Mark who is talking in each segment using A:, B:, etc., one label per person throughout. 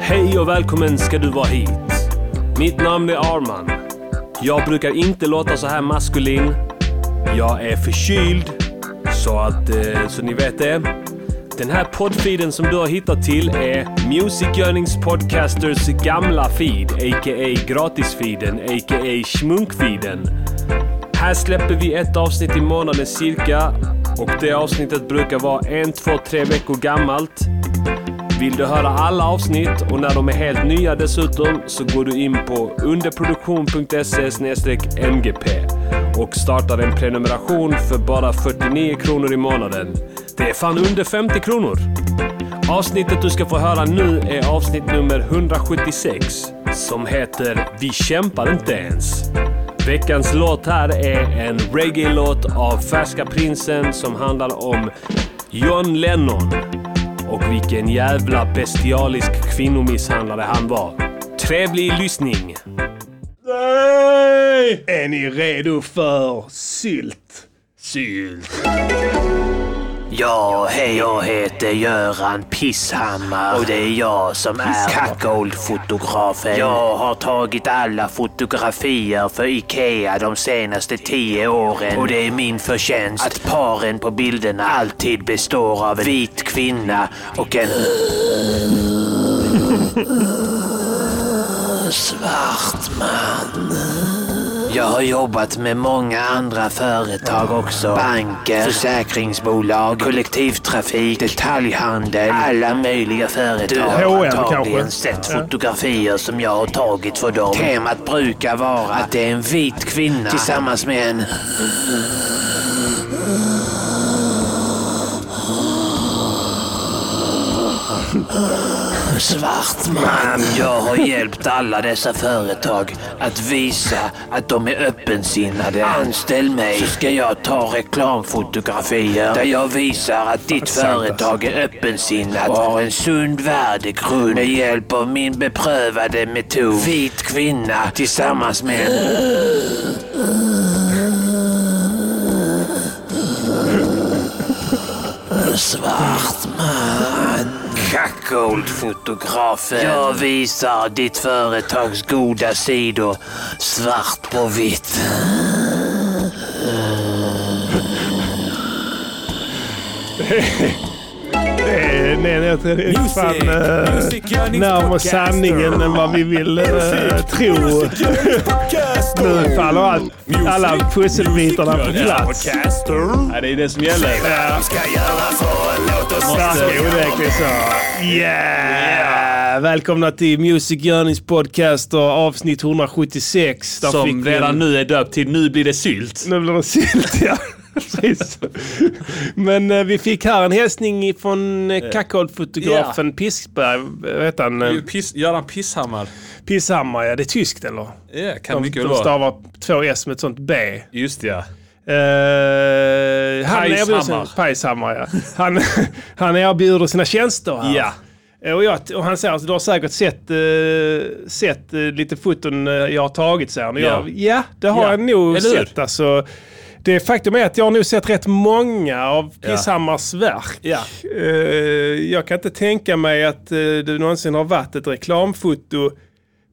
A: Hej och välkommen ska du vara hit. Mitt namn är Arman. Jag brukar inte låta så här maskulin. Jag är förkyld. Så att, eh, så ni vet det. Den här poddfeeden som du har hittat till är Music Yearnings Podcasters gamla feed, a.k.a. gratisfeeden, a.k.a. schmunkfeeden. Här släpper vi ett avsnitt i månaden cirka och det avsnittet brukar vara en, två, tre veckor gammalt. Vill du höra alla avsnitt och när de är helt nya dessutom så går du in på underproduktion.se mgp och startar en prenumeration för bara 49 kronor i månaden. Det är fan under 50 kronor! Avsnittet du ska få höra nu är avsnitt nummer 176 som heter Vi kämpar inte ens. Veckans låt här är en reggae-låt av Färska Prinsen som handlar om John Lennon och vilken jävla bestialisk kvinnomisshandlare han var. Trevlig lyssning!
B: Nej! Är ni redo för sylt?
A: Sylt.
C: Ja, hej, jag heter Göran Pisshammar och det är jag som är kackold-fotografen. Jag har tagit alla fotografier för IKEA de senaste tio åren och det är min förtjänst att paren på bilderna alltid består av en vit kvinna och en svart man. Jag har jobbat med många andra företag också. Banker, försäkringsbolag, kollektivtrafik, detaljhandel. Alla möjliga företag har
B: H&M
C: antagligen
B: kanske?
C: sett fotografier som jag har tagit för dem. Temat brukar vara att det är en vit kvinna tillsammans med en svart man. Jag har hjälpt alla dessa företag att visa att de är öppensinnade. Anställ mig så ska jag ta reklamfotografier där jag visar att ditt företag är öppensinnat och har en sund värdegrund med hjälp av min beprövade metod. Vit kvinna tillsammans med en svart man. Cuckold-fotografen. Jag visar ditt företags goda sidor svart på vitt.
B: Eh, Nej, nej, nej, det är fan eh, närmare sanningen än vad vi vill eh, tro. Nu faller allt, alla pusselbitarna på plats.
A: Ja, det är det som gäller.
B: Verkar onekligen så. Yeah! Välkomna till Music Journeys podcast och avsnitt 176. Där fick
A: Som
B: vi en-
A: redan nu är döpt till Nu blir det sylt.
B: Nu blir det sylt, ja. Precis. Men eh, vi fick här en hälsning från eh, kackoldfotografen Pissberg. Vad heter han? Eh,
D: Piss, Göran Pisshammar.
B: Pisshammar, ja. Det är tyskt eller?
D: Ja, kan
B: De,
D: mycket väl
B: de
D: vara.
B: stavar två s med ett sånt B.
D: Just det, ja.
B: Uh, Eh, han
D: Pajshammar.
B: erbjuder sina, Pajshammar, ja. Han, han erbjuder sina tjänster här.
D: Ja.
B: Eh, Och, jag, och han säger att du har säkert sett, eh, sett eh, lite foton eh, jag har tagit, säger han. Och jag, ja, det har
D: Ja.
B: jag nog
D: Eller hur?
B: sett. Alltså, det faktum är att jag har nog sett rätt många av Pisshammars verk.
D: Ja.
B: Eh, jag kan inte tänka mig att eh, du någonsin har varit ett reklamfoto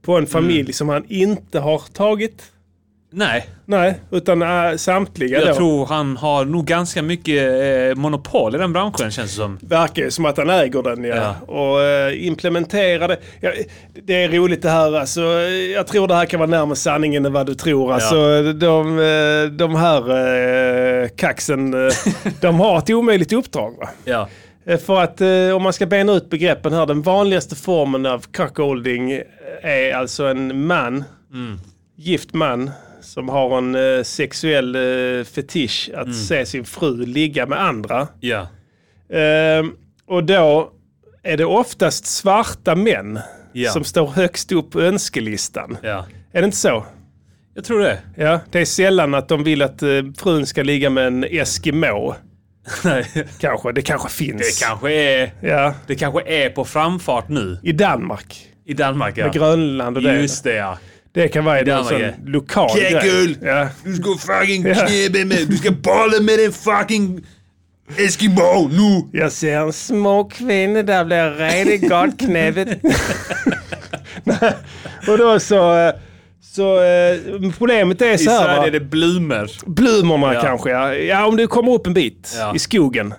B: på en familj
D: Mm.
B: som han inte har tagit.
D: Nej,
B: Nej, utan eh, samtliga
D: jag
B: då.
D: tror han har nog ganska mycket eh, monopol i den branschen känns det som.
B: verkar ju som att han äger den ja.
D: Ja.
B: Och eh, implementerar det. Ja, det är roligt det här alltså. Jag tror det här kan vara närmare sanningen än vad du tror. Alltså, de, eh, de här eh, kaxen, eh, de har ett omöjligt uppdrag. Va?
D: Ja.
B: Eh, För att eh, om man ska bena ut begreppen här, den vanligaste formen av cuckolding eh, är alltså en man, gift man, som har en eh, sexuell eh, fetisch att se sin fru ligga med andra.
D: Ja.
B: Ehm, och då är det oftast svarta män
D: Ja.
B: som står högst upp på önskelistan.
D: ja.
B: Är det inte så?
D: Jag tror det.
B: Ja, det är sällan att de vill att eh, frun ska ligga med en Eskimo.
D: Nej.
B: Kanske, det kanske finns.
D: Det kanske, är,
B: Ja,
D: det kanske är på framfart nu
B: i Danmark.
D: i Danmark. Ja.
B: Grönland och det.
D: Just det ja.
B: Det kan vara en
D: Danmark,
B: sån
D: ja.
B: lokal grej.
E: Kekul!
B: Ja.
E: Du ska fucking
B: Ja.
E: knäbe med, du ska bolla med din fucking Eskimo, nu!
B: Jag ser en små kvinna där blir redigt gott knävet. Nej, och då så... eh, så eh, problemet är
A: I
B: så här
A: Sverige
B: va?
A: är det blommor.
B: Blommorna
A: Ja.
B: kanske, ja. ja. Om du kommer upp en bit
A: Ja.
B: i skogen.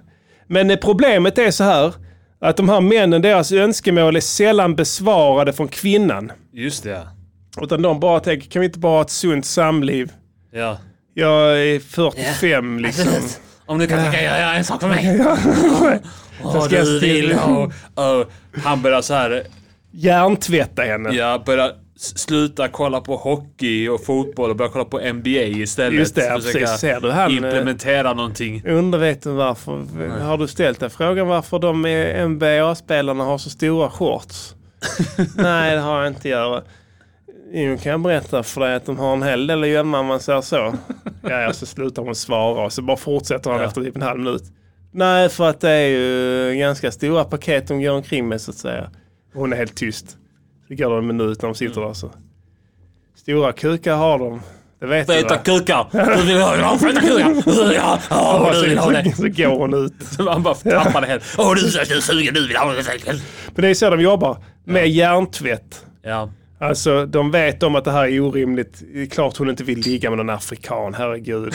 B: Men eh, problemet är så här att de här männen, deras önskemål är sällan besvarade från kvinnan.
A: Just det, ja.
B: Utan de bara tänker, kan vi inte bara ha ett sunt samliv?
A: ja.
B: Jag är 45 liksom.
A: Om du kan tänka göra en sak för mig. Åh,
B: ska jag
A: du vill
B: stilla-
A: ha... Åh. Han börjar så här,
B: Hjärntvätta henne.
A: ja, börjar s- sluta kolla på hockey och fotboll och börjar kolla på NBA istället.
B: Just det, ja,
A: Försöka
B: precis. Ser du han, eh,
A: Implementera någonting.
B: Underveten varför. Har du ställt dig frågan varför de NBA-spelarna har så stora shorts? Nej, det har jag inte göra. Jo, kan jag berätta för dig att de har en hel del att gömma om man säger så. Ja, ja, så slutar hon svara och så bara fortsätter han efter typ en halv minut. Nej, för att det är ju ganska stora paket de går omkring med så att säga. Hon är helt tyst. Så går det en minut när de sitter
A: Mm.
B: där så. Stora kukar har de. Det vet du
A: Feta
B: va?
A: kukar! Du vill ha ja, feta kukar! Ja, åh,
B: Så,
A: du vill ha
B: så,
A: det!
B: så går hon ut.
A: Han bara tappar det helt. Åh, du är sugen, du vill ha det!
B: Men det är så de jobbar. Med hjärntvätt.
A: Ja.
B: Alltså de vet om att det här är orimligt. Det är klart hon inte vill ligga med någon afrikan, herregud.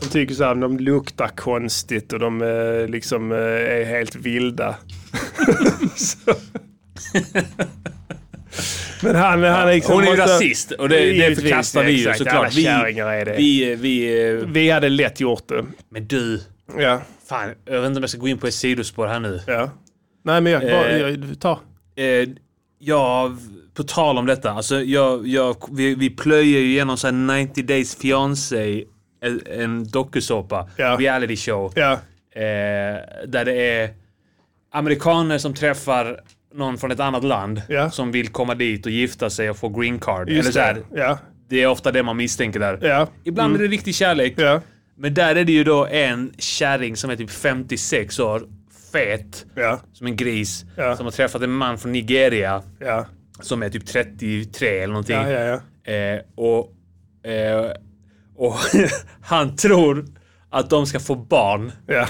B: de tycker så här, de luktar konstigt och de eh, liksom eh, är helt vilda. Så. Men han, han är liksom...
A: Hon är ju
B: måste-
A: rasist och det, det
B: Givetvis,
A: förkastar vi ju
B: exakt. Alla
A: såklart. Vi,
B: kärringar är det. Vi,
A: vi, vi... eh,
B: hade lätt gjort det.
A: Men du,
B: Ja,
A: fan, jag vet inte om jag ska gå in på ett sidospår här nu.
B: ja. Nej men jag, bara,
A: Eh.
B: jag ta.
A: Eh, ja, på tal om detta. Alltså, jag, jag, vi, vi plöjer ju igenom så här 90 Days Fiancé, en, en dokusåpa,
B: Ja.
A: reality show.
B: Ja,
A: Eh, där det är amerikaner som träffar någon från ett annat land
B: Ja.
A: som vill komma dit och gifta sig och få green card. Eller
B: just
A: så här,
B: det. Ja,
A: det är ofta det man misstänker där.
B: ja, Mm.
A: Ibland är det riktig kärlek.
B: ja,
A: Men där är det ju då en kärring som är typ 56 år, fet,
B: ja,
A: som en gris,
B: Ja.
A: som har träffat en man från Nigeria
B: ja.
A: som är typ 33 eller någonting.
B: Ja, ja, ja.
A: Eh, och eh, och han tror att de ska få barn.
B: ja.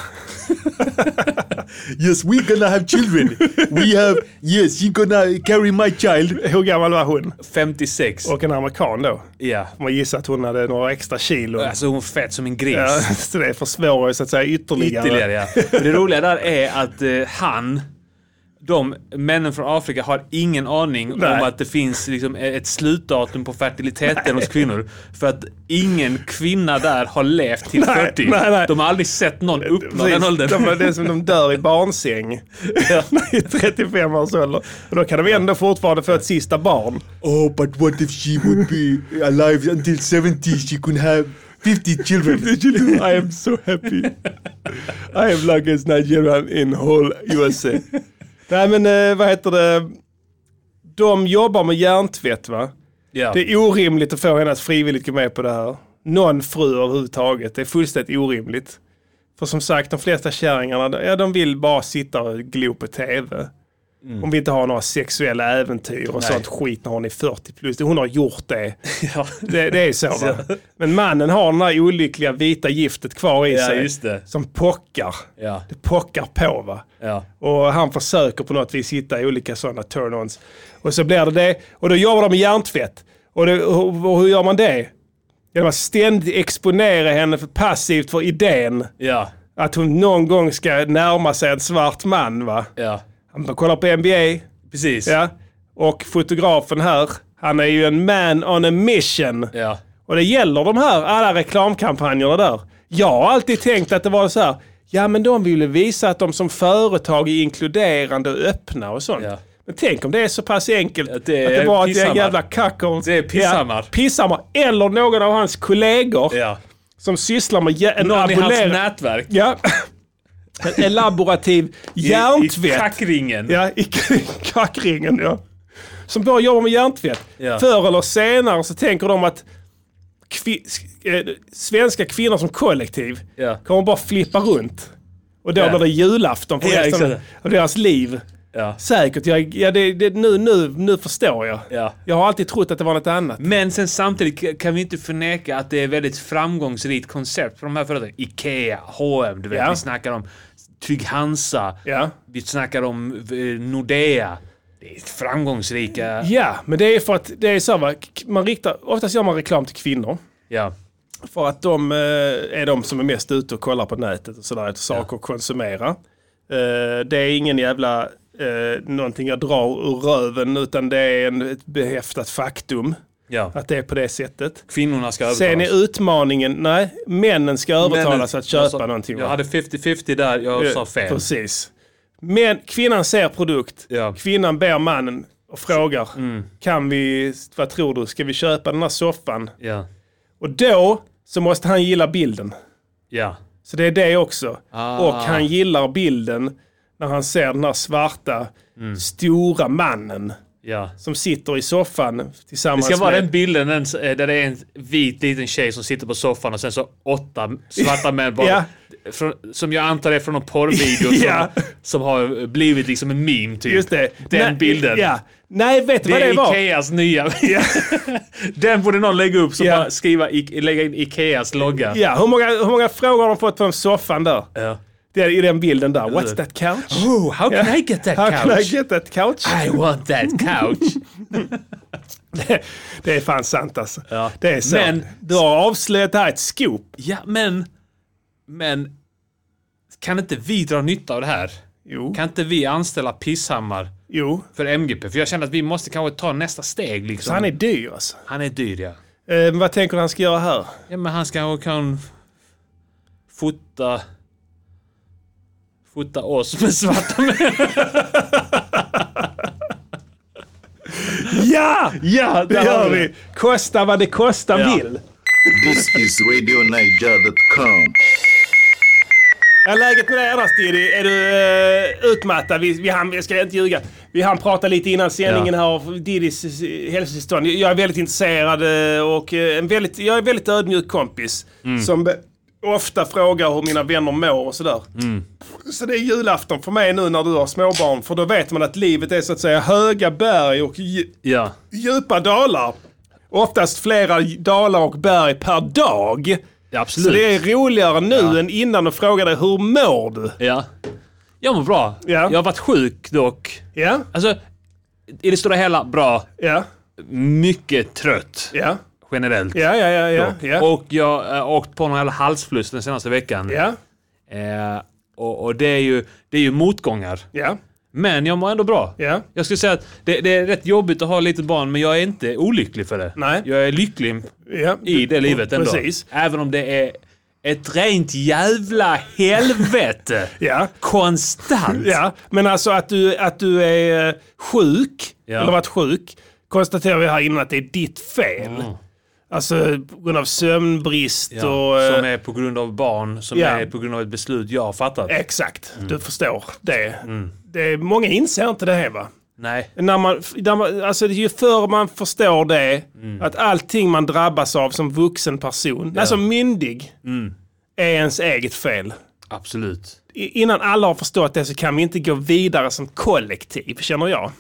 E: Yes, we're gonna have children. We have, yes, you're gonna carry my child.
B: Hur gammal var hon?
A: 56.
B: Och en amerikan då.
A: ja.
B: Man gissar att hon hade några extra kilo.
A: Alltså hon är fet som en gris.
B: Ja, så det försvårar ju så att säga ytterligare.
A: Ytterligare ja. Och Det roliga där är att eh, han, de männen från Afrika har ingen aning
B: Nej.
A: om att det finns liksom, ett slutdatum på fertiliteten hos kvinnor. För att ingen kvinna där har levt till
B: Nej,
A: 40.
B: nej, nej.
A: De har aldrig sett någon uppnå
B: Precis.
A: den åldern.
B: De, det är som de dör i barnsäng i 35 års ålder. Och då kan de ändå fortfarande få ett sista barn.
E: Oh, but what if she would be alive until 70? She could have 50 children. 50 children.
B: I am so happy. I am like a Nigerian in whole USA. Nej men eh, vad heter det? De jobbar med hjärntvätt va?
A: Ja.
B: Det är orimligt att få henne att frivilligt gå med på det här. Någon fru överhuvudtaget. Det är fullständigt orimligt. För som sagt, de flesta kärringarna, ja, de vill bara sitta och glo på tv. Hon vill inte ha några sexuella äventyr och sånt skit när hon är 40 plus. Hon har gjort det.
A: Ja.
B: Det, det är så va? Men mannen har den här olyckliga vita giftet kvar i
A: Ja,
B: sig.
A: just det.
B: Som pockar.
A: Ja.
B: Det pockar på va.
A: Ja.
B: Och han försöker på något vis hitta olika sådana turn-ons. Och så blir det det. Och då jobbar de med hjärntvätt. Och, det, och, och hur gör man det? Genom att ständigt exponera henne för passivt för idén
A: Ja.
B: att hon någon gång ska närma sig en svart man va.
A: Ja.
B: De kollar på NBA,
A: Precis.
B: ja. Och fotografen här, han är ju en man on a mission.
A: Ja.
B: Och det gäller de här, alla reklamkampanjerna där. Jag har alltid tänkt att det var så här, ja men de ville visa att de som företag är inkluderande och öppna och sånt.
A: Ja.
B: Men tänk om det är så pass enkelt
A: Att det är
B: att det bara att det är en
A: pisshammar.
B: jävla kacko.
A: Det är pisshammar.
B: Ja, pisshammar. Eller någon av hans kollegor
A: Ja.
B: som sysslar med jä- en
A: Någon i hans
B: abonnerad-
A: nätverk.
B: Ja. En elaborativ
A: I, i
B: hjärntvätt.
A: kackringen.
B: Ja, i kackringen ja. Som bara jobbar med hjärntvätt.
A: Ja.
B: Förr eller senare så tänker de att kvi, sk- eh, svenska kvinnor som kollektiv
A: Ja.
B: kommer bara flippa runt. Och då
A: Ja.
B: blir det julafton för
A: Ja,
B: resten
A: exakt.
B: av deras liv.
F: Ja.
B: Säkert. Jag, ja, det, det, nu, nu, nu förstår jag.
F: Ja.
B: Jag har alltid trott att det var något annat.
F: Men sen samtidigt k- kan vi inte förneka att det är väldigt framgångsrikt koncept för de här företagen. Ikea, H&M, du vet.
B: Ja.
F: Vi snackar om Trygg-Hansa.
B: Ja.
F: Vi snackar om eh, Nordea. Det är framgångsrika...
B: Ja, men det är för att det är så här, va, k- man riktar, oftast gör man reklam till kvinnor.
F: Ja.
B: För att de eh, är de som är mest ute och kollar på nätet och sådär, efter saker att konsumera. Eh, det är ingen jävla eh, någonting jag drar ur röven utan det är en, ett behäftat faktum
F: ja.
B: att det är på det sättet.
F: Kvinnorna ska
B: Sen
F: övertalas.
B: är utmaningen, nej, männen ska övertalas
F: Männen-
B: att köpa
F: jag sa-
B: någonting.
F: Alltså, Jag
B: va?
F: hade 50-50 där, jag sa fel.
B: Eh, Precis. Men kvinnan ser produkt,
F: Ja. Mm.
B: kvinnan ber mannen och frågar, kan vi, vad tror du, ska vi köpa den här soffan?
F: Ja.
B: Och då så måste han gilla bilden.
F: Ja.
B: Så det är det också.
F: Ah.
B: Och han gillar bilden när han ser den här svarta,
F: Mm.
B: stora mannen
F: Ja.
B: som sitter i soffan
F: Det
B: tillsammans
F: ska vara
B: med...
F: den bilden den, eh, där det är en vit liten tjej som sitter på soffan och sen så åtta svarta män bara,
B: Ja.
F: från, som jag antar är från någon porrvideo som,
B: Ja.
F: som har blivit liksom en meme typ.
B: Just det.
F: Den
B: Nej,
F: bilden.
B: Ja. Nej, vet du
F: Det
B: vad
F: är
B: det var?
F: Ikeas nya. den borde någon lägga upp, så
B: Ja.
F: bara skriva, I, lägga in Ikeas logga.
B: Ja, hur många, hur många frågor har de fått från soffan där?
F: Ja.
B: Det är i den bilden där. What's that couch?
F: Oh, how can I get that
B: How can I
F: couch? Ah.
B: get that couch?
F: I want that couch.
B: det är fan sant alltså.
F: Ja.
B: Det är så.
F: Men-
B: du har avslöjat här ett scoop.
F: ja, men... Men... Kan inte vi dra nytta av det här?
B: Jo,
F: Kan inte vi anställa Pisshammar
B: jo.
F: för MGP? För jag känner att vi måste kanske ta nästa steg liksom.
B: Så han är dyr alltså.
F: han är dyr ja.
B: Eh, men vad tänker du han ska göra här?
F: Ja men han kanske kan fota... Fota oss med svarta män.
B: Ja!
F: Ja,
B: Det gör vi. Kosta vad det kosta
F: Ja.
B: vill.
G: This is RadioNiger.com.
B: Ja, läget med dig annars Diddy? Är du eh, utmattad? Vi, vi hann, jag ska inte ljuga. Vi hann prata lite innan sändningen här om Diddys eh, hälsotillstånd. Jag är väldigt intresserad eh, och eh, en väldigt, jag är en väldigt ödmjuk kompis. Som eh, ofta frågar hur mina vänner mår och sådär. Så det är julafton för mig nu när du har småbarn. För då vet man att livet är så att säga höga berg och dju-
F: Ja.
B: djupa dalar. Oftast flera dalar och berg per dag.
F: ja,
B: Så
F: absolut.
B: det är roligare nu än innan och fråga dig hur mår du?
F: Ja. Jag mår bra.
B: Ja.
F: Jag har varit sjuk dock.
B: Ja,
F: Alltså, i det stora hela bra.
B: ja,
F: Mycket trött
B: ja,
F: generellt.
B: ja, ja, ja, ja, ja,
F: Och jag har eh, åkt på någon jävla halsfluss den senaste veckan.
B: ja,
F: Eh, och och det, är ju, det är ju motgångar.
B: ja,
F: Men jag mår ändå bra.
B: ja,
F: Jag skulle säga att det, det är rätt jobbigt att ha litet barn, men jag är inte olycklig för det.
B: Nej.
F: Jag är lycklig
B: ja.
F: i det livet ändå.
B: Precis.
F: Även om det är ett rent jävla helvete.
B: Ja.
F: Konstant.
B: Ja, men alltså att du, att du är eh, sjuk,
F: Ja.
B: eller varit sjuk, konstaterar vi här innan att det är ditt fel. Alltså på grund av sömnbrist
F: Mm. Ja,
B: och... eh,
F: som är på grund av barn, som
B: ja.
F: är på grund av ett beslut jag har fattat.
B: Exakt,
F: Mm.
B: du förstår det. det är, många inser inte det här va?
F: Nej.
B: När man, när man, alltså ju förr man förstår det, att allting man drabbas av som vuxen person, alltså myndig, är ens eget fel.
F: Absolut.
B: I- Innan alla har förstått det så kan vi inte gå vidare som kollektiv, känner jag.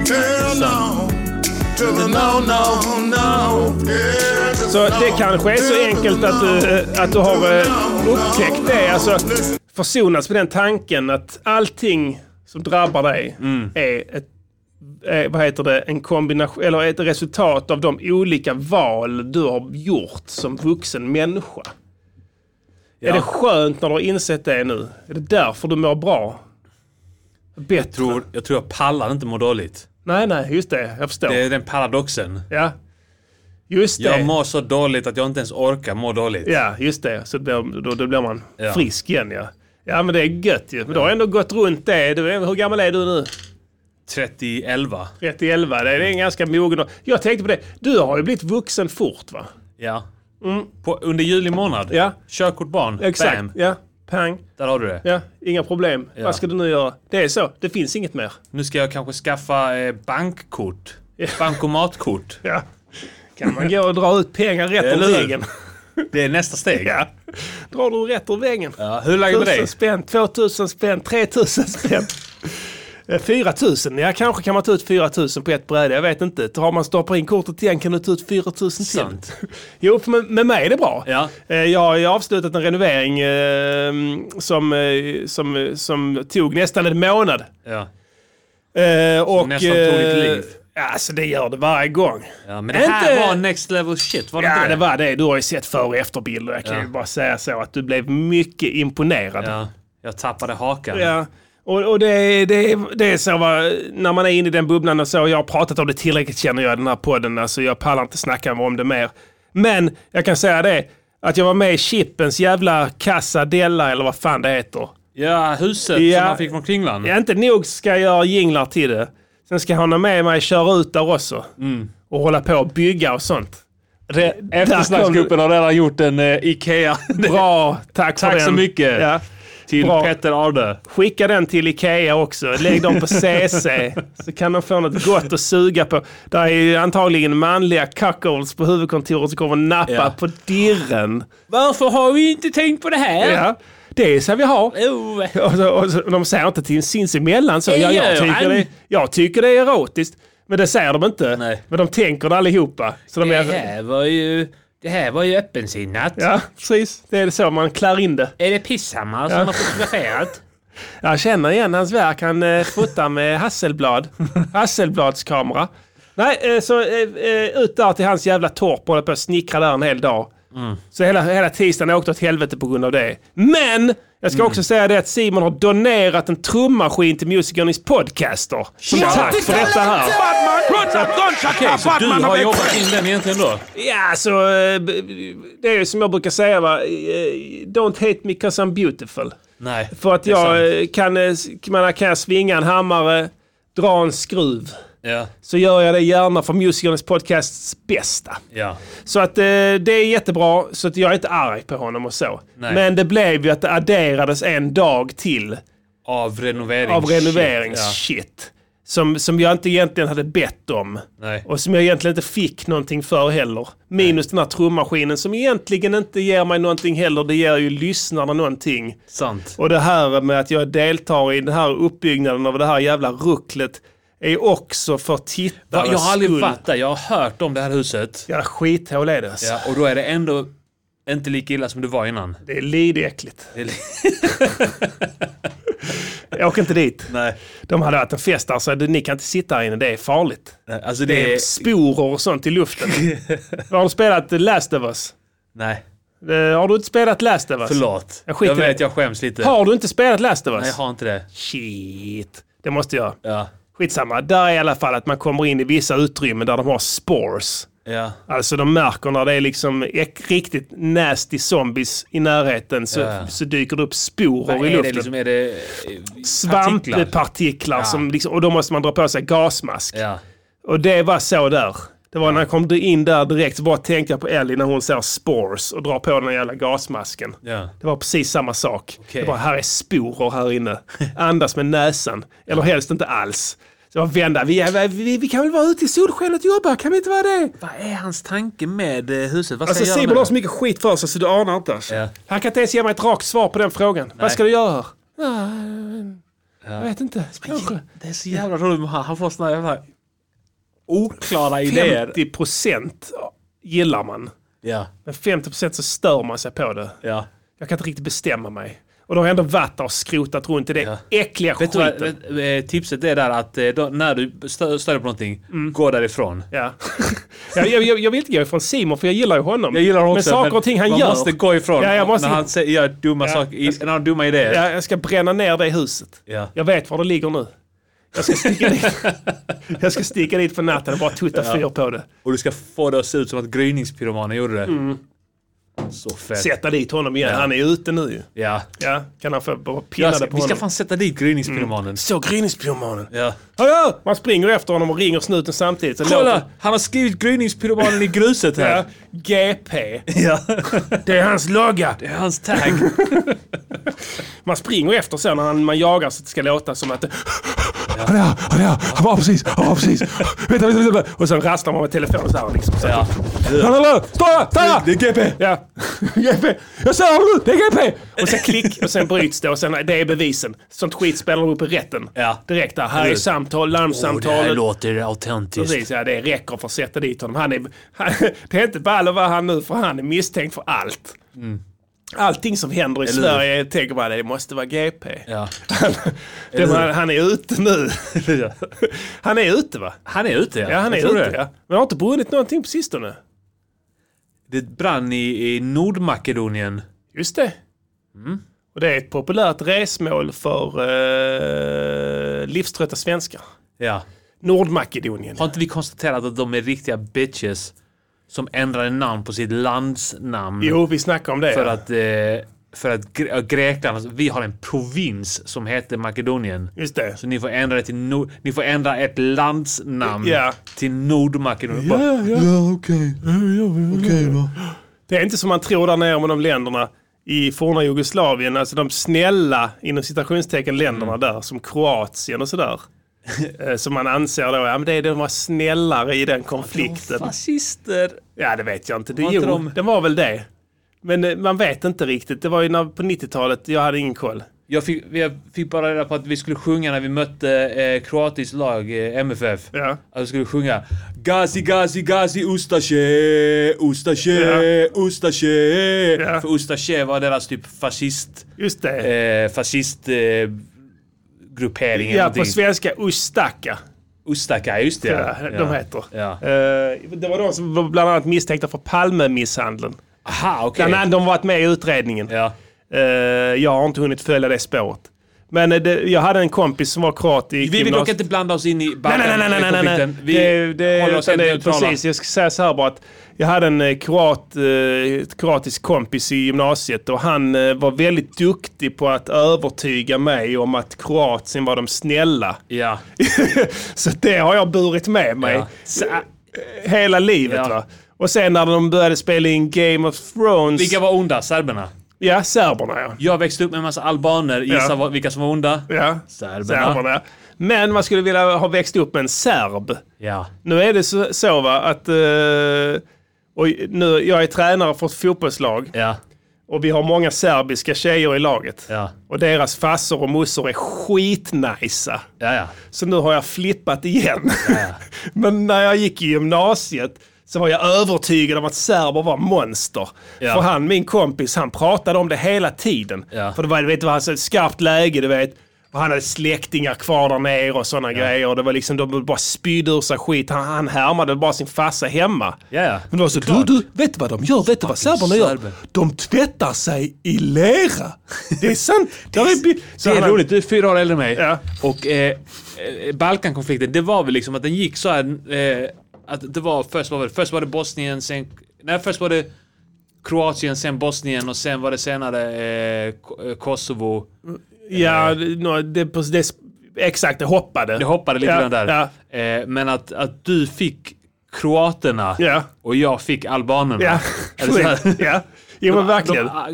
B: Så det kanske är så enkelt att du, eh, att du har eh, upptäckt det. Alltså, försonats med den tanken att allting som drabbar dig
F: Mm.
B: är ett är, vad heter det, en kombination, eller ett resultat av de olika val du har gjort som vuxen människa. Är det skönt när du har insett det nu? Är det därför du mår bra? Bättre?
F: Tror, jag tror jag pallar inte må dåligt.
B: Nej, nej, just det. Jag förstår.
F: Det är den paradoxen.
B: Ja. Just det.
F: Jag mår så dåligt att jag inte ens orkar må dåligt.
B: Ja, just det. Så då, då, då blir man
F: Ja.
B: frisk igen, ja. Ja, men det är gött ju. Men du har ändå gått runt det. Du, är- hur gammal är du nu?
F: 30 11.
B: 30, 11. Det är en ganska mogen ålder. Jag tänkte på det. Du har ju blivit vuxen fort, va?
F: Ja. På, under juli månad.
B: Ja.
F: Körkort barn.
B: Exakt.
F: Bam.
B: Ja. Pang.
F: Där har du det.
B: Ja, inga problem.
F: Ja.
B: Vad ska du nu göra? Det är så. Det finns inget mer.
F: Nu ska jag kanske skaffa eh, bankkort. Bankomatkort.
B: Ja. Kan man gå och dra ut pengar rätt
F: Eller
B: ur
F: hur?
B: väggen?
F: Det är nästa steg.
B: Ja. Drar du rätt ur väggen?
F: Ja, hur är läget med dig?
B: Tusen spänn, 2000 spänn, 3000 spänn. Eh, 4 000, ja kanske kan man ta ut 4 000 på ett bräde, jag vet inte. Har man stoppat in kortet igen kan du ta ut 4 000 till.
F: Sant.
B: Jo, för med, med mig är det bra.
F: Ja.
B: Eh, Jag har ju avslutat en renovering eh, som, eh, som, eh, som tog nästan en månad.
F: Ja.
B: Eh, och,
F: nästan tog ditt
B: eh,
F: liv.
B: Alltså det gör det varje gång.
F: ja, men det här
B: Inte-
F: var next level shit, var det
B: Ja,
F: inte
B: det var det. Du har ju sett före och efterbilder. Jag kan ju bara säga så att du blev mycket imponerad.
F: Ja, jag tappade hakan.
B: Ja. Och, och det, det, det är så, va, när man är inne i den bubblan och så, jag har pratat om det tillräckligt känner jag i den här podden, alltså jag pallar inte snacka om det mer. Men jag kan säga det, att jag var med i Chippens jävla Casadella eller vad fan det heter.
F: Ja, huset
B: Ja.
F: som han fick från Kringland.
B: Ja, inte nog ska jag göra jinglar till det, sen ska han ha med mig och köra ut där också.
F: Mm.
B: Och hålla på och bygga och sånt. Det, där kom-
F: har redan gjort en eh, IKEA.
B: Bra, tack för
F: Tack
B: den.
F: så mycket.
B: Ja.
F: till
B: bra.
F: Petter Arde.
B: Skicka den till Ikea också. Lägg dem på CC. Så kan de få något gott att suga på. Där är ju antagligen manliga cuckolds på huvudkontoret som kommer nappa
F: Ja.
B: på dirren.
F: Varför har vi inte tänkt på det här?
B: Ja. Det är så vi har.
F: Oh.
B: Och, så, och så, de säger inte till sinsemellan så. Ja,
F: gör
B: jag, tycker
F: han.
B: det, jag tycker det är erotiskt. Men det säger de inte.
F: Nej.
B: Men de tänker det allihopa. Så de är,
F: här var ju... Det här var ju öppensinnat.
B: ja, precis. Det är så man klär in det.
F: Är det Pisshammar som har fotograferat?
B: Jag känner igen hans verk. Han eh, fotar med Hasselblad. Hasselbladskamera. Nej, eh, så eh, eh, ut där till hans jävla torp och håller på att snickra där en hel dag.
F: Mm.
B: Så hela, hela tisdagen åkte åt helvete på grund av det. Men! Jag
F: Mm.
B: ska också säga det att Simon har donerat en trummaskin till musikernas podcaster. Som tack för detta här.
F: Okej, så du har jobbat in den egentligen då?
B: Ja, så eh, b- b- det är ju som jag brukar säga va. eh, Don't hate me cause I'm beautiful.
F: Nej.
B: För att
F: det är sant.
B: jag eh, kan, eh, kan, man- kan jag svinga en hammare, dra en skruv.
F: Ja.
B: Så gör jag det gärna för musikernas podcasts bästa.
F: Ja.
B: Så att eh, det är jättebra, så att jag är inte arg på honom och så.
F: Nej.
B: Men det blev ju att det adderades en dag till
F: Av renovering.
B: av
F: Shit,
B: renoveringsshit. Som, som jag inte egentligen hade bett om.
F: Ja. Nej.
B: Och som jag egentligen inte fick någonting för heller. Minus den här trummaskinen som egentligen inte ger mig någonting heller. Det ger ju lyssnarna någonting.
F: Sant.
B: Och det här med att jag deltar i den här uppbyggnaden av det här jävla rucklet är också för tittarnas
F: Jag har aldrig
B: skull.
F: varit där. Jag har hört om det här huset.
B: Ja, skithål är det. alltså.
F: Ja, och då är det ändå inte lika illa som det var innan.
B: Det är lidäckligt.
F: Det är li-
B: Jag åker inte dit.
F: Nej.
B: De hade haft en fest där, så det- ni kan inte sitta här inne. Det är farligt.
F: Alltså det,
B: Det är
F: är...
B: sporer och sånt i luften. har du spelat Last of Us?
F: Nej,
B: Eh, Har du inte spelat Last of Us?
F: förlåt.
B: Jag
F: Jag,
B: skiter i
F: vet,
B: det.
F: jag skäms lite.
B: Har du inte spelat Last of Us?
F: Nej, jag har inte det.
B: Shit. Det måste jag.
F: Ja.
B: Skitsamma. Där är i alla fall att man kommer in i vissa utrymmen där de har spores.
F: Ja.
B: Alltså de märker när det är liksom ek- riktigt nasty zombies i närheten så,
F: Ja.
B: så dyker det upp sporer
F: Vad
B: i
F: är det
B: luften.
F: liksom? Är det...
B: Svamppartiklar.
F: partiklar?
B: Som liksom, och då måste man dra på sig gasmask.
F: Ja.
B: Och det var så där. Det var när jag kom in där direkt så bara tänkte jag på Ellie när hon ser spores och drar på den jävla gasmasken.
F: Ja.
B: Det var precis samma sak.
F: Okej.
B: Det var här är sporer här inne. Andas med näsan. Eller helst inte alls. Så jag vända. Vi, är, vi, vi kan väl vara ute i solskenet och jobba? Kan vi inte vara det?
F: Vad är hans tanke med eh, huset? Vad ska
B: Alltså
F: jag göra
B: Simon
F: nu?
B: har så mycket skit för sig så du anar inte. Alltså.
F: Ja.
B: Han kan inte ens ge mig ett rakt svar på den frågan. Vad ska du göra här? Jag vet inte. Kanske.
F: Det är så jävla roligt med han. Han får såna jävla oklara idéer.
B: 50 procent gillar man.
F: Ja.
B: Men 50 procent så stör man sig på det.
F: Ja.
B: Jag kan inte riktigt bestämma mig. Och då har jag ändå varit där och skrotat runt i det
F: Ja.
B: äckliga
F: Vet du
B: skiten.
F: vad, vet- eh, tipset är där att eh, då, när du stö- stör dig på någonting, gå därifrån.
B: Ja. jag, jag, jag- jag vill inte gå ifrån Simon för jag gillar ju honom.
F: Jag gillar honom
B: men
F: också.
B: saker och ting han
F: man
B: gör.
F: måste gå ifrån.
B: Ja, jag måste-
F: När han säger, gör dumma
B: Ja,
F: saker, i,
B: jag ska-
F: när han har dumma idéer.
B: Ja, jag ska bränna ner det huset.
F: Ja.
B: Jag vet var det ligger nu. Jag ska sticka dit, jag ska sticka dit på natten och bara tutta fyr på det.
F: Och du ska få det att se ut som att gryningspyromanen gjorde det.
B: Mm.
F: Så fett.
B: Sätta dit honom igen.
F: Ja.
B: Han är ute nu ju.
F: Ja.
B: Ja, kan han få bara pilla
F: Jag ska,
B: det på
F: vi ska
B: honom. Mm.
F: fan sätta dit gryningspyromanen.
B: Så gryningspyromanen.
F: Ja.
B: Hallå! Man springer efter honom och ringer snuten samtidigt. Så låter-
F: Kolla! Han har skrivit gryningspyromanen i gruset
B: Ja,
F: här.
B: GP.
F: Ja.
B: Det är hans logga.
F: Det är hans tag.
B: Man springer efter sen när han, man jagar så att det ska låta som att det...
H: han är här, han är här, han var precis, han var precis. Vänta, vänta, vänta.
B: Och sen rasslar man med telefonen så här liksom. Så här.
H: Hallå, Stå stanna!
A: Det är GP!
B: Ja.
H: GP! Jag ser honom nu, det är GP!
B: Och sen klick och sen bryts det och sen det är bevisen. Sånt skit spelar de upp i rätten.
F: Ja.
B: Direkt där. Här är samtal,
F: det här
B: larmsamtalet.
F: låter autentiskt.
B: Precis, ja, det räcker för att sätta dit honom. Han är, han, det är inte ball att vara han nu för han är misstänkt för allt.
F: Mm.
B: Allting som händer i Sverige tänker man det måste vara GP.
F: Ja.
B: Han, det, han, han är ute nu. han är ute va?
F: Han är ute ja.
B: Ja, han
F: Jag
B: är
F: tror
B: ute.
F: det.
B: Ja. Men har inte brunnit någonting på sistone.
F: Det brann i, i Nordmakedonien.
B: Just det.
F: Mm.
B: Och det är ett populärt resmål för eh, livströtta svenskar.
F: Ja.
B: Nordmakedonien.
F: Har inte vi konstaterat att de är riktiga bitches som ändrade namn på sitt landsnamn?
B: Jo, vi snackar om det.
F: För
B: ja.
F: att, eh, för att Gre- ja, Grekland, alltså, vi har en provins som heter Makedonien.
B: Just det.
F: Så ni får ändra, det till Nor- ni får ändra ett landsnamn
B: Ja.
F: till Nordmakedonien. Bara,
A: Ja, okej. Okej då.
B: Det är inte som man tror där nere med de länderna i forna Jugoslavien, alltså de snälla inom citationstecken länderna
F: Mm.
B: där, som Kroatien och sådär. Eh, som man anser då, ja men det är de var snällare i den konflikten.
F: Fascister!
B: Ja det vet jag inte, det,
F: Var
B: jo,
F: inte de-
B: det var väl det. Men eh, man vet inte riktigt, det var ju när, på 90-talet, jag hade ingen koll.
F: Jag fick, jag fick bara reda på att vi skulle sjunga när vi mötte eh, kroatiskt lag, eh, MFF.
B: Ja.
F: Att vi skulle sjunga Gazi, Gazi, Gazi, Ustasje, Ustasje, Ustasje.
B: Ja.
F: För Ustasje var deras typ fascist,
B: Just det.
F: eh, fascist eh, gruppering. eller
B: ja, på
F: någonting.
B: svenska, Ustaka.
F: Ustaka, just det.
B: Ja, de heter.
F: Ja.
B: Eh, det var de som var bland annat misstänkta för Palmemisshandeln.
F: Aha, okej.
B: Bland annat, de har varit med i utredningen.
F: Ja.
B: Eh, jag har inte hunnit följa det spåret. Men eh, det, jag hade en kompis som var kroat i
F: Vi vill dock
B: gymnasiet.
F: inte blanda oss in i
B: Nej, nej, nej, nej, nej, nej, nej.
F: Balkankonflikten. Vi
B: det, det,
F: håller oss
B: utan
F: helt
B: det,
F: neutrala.
B: Precis, jag ska säga så här bara att jag hade en eh, kroat, eh, ett kroatisk kompis i gymnasiet och han eh, var väldigt duktig på att övertyga mig om att Kroatien var de snälla.
F: Ja.
B: Så det har jag burit med mig
F: Ja.
B: så, hela livet.
F: Ja.
B: Va? Och sen när de började spela in Game of Thrones.
F: Vilka var onda? Serberna?
B: Ja, serberna ja.
F: Jag växte upp med en massa albaner. Gissa
B: Ja.
F: vad- vilka som var onda?
B: ja.
F: Serberna.
B: Serberna. Men man skulle vilja ha växt upp med en serb.
F: Ja.
B: Nu är det så, så va att... eh, och nu, jag är tränare för ett fotbollslag
F: Ja.
B: och vi har många serbiska tjejer i laget.
F: Ja.
B: Och deras fassor och mossor är skitnajsa.
F: Ja, ja.
B: Så nu har jag flippat igen. Men när jag gick i gymnasiet så var jag övertygad om att serber var monster.
F: Ja.
B: För han, min kompis, han pratade om det hela tiden.
F: Ja.
B: För det var, du vet, det var alltså ett skarpt läge, du vet. Och han hade släktingar kvar där nere och sådana grejer. Och det var liksom, de bara spydde ur sig skit. Han, han härmade bara sin farsa hemma.
F: Ja, ja.
B: Men det var så, du, du, vet du vad de gör? Vet du vad serberna gör?
F: serber.
B: De tvättar sig i lera. Det är sant. det är, bi- så
F: Det är
B: han-
F: roligt, du är fyra år äldre än mig.
B: Ja.
F: Och eh, eh, Balkankonflikten, det var väl liksom att den gick så här... Eh, att det var först var, det, först var det Bosnien, sen... Nej, först var det Kroatien, sen Bosnien och sen var det senare eh, Ko- eh, Kosovo.
B: Ja, nå, det, det, det, exakt, det hoppade.
F: Det hoppade lite
B: Ja,
F: grann där.
B: ja.
F: Eh, men att, att du fick kroaterna
B: Ja.
F: och jag fick albanerna.
B: Ja,
F: Eller så här.
B: ja. Jo, men verkligen.
F: De, ah,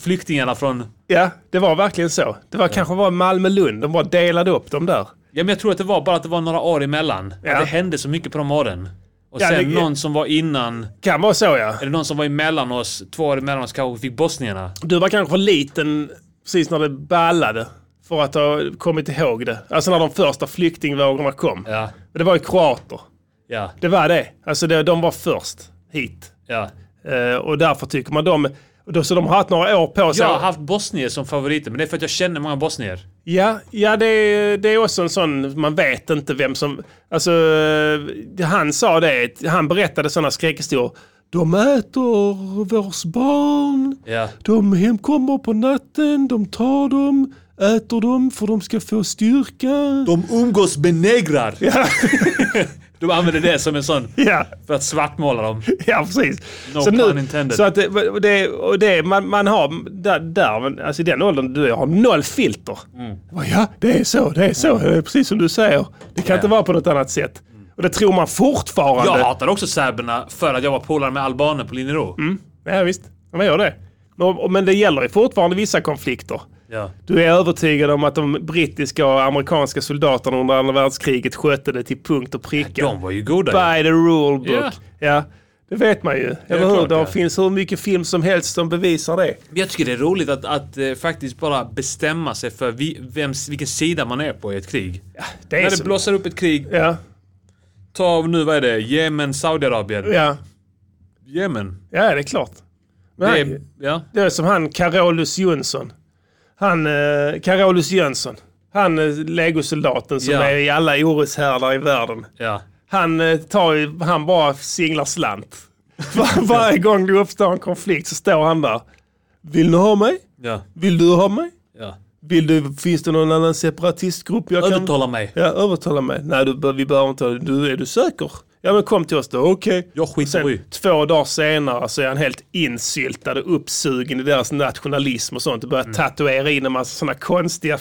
F: flyktingarna från...
B: Ja, det var verkligen så. Det var kanske bara Malmö-Lund. De bara delade upp dem där.
F: Ja, men jag tror att det var bara att det var några år emellan.
B: Ja.
F: Att det hände så mycket på de åren. Och
B: Ja,
F: sen
B: det-
F: någon som var innan,
B: Kan vara så, ja.
F: eller någon som var emellan oss, två år emellan oss kanske fick bosnierna.
B: Du var kanske för liten precis när det ballade för att ha kommit ihåg det. Alltså när de första flyktingvågorna kom.
F: Ja,
B: Men Det var ju kroater.
F: ja,
B: Det var det. Alltså det, de var först hit.
F: ja.
B: Eh, och därför tycker man de... och då- Så de har haft några år på sig.
F: Jag har haft bosnier som favoriter, men det är för att jag känner många bosnier.
B: Ja, ja det, är, det är också en sån, man vet inte vem som... Alltså, eh, han sa det, han berättade sådana skräckhistorier. De äter vårs barn,
F: Ja,
B: de hemkommer på natten, de tar dem, äter dem för de ska få styrka.
A: De umgås med negrar.
F: de använder det som en sån,
B: Ja,
F: för att svartmåla dem.
B: ja precis.
F: No
B: så
F: pun intended.
B: så att det, och det, och det man, man har där, där, men alltså i den åldern du har noll filter.
F: Mm.
B: Ja, det är så, det är så, det är precis som du säger. Det kan inte vara på något annat sätt.
F: Mm.
B: Och det tror man fortfarande.
F: Jag hatar också serberna för att jag var polare med albaner på Linero.
B: Ja visst, ja, man gör det. Men, och- men det gäller ju fortfarande vissa konflikter.
F: Ja.
B: Du är övertygad om att de brittiska och amerikanska soldaterna under andra världskriget skötte det till punkt och pricka.
F: De var ju goda ju.
B: By the rule book.
F: Ja.
B: Ja, det vet man ju. Eller hur?
F: klart,
B: Det
F: ja.
B: finns hur mycket film som helst som bevisar det.
F: Jag tycker det är roligt att, att eh, faktiskt bara bestämma sig för vi, vems, vilken sida man är på i ett krig.
B: Det är
F: När det
B: så.
F: blossar upp ett krig,
B: Ja,
F: ta av nu, vad är det? Jemen, Saudiarabien.
B: ja,
F: Jemen.
B: ja, det är klart.
F: Det
B: Men
F: är, ja.
B: Det är som han Carolus Jönsson. Han, eh, Carolus Jönsson. Han eh, legosoldaten som
F: Ja.
B: är i alla oroshärdar i världen.
F: ja.
B: Han, eh, tar, ju- han bara singlar slant. Var, varje gång det uppstår en konflikt så står han där. Vill ni ha mig?
F: Ja.
B: Vill du ha mig?
F: Ja.
B: Vill du, finns det någon annan separatistgrupp jag kan...
F: Övertala mig.
B: Ja, övertala mig. Nej, du, vi behöver inte ha det. Du, är du säker? Ja, men kom till oss då. Okej.
F: Jag skiter
B: Sen
F: i.
B: två dagar senare så är han helt insyltad och uppsugen i deras nationalism och sånt. Och börjar
F: Mm.
B: tatuera in en massa sådana konstiga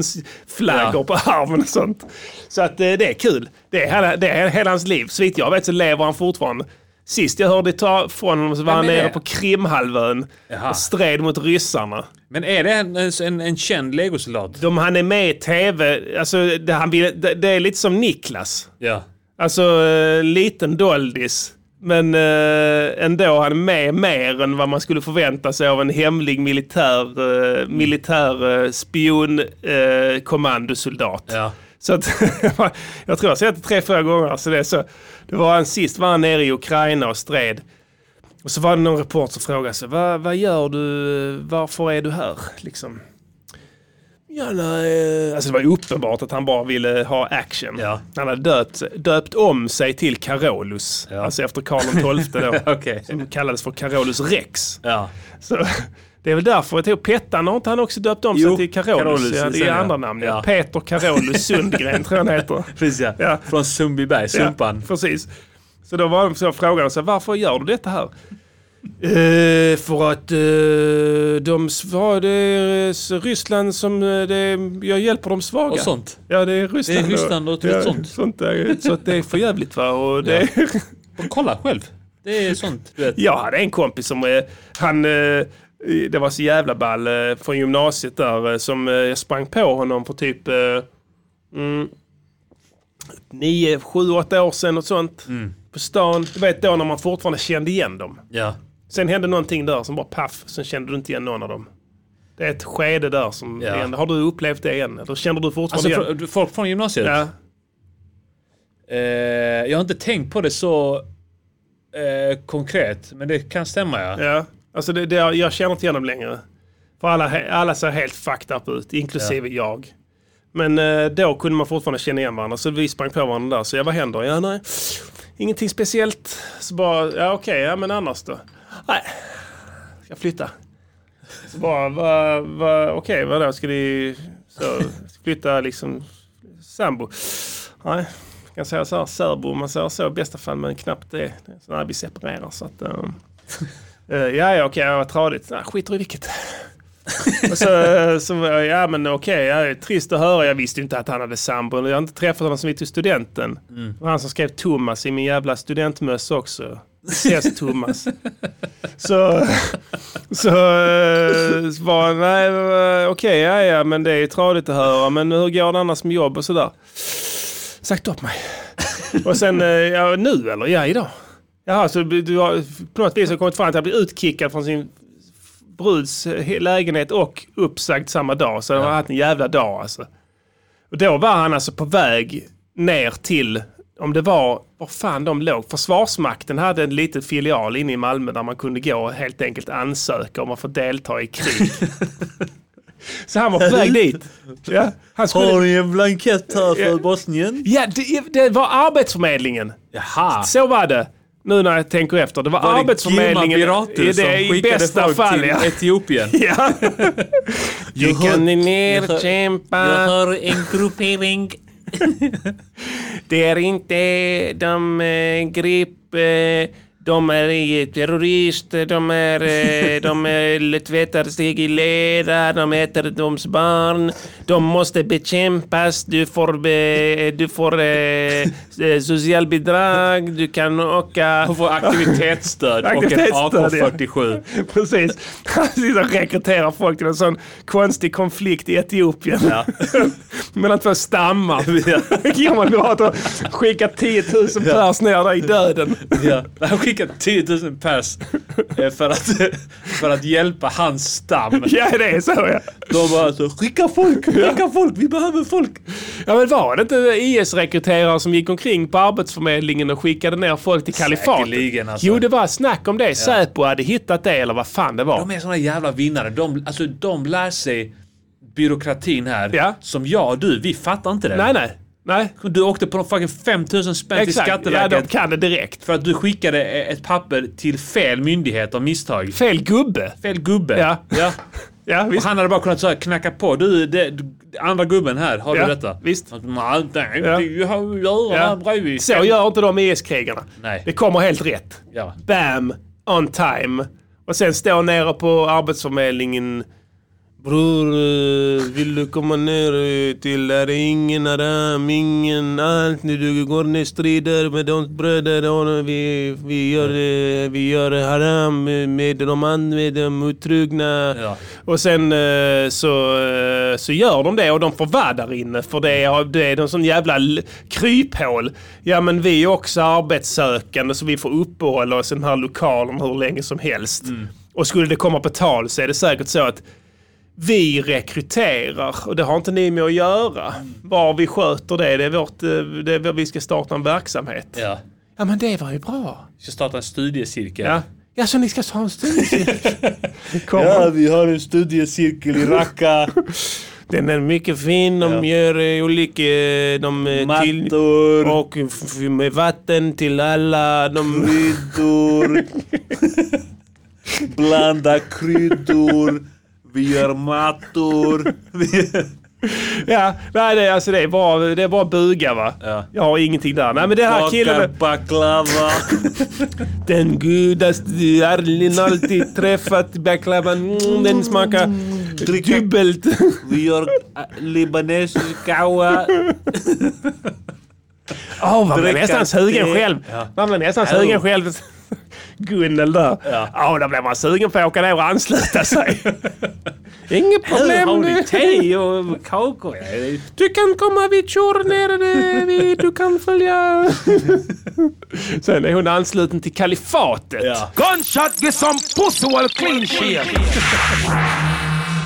B: fraktionsflaggor
F: Ja.
B: på armen och sånt. Så att eh, det är kul. Det är, hela, det är hela hans liv. Så vitt jag vet så lever han fortfarande. Sist jag hörde ta från honom så var han
F: men
B: nere
F: det-
B: på Krimhalvön
F: Jaha.
B: och stred mot ryssarna.
F: Men är det en, en, en, en känd legosoldat?
B: De, han är med i tv, alltså, det, han vill, det, det är lite som Niklas.
F: Ja.
B: Alltså, eh, liten doldis. Men eh, ändå, han är med mer än vad man skulle förvänta sig av en hemlig militär, eh, militär eh, spion, eh, kommandosoldat.
F: Ja.
B: Så att, jag tror jag har sett det tre, fyra gånger. Så det, är så, det var han sist var han nere i Ukraina och stred. Och så var det någon reporter som frågade sig, vad, vad gör du, varför är du här? Liksom. Ja, nej. Alltså det var ju uppenbart att han bara ville ha action.
F: Ja.
B: Han hade döpt, döpt om sig till Carolus, alltså efter Karl XII då.
F: Okej.
B: Som kallades för Carolus Rex.
F: Ja.
B: Så, det är väl därför jag tror Pettan har inte han också döpt om
F: Jo,
B: sig till Carolus.
F: Carolus,
B: ja, det är
F: sen,
B: ju
F: ja.
B: andra namn. Ja.
F: Ja.
B: Peter Carolus Sundgren tror jag han heter.
F: Precis ja.
B: Ja.
F: Från Sundbyberg, Sumpan.
B: Ja, precis. Så då var de så jag frågade så här, varför gör du detta här? Eh, för att eh, de sva- det är eh, Ryssland som eh, det är, jag hjälper de svaga.
F: Och sånt.
B: Ja, det är Ryssland.
F: Det är Ryssland och
B: ja,
F: sånt.
B: sånt är, så att det är för jävligt va. Och det
F: Och kolla själv. Det är sånt. Du vet.
B: Jag hade en kompis som, eh, han, eh, det var så jävla ball eh, från gymnasiet där, eh, som eh, jag sprang på honom för typ eh, mm, nio, sju, åtta år sedan och sånt.
F: Mm.
B: På stan. Du vet då när man fortfarande kände igen dem.
F: Ja.
B: Sen hände någonting där som bara paff, sen kände du inte igen någon av dem. Det är ett skede där som,
F: Ja.
B: igen, har du upplevt det igen? Eller känner du
F: Alltså
B: fortfarande igen?
F: fr- folk från gymnasiet?
B: Ja.
F: Eh, jag har inte tänkt på det så eh, konkret, men det kan stämma ja.
B: Ja, alltså det, det, jag känner inte igen dem längre. För alla, he- alla ser helt fucked up ut, inklusive jag. Men eh, då kunde man fortfarande känna igen varandra, så vi sprang på varandra där. Så jag, vad händer? Ja, nej. Ingenting speciellt. Så bara, ja okej, ja men annars då? Nej, ska flytta. Så bara, va, va, okej, vadå, ska ni så, ska flytta liksom sambo? Nej, jag kan säga så här, särbo om man säger så, i bästa fall, men knappt det. Så nej, vi separerar så att... eh, Eh, ja, ja, okej, vad tradigt. Nej, skiter i vilket. och så, eh, så, var jag, ja men okej, ja, det är trist att höra. Jag visste ju inte att han hade sambo. Jag har inte träffat honom sen vi tog studenten. Det var han som skrev Thomas i min jävla studentmössa också. Ses Thomas. så, så, eh, så var han, nej eh, okej, ja ja, men det är ju tradigt att höra. Men hur går det annars med jobb och sådär? Sagt upp mig. och sen, eh, ja nu eller? Ja, idag. Jaha, så du du har på något vis har kommit fram till att bli utkickad från sin bruds eh, lägenhet och uppsagd samma dag. Så han har haft en jävla dag alltså. Och då var han alltså på väg ner till, om det var, var fan de låg. Försvarsmakten hade en liten filial inne i Malmö där man kunde gå och helt enkelt ansöka om att få delta i krig. så han var på väg dit. Ja, han skulle,
F: ni en blankett här
B: för
F: Bosnien?
B: ja det, det var Arbetsförmedlingen.
F: Jaha!
B: Så var det. Nu när jag tänker efter. Det var,
F: Var det
B: Arbetsförmedlingen
F: Gilmar Biratu
B: i,
F: som
B: det, i
F: skickade
B: bästa
F: folk
B: fall.
F: till
B: ja.
F: Etiopien?
B: Ja. Du kan ni
I: Jag hör- Jag
B: nerkämpa.
I: har en gruppering.
B: Det är inte de eh, grip... Eh, De är eh, terrorister, de är, eh, de är, tvättar sig i lera, de äter doms barn. De måste bekämpas, du får, be, du får eh, eh, socialbidrag, du kan åka...
F: Han får aktivitetsstöd och ett
B: Aktivitetsstöd, ja.
F: AK47.
B: Precis. Han sitter och rekryterar folk till en sån konstig konflikt i Etiopien. Mellan två stammar. Kan man bara ta- skicka 10 000 pers ner där i döden.
F: Ja. Han skickar 10 000 pers eh, för att, för att hjälpa hans stam.
B: Ja, det är så ja.
F: De bara så, skicka folk, skicka folk, vi behöver folk.
B: Ja men var det inte IS-rekryterare som gick omkring på Arbetsförmedlingen och skickade ner folk till kalifatet?
F: Säkerligen alltså.
B: Jo, det var snack om det. Säpo hade hittat det eller vad fan det var.
F: De är såna jävla vinnare. De, alltså, de lär sig byråkratin här.
B: Ja.
F: Som jag och du, vi fattar inte det.
B: Nej, nej. Nej,
F: Du åkte på de fucking 5000 spänn till
B: exakt. Ja,
F: Skatteverket
B: de kan det direkt.
F: för att du skickade eh, ett papper till fel myndighet av misstag.
B: Fel gubbe.
F: Fel gubbe.
B: Ja.
F: ja.
B: Ja,
F: Och
B: visst.
F: han hade bara kunnat så här knacka på. Du, det, du andra gubben här, har
B: Ja,
F: du detta?
B: visst.
F: Han bara, Nej, det är inte
B: Ja.
F: jag har att göra
B: Ja.
F: här bredvid.
B: Så gör inte de IS-krigarna.
F: Nej.
B: Det kommer helt rätt.
F: Ja.
B: Bam! On time. Och sen står nere på Arbetsförmedlingen. Bror, eh, vill du komma ner eh, till där är ingen aram, ingen allt. När du går ner i strider med de bröder. och Vi, vi, gör, eh, vi gör haram eh, med de andra, med de otrogna.
F: Ja.
B: Och sen eh, så, eh, så gör de det och de får vara där inne för det är, det är en sån jävla l- kryphål. Ja men vi är också arbetssökande så vi får uppehålla oss i den här lokalen hur länge som helst. Och skulle det komma på tal så är det säkert så att vi rekryterar och det har inte ni med att göra. Var vi sköter det, det är vårt, eh, det är, vad vi ska starta en verksamhet. Ja,
F: Ja.
B: men det var ju bra.
F: Ska starta en studiecirkel.
B: Ja. Ja, så ni ska ha en studiecirkel? Kommer
F: vi har en studiecirkel i Raqqa.
B: Den är mycket fin. De
F: Ja.
B: gör eh, olika... eh, De, eh, till,
F: Mattor.
B: och f- f- med vatten till alla. De,
F: kryddor. Blanda kryddor. Vi gör mattor.
B: ja, nej, det, är- alltså, det, är bara, det är bara buga va?
F: Ja.
B: Jag har ingenting där. Nej, men det här
F: Bakar
B: killen...
F: baklava.
B: Den gudaste Arlin alltid träffat baklavan. Mm, den smakar dubbelt.
F: Vi gör äh, libanesisk kawa.
B: Åh, man blir
F: Dricka
B: nästan sugen
F: te.
B: själv.
F: Ja.
B: Man blir nästan
F: Ja.
B: sugen själv. Gunnel där.
F: Ja.
B: Ja, då blir man sugen på att åka ner och ansluta sig. Inget problem.
F: Har
B: du-
F: ni te och kakor? Ja, det är-
B: Du kan komma vid Tjor nere, vid- du kan följa... Sen är hon ansluten till kalifatet.
F: Ja.
B: Gunshot, get some pussy while clean shit!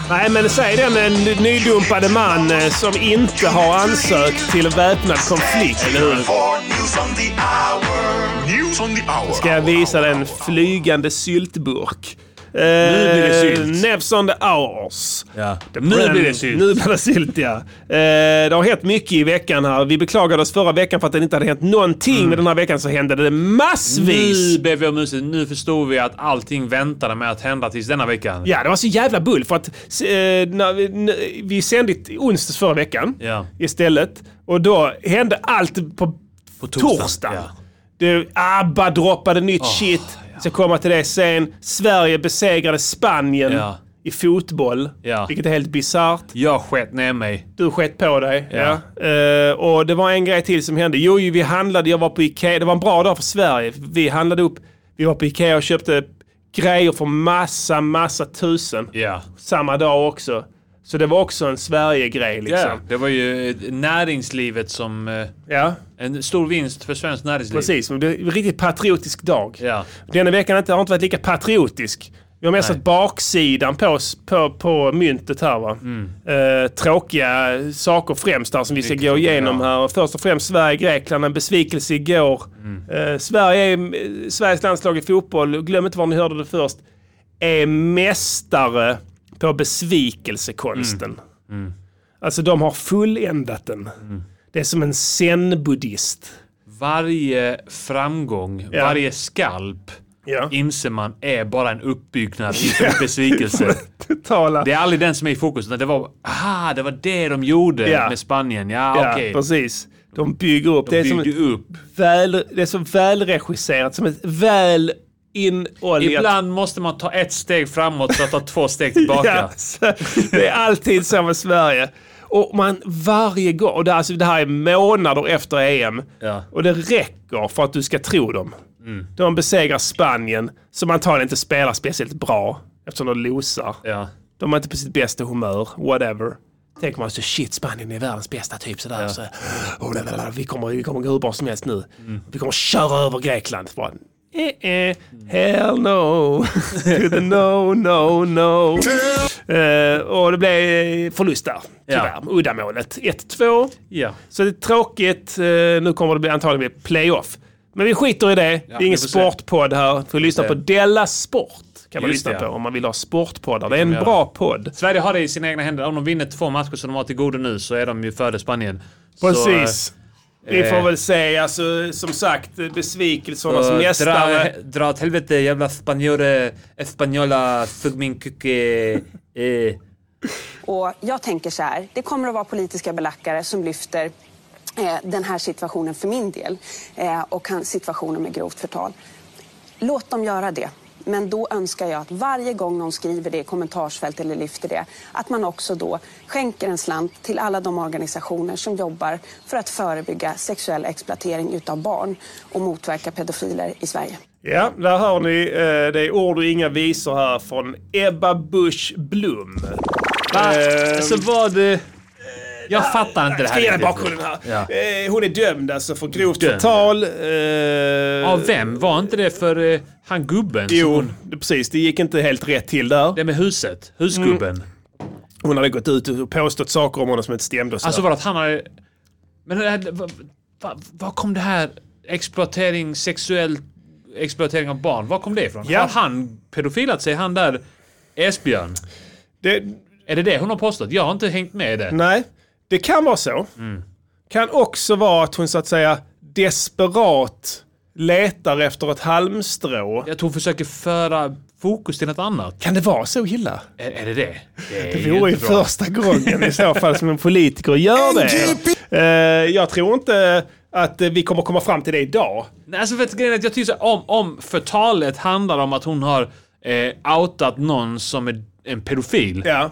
B: Nej, men säg den en nydumpade man eh, som inte har ansökt till väpnad konflikt. Eller hur?
J: News on the hour. News on the hour.
B: Ska jag visa dig en flygande syltburk. Eh,
F: blir det sylt.
B: Nevs on the hours.
F: Ja.
B: The
F: Nu
B: brand-
F: blir det sylt.
B: Nu blir det sylt, ja. Eh, det har hänt mycket i veckan här. Vi beklagade oss förra veckan för att det inte hade hänt någonting. Men den här veckan så hände det massvis.
F: Mm. Nu ber vi om ursäkt. Nu förstod vi att allting väntade med att hända tills denna veckan.
B: Ja, det var så jävla bull för att eh, när vi, när vi sände i onsdags förra veckan
F: Ja.
B: istället. Och då hände allt på, på torsdag.
F: ja.
B: Du, ABBA droppade nytt shit. Ska komma till det sen. Sverige besegrade Spanien
F: Ja.
B: i fotboll.
F: Ja.
B: Vilket är helt bisarrt.
F: Jag sket ner mig.
B: Du skett på dig. Ja. Eh, och det var en grej till som hände. Jo, ju, vi handlade, jag var på Ikea. Det var en bra dag för Sverige. Vi handlade upp, vi var på Ikea och köpte grejer för massa, massa tusen.
F: Ja.
B: Samma dag också. Så det var också en Sverige-grej liksom.
F: ja. Det var ju eh, näringslivet som... eh,
B: Ja,
F: En stor vinst för svenskt näringsliv.
B: precis. Men det är en riktigt patriotisk dag.
F: Ja.
B: Denna veckan har inte- har inte varit lika patriotisk. Vi har mest
F: Nej.
B: sett baksidan på, s- på, på myntet här va. Eh, tråkiga saker främst där som vi ska
F: Mm. Mycket
B: gå
F: tråkiga,
B: igenom
F: ja.
B: här. Först och främst Sverige-Grekland, en besvikelse igår.
F: Mm.
B: Eh, Sverige, är- eh, Sveriges landslag i fotboll, glöm inte var ni hörde det först, är mästare på besvikelsekonsten.
F: Mm.
B: Alltså de har fulländat den. Det är som en zen-buddhist.
F: Varje framgång,
B: Ja.
F: varje skalp
B: Ja.
F: inser man är bara en uppbyggnad, inte en besvikelse.
B: Totala.
F: Det är aldrig den som är i fokus, utan "Ah, det var aha, det var det de gjorde
B: Ja.
F: med Spanien. Ja,
B: Ja,
F: okej.
B: precis. De bygger upp. det, är som ett
F: Bygger upp.
B: väl, det är så välregisserat, som ett väl inoljet
F: Ibland måste man ta ett steg framåt för att ta två steg tillbaka.
B: Ja, så det är alltid så med Sverige. Och man varje gång, och det, alltså, det här är månader efter EM.
F: Ja. Mm.
B: Och det räcker för att du ska tro dem. De besegrar Spanien, som antagligen inte spelar speciellt bra. Eftersom de losar.
F: Ja.
B: De är inte på sitt bästa humör, whatever. Tänker man så shit, Spanien är världens bästa typ sådär. Så, oh, la, la, la, vi, kommer, vi kommer gå hur bra som helst nu. Vi kommer köra över Grekland. Bara, eh, eh, hell no, to the no, no, no. Eh, och det blev eh, förlust där, tyvärr. Uddamålet. 1-2.
F: Ja.
B: Så det är tråkigt. Eh, nu kommer det bli, antagligen bli playoff. Men vi skiter i det. det är ingen
F: vi får se.
B: sportpodd här. Får lyssna på Della Sport. Kan man
F: Just
B: lyssna
F: det, ja.
B: på om man vill ha sportpoddar. Det är
F: kan
B: en
F: vi göra.
B: bra podd.
F: Sverige har det i sina egna händer. Om de vinner två matcher som de har till godo nu så är de ju före Spanien.
B: Precis. vi
F: eh,
B: får väl se. Alltså, som sagt, besvikelserna
F: Så,
B: som
F: så
B: mästare.
F: dra, dra åt helvete jävla spanjore, espanjola, sug min kuke. Eh.
K: Och jag tänker så här, det kommer att vara politiska belackare som lyfter eh, den här situationen för min del eh, och kan, situationen med grovt förtal. Låt dem göra det. Men då önskar jag att varje gång någon skriver det i kommentarsfält eller lyfter det, att man också då skänker en slant till alla de organisationer som jobbar för att förebygga sexuell exploatering utav barn och motverka pedofiler i Sverige.
B: Ja, där hör ni. eh, Det är ord och inga visor här från Ebba Busch Blom.
F: Va?
B: Ehm. Eh,
F: så var det... Jag fattar inte det
B: Ska ge dig
F: här.
B: bakgrunden här.
F: Ja.
B: Eh, Hon är dömd alltså för grovt
F: Dömd.
B: förtal. eh,
F: Av vem? Var inte det för eh, han gubben? som-
B: Jo, det- precis. Det gick inte helt rätt till där.
F: Det med huset. Husgubben.
B: Mm. Hon hade gått ut och påstått saker om honom som inte stämde. Och så.
F: Alltså var det att han hade... Men det här- va- va- var kom det här exploatering, sexuell exploatering av barn, var kom det ifrån?
B: Ja.
F: Har han pedofilat sig, han där Esbjörn?
B: det,
F: Är det det hon har påstått? Jag har inte hängt med i det.
B: nej, det kan vara så. Kan också vara att hon så att säga desperat letar efter ett halmstrå.
F: Jag tror hon försöker föra fokus till något annat.
B: Kan det vara så illa?
F: Är, är det det? Det, är
B: Det vore ju
F: inte bra.
B: första gången i så fall som en politiker gör det. Eh, jag tror inte att eh, vi kommer komma fram till det idag.
F: Nej, alltså vet du, grejen är att jag tycker så här, om, om förtalet handlar om att hon har eh, outat någon som är en pedofil.
B: Ja.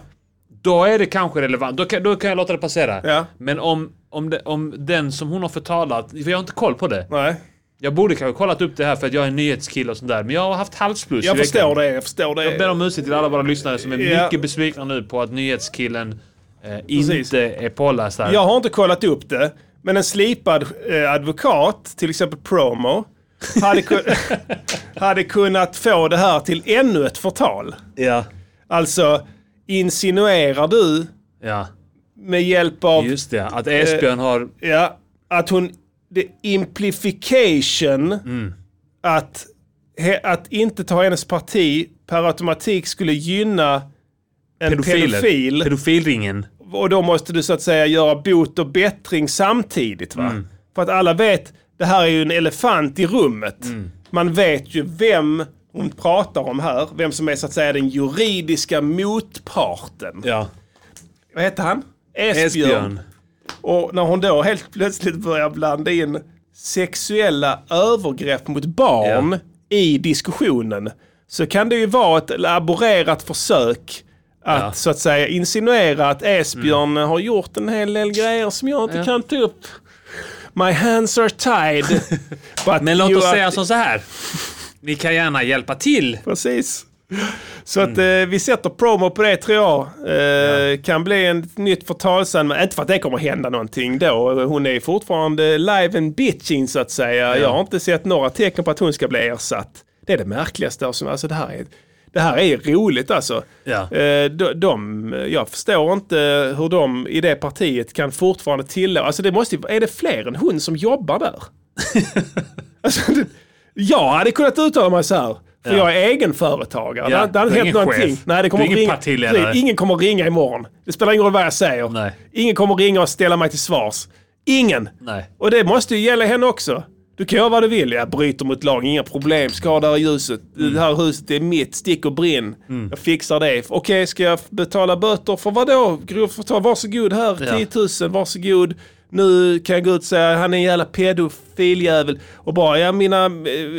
F: Då är det kanske relevant. Då kan, då kan jag låta det passera.
B: Ja.
F: Men om, om, det, om den som hon har förtalat, för jag har inte koll på det.
B: Nej.
F: Jag borde kanske kollat upp det här för att jag är en nyhetskille och sånt där. Men jag har haft halsfluss
B: Jag
F: i veckan.
B: förstår det. Jag förstår det.
F: Jag ber om ursäkt till alla våra lyssnare som är
B: Ja.
F: mycket besvikna nu på att nyhetskillen eh,
B: Precis.
F: inte är påläst här.
B: Jag har inte kollat upp det, men en slipad eh, advokat, till exempel Promo, hade, kun- hade kunnat få det här till ännu ett förtal.
F: Ja.
B: Alltså, insinuerar du
F: ja.
B: med hjälp av
F: Just det, att Esbjörn har...
B: ja, att hon... The implication
F: Mm.
B: att, he, att inte ta hennes parti per automatik skulle gynna en
F: Pedofiler.
B: pedofil.
F: Pedofilringen.
B: och då måste du så att säga göra bot och bättring samtidigt. Va?
F: Mm.
B: För att alla vet, det här är ju en elefant i rummet.
F: Mm.
B: Man vet ju vem hon pratar om här, vem som är så att säga den juridiska motparten.
F: Ja.
B: Vad heter han?
F: Esbjörn.
B: Och när hon då helt plötsligt börjar blanda in sexuella övergrepp mot barn i diskussionen så kan det ju vara ett laborerat försök att så att säga insinuera att Esbjörn
F: Mm.
B: har gjort en hel del grejer som jag inte kan ta upp. My hands are tied. But
F: Men låt
B: you
F: oss
B: are-
F: säga som så här. Ni kan gärna hjälpa till.
B: Precis. Så att eh, vi sätter promo på det tror jag. Eh, Kan bli en- ett nytt förtalsan, men inte för att det kommer hända någonting då. Hon är fortfarande live and bitching så att säga. Jag har inte sett några tecken på att hon ska bli ersatt. Det är det märkligaste. Alltså, alltså, det, här är, det här är roligt alltså.
F: Ja.
B: Eh, de, de, jag förstår inte hur de i det partiet kan fortfarande tillåta... Alltså det måste ju, är det fler än hon som jobbar där? alltså, det, jag hade kunnat uttala mig så här. För jag är egenföretagare.
F: Ja,
B: det, det hade
F: du är
B: hänt
F: ingen
B: någonting.
F: chef.
B: Nej, det
F: Du är
B: kommer
F: ingen
B: ringa,
F: partiledare.
B: Nej, ingen kommer ringa imorgon. Det spelar ingen roll vad jag säger.
F: Nej.
B: Ingen kommer ringa och ställa mig till svars. Ingen!
F: Nej.
B: Och det måste ju gälla henne också. Du kan göra vad du vill. Jag bryter mot lagen, inga problem. Skadar ljuset. Det här huset är mitt. Stick och brinn. Jag fixar det. Okej, ska jag betala böter för vadå? Grovt förtal? Varsågod här, 10 000. Varsågod. nu kan jag gå ut och säga han är en jävla pedofiljävel och bara ja mina, eh,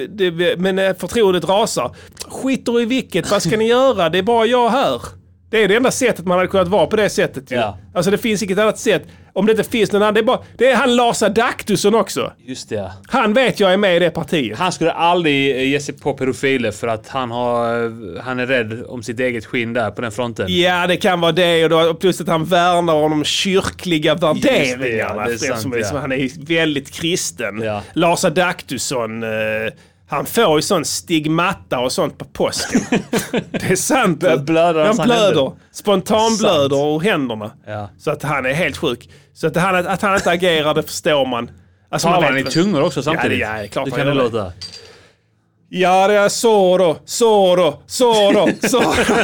B: det, men eh, förtroendet rasar. Skiter i vilket, vad ska ni göra? Det är bara jag här. Det är det enda sättet man hade kunnat vara på det sättet ju.
F: Ja.
B: Alltså det finns inget annat sätt. Om det inte finns någon annan, det är bara, det är han Lars Adaktusson också.
F: Just det.
B: Han vet jag är med i det partiet.
F: Han skulle aldrig eh, ge sig på pedofiler för att han, har, eh, han är rädd om sitt eget skinn där på den fronten.
B: Ja, det kan vara det. Och då, plus att han värnar om de kyrkliga värderingarna.
F: det är
B: eftersom
F: sant,
B: liksom
F: ja.
B: Han är ju väldigt kristen.
F: Ja.
B: Lars Adaktusson, eh, han får ju sån stigmata och sånt på påsken. det är sant.
F: Börjar blöda av
B: han
F: hans
B: blöder.
F: alltså, händer.
B: Spontanblöder ur händerna.
F: Ja.
B: Så att han är helt sjuk. Så att han, att han inte agerar, det förstår man. Alltså, man
F: Talar han i
B: vet väl-
F: tungor också samtidigt?
B: Ja, det, ja, det är klart
F: Hur
B: han
F: kan det
B: gör
F: låta?
B: Ja, det är Zorro, Zorro, Zorro, Zorro.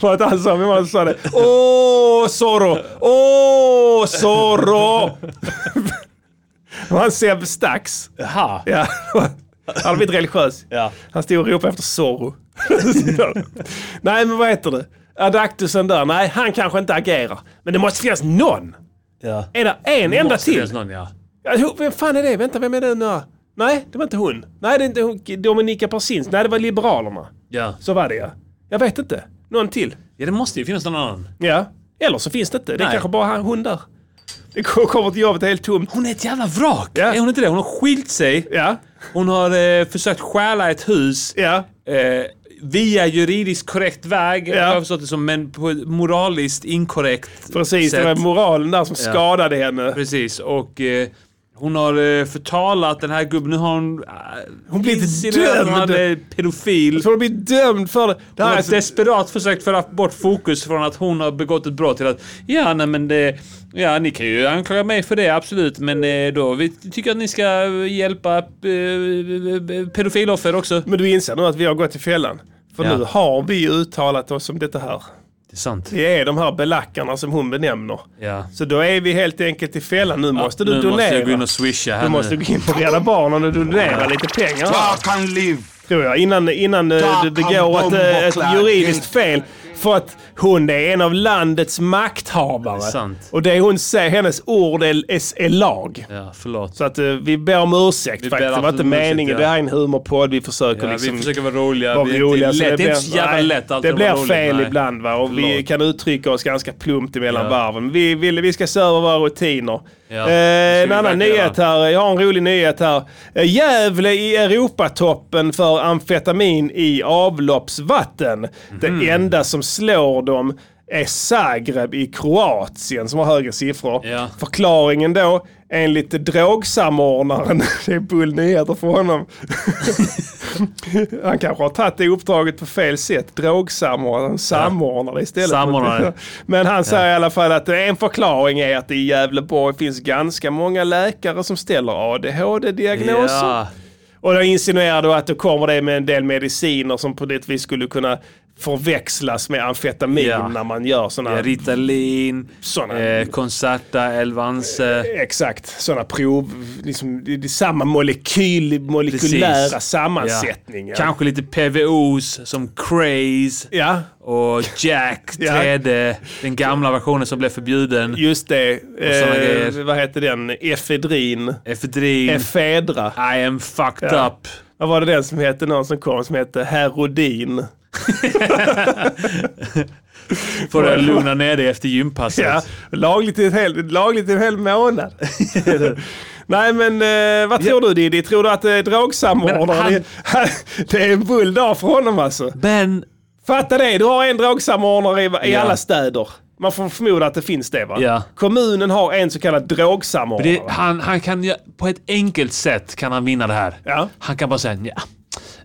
B: Var det han sa? Vem var det som sa det? Åh, Zorro! Åh, Zorro! Det var han Seb Stax.
F: Jaha.
B: Ja. Han hade blivit religiös.
F: Ja.
B: Han stod och ropade efter Zorro. Nej, men vad heter det? Adaktusen där. Nej, han kanske inte agerar. Men det måste finnas någon.
F: Ja.
B: Är det en enda
F: Måste
B: till?
F: finnas Någon, ja.
B: Ja, jo, Vem fan är det? Vänta, vem är det nu? Nej, det var inte hon. Nej, det är inte hon. Dominika Persins. Nej, det var Liberalerna.
F: Ja.
B: Så var det ja. Jag vet inte. Någon till.
F: ja, det måste ju finnas någon annan.
B: Ja. Eller så finns det inte. Det är
F: Nej.
B: kanske bara han- hon där. Det ko- kommer till jobbet helt tomt.
F: Hon är ett jävla vrak!
B: Ja.
F: Är hon inte det? Hon har skilt sig.
B: Ja.
F: Hon har eh, försökt stjäla ett hus.
B: Ja.
F: Eh, via juridiskt korrekt väg, har jag har förstått det som, men på ett moraliskt inkorrekt
B: Precis,
F: sätt.
B: det var moralen där som skadade henne.
F: Precis, och eh, hon har eh, förtalat den här gubben. Nu har hon... Eh, hon
B: blir inte dömd.
F: Han är pedofil.
B: Så hon blir dömd för det. det
F: Hon
B: här
F: har
B: är så-
F: desperat försökt föra bort fokus från att hon har begått ett brott till att ja, nej men det... Ja, ni kan ju anklaga mig för det, absolut. Men eh, då vi tycker att ni ska hjälpa eh, pedofiloffer också.
B: Men du inser nu att vi har gått i fällan. För
F: Ja.
B: nu har vi ju uttalat oss om detta här.
F: Det är sant.
B: Vi är de här belackarna som hon benämner.
F: Ja.
B: Så då är vi helt enkelt i fällan. Nu måste du
F: nu
B: donera.
F: måste jag gå in och swisha här
B: Du måste
F: nu.
B: gå in på Rädda Barnen och donera lite pengar här,
J: Dark and live.
B: tror jag. Innan, innan eh, det, det går ett, eh, ett juridiskt fel. För att hon är en av landets makthavare.
F: Det är sant.
B: Och det hon säger, hennes ord är, är, är lag.
F: Ja, förlåt.
B: Så att eh, vi ber om ursäkt
F: Vi ber
B: faktiskt. Det var
F: absolut
B: inte
F: om ursäkt,
B: meningen.
F: ja.
B: Det här är en humorpodd. Vi försöker
F: Ja,
B: liksom...
F: vi försöker vara roliga.
B: vara
F: Vi är
B: roliga,
F: inte
B: så
F: lätt. Det är inte så jävla
B: nej,
F: lätt alltid
B: Det
F: att
B: blir
F: vara rolig.
B: fel
F: Nej.
B: ibland va? och vi
F: Förlåt.
B: kan uttrycka oss ganska plumpt emellan
F: Ja.
B: varven. Vi, vill, vi ska se över våra rutiner.
F: Ja, det
B: Eh, en
F: vi
B: annan
F: verkligen
B: nyhet här. Jag har en rolig nyhet här. Eh, Gävle i Europatoppen för amfetamin i avloppsvatten.
F: Mhm.
B: Det enda som slår dem är Zagreb i Kroatien som har högre siffror.
F: Ja.
B: Förklaringen då, enligt drogsamordnaren, det är bull nyheter för honom. Han kanske har tagit det uppdraget på fel sätt. Drogsamordnaren, samordnare istället.
F: Samordnare.
B: Men han säger i alla fall att en förklaring är att det i Gävleborg finns ganska många läkare som ställer ADHD-diagnoser.
F: Ja.
B: Och då insinuerar du att då kommer det med en del mediciner som på det vis skulle kunna förväxlas med amfetamin
F: Ja.
B: när man gör sådana
F: Ja, Ritalin,
B: Såna.
F: eh, Concerta, Elvanse.
B: Exakt, sådana prov. Liksom, det är samma molekyl, molekylära
F: Precis.
B: sammansättning.
F: Ja.
B: Ja.
F: Kanske lite PVOs som Craze
B: Ja,
F: och Jack 3D. Den gamla versionen som blev förbjuden.
B: just det.
F: såna grejer.
B: Eh, vad heter den? Efedrin.
F: Efedrin.
B: Efedra.
F: I am fucked
B: Ja.
F: up.
B: Vad var det den som hette? Någon som kom som hette Herodin.
F: För att lugna ner dig efter gympasset.
B: Ja, lagligt i en hel, lagligt i en hel månad. Nej men eh, vad tror du Diddy? Tror du att eh,
F: Men han-
B: drogsamordnaren... Han... det är en bull dag för honom alltså.
F: Men...
B: Fatta det, du har en drogsamordnare i, i
F: Ja.
B: alla städer. Man får förmoda att det finns det va?
F: Ja.
B: Kommunen har en så kallad drogsamordnare.
F: Det, han, han kan ju- på ett enkelt sätt kan han vinna det här.
B: Ja.
F: Han kan bara säga ja.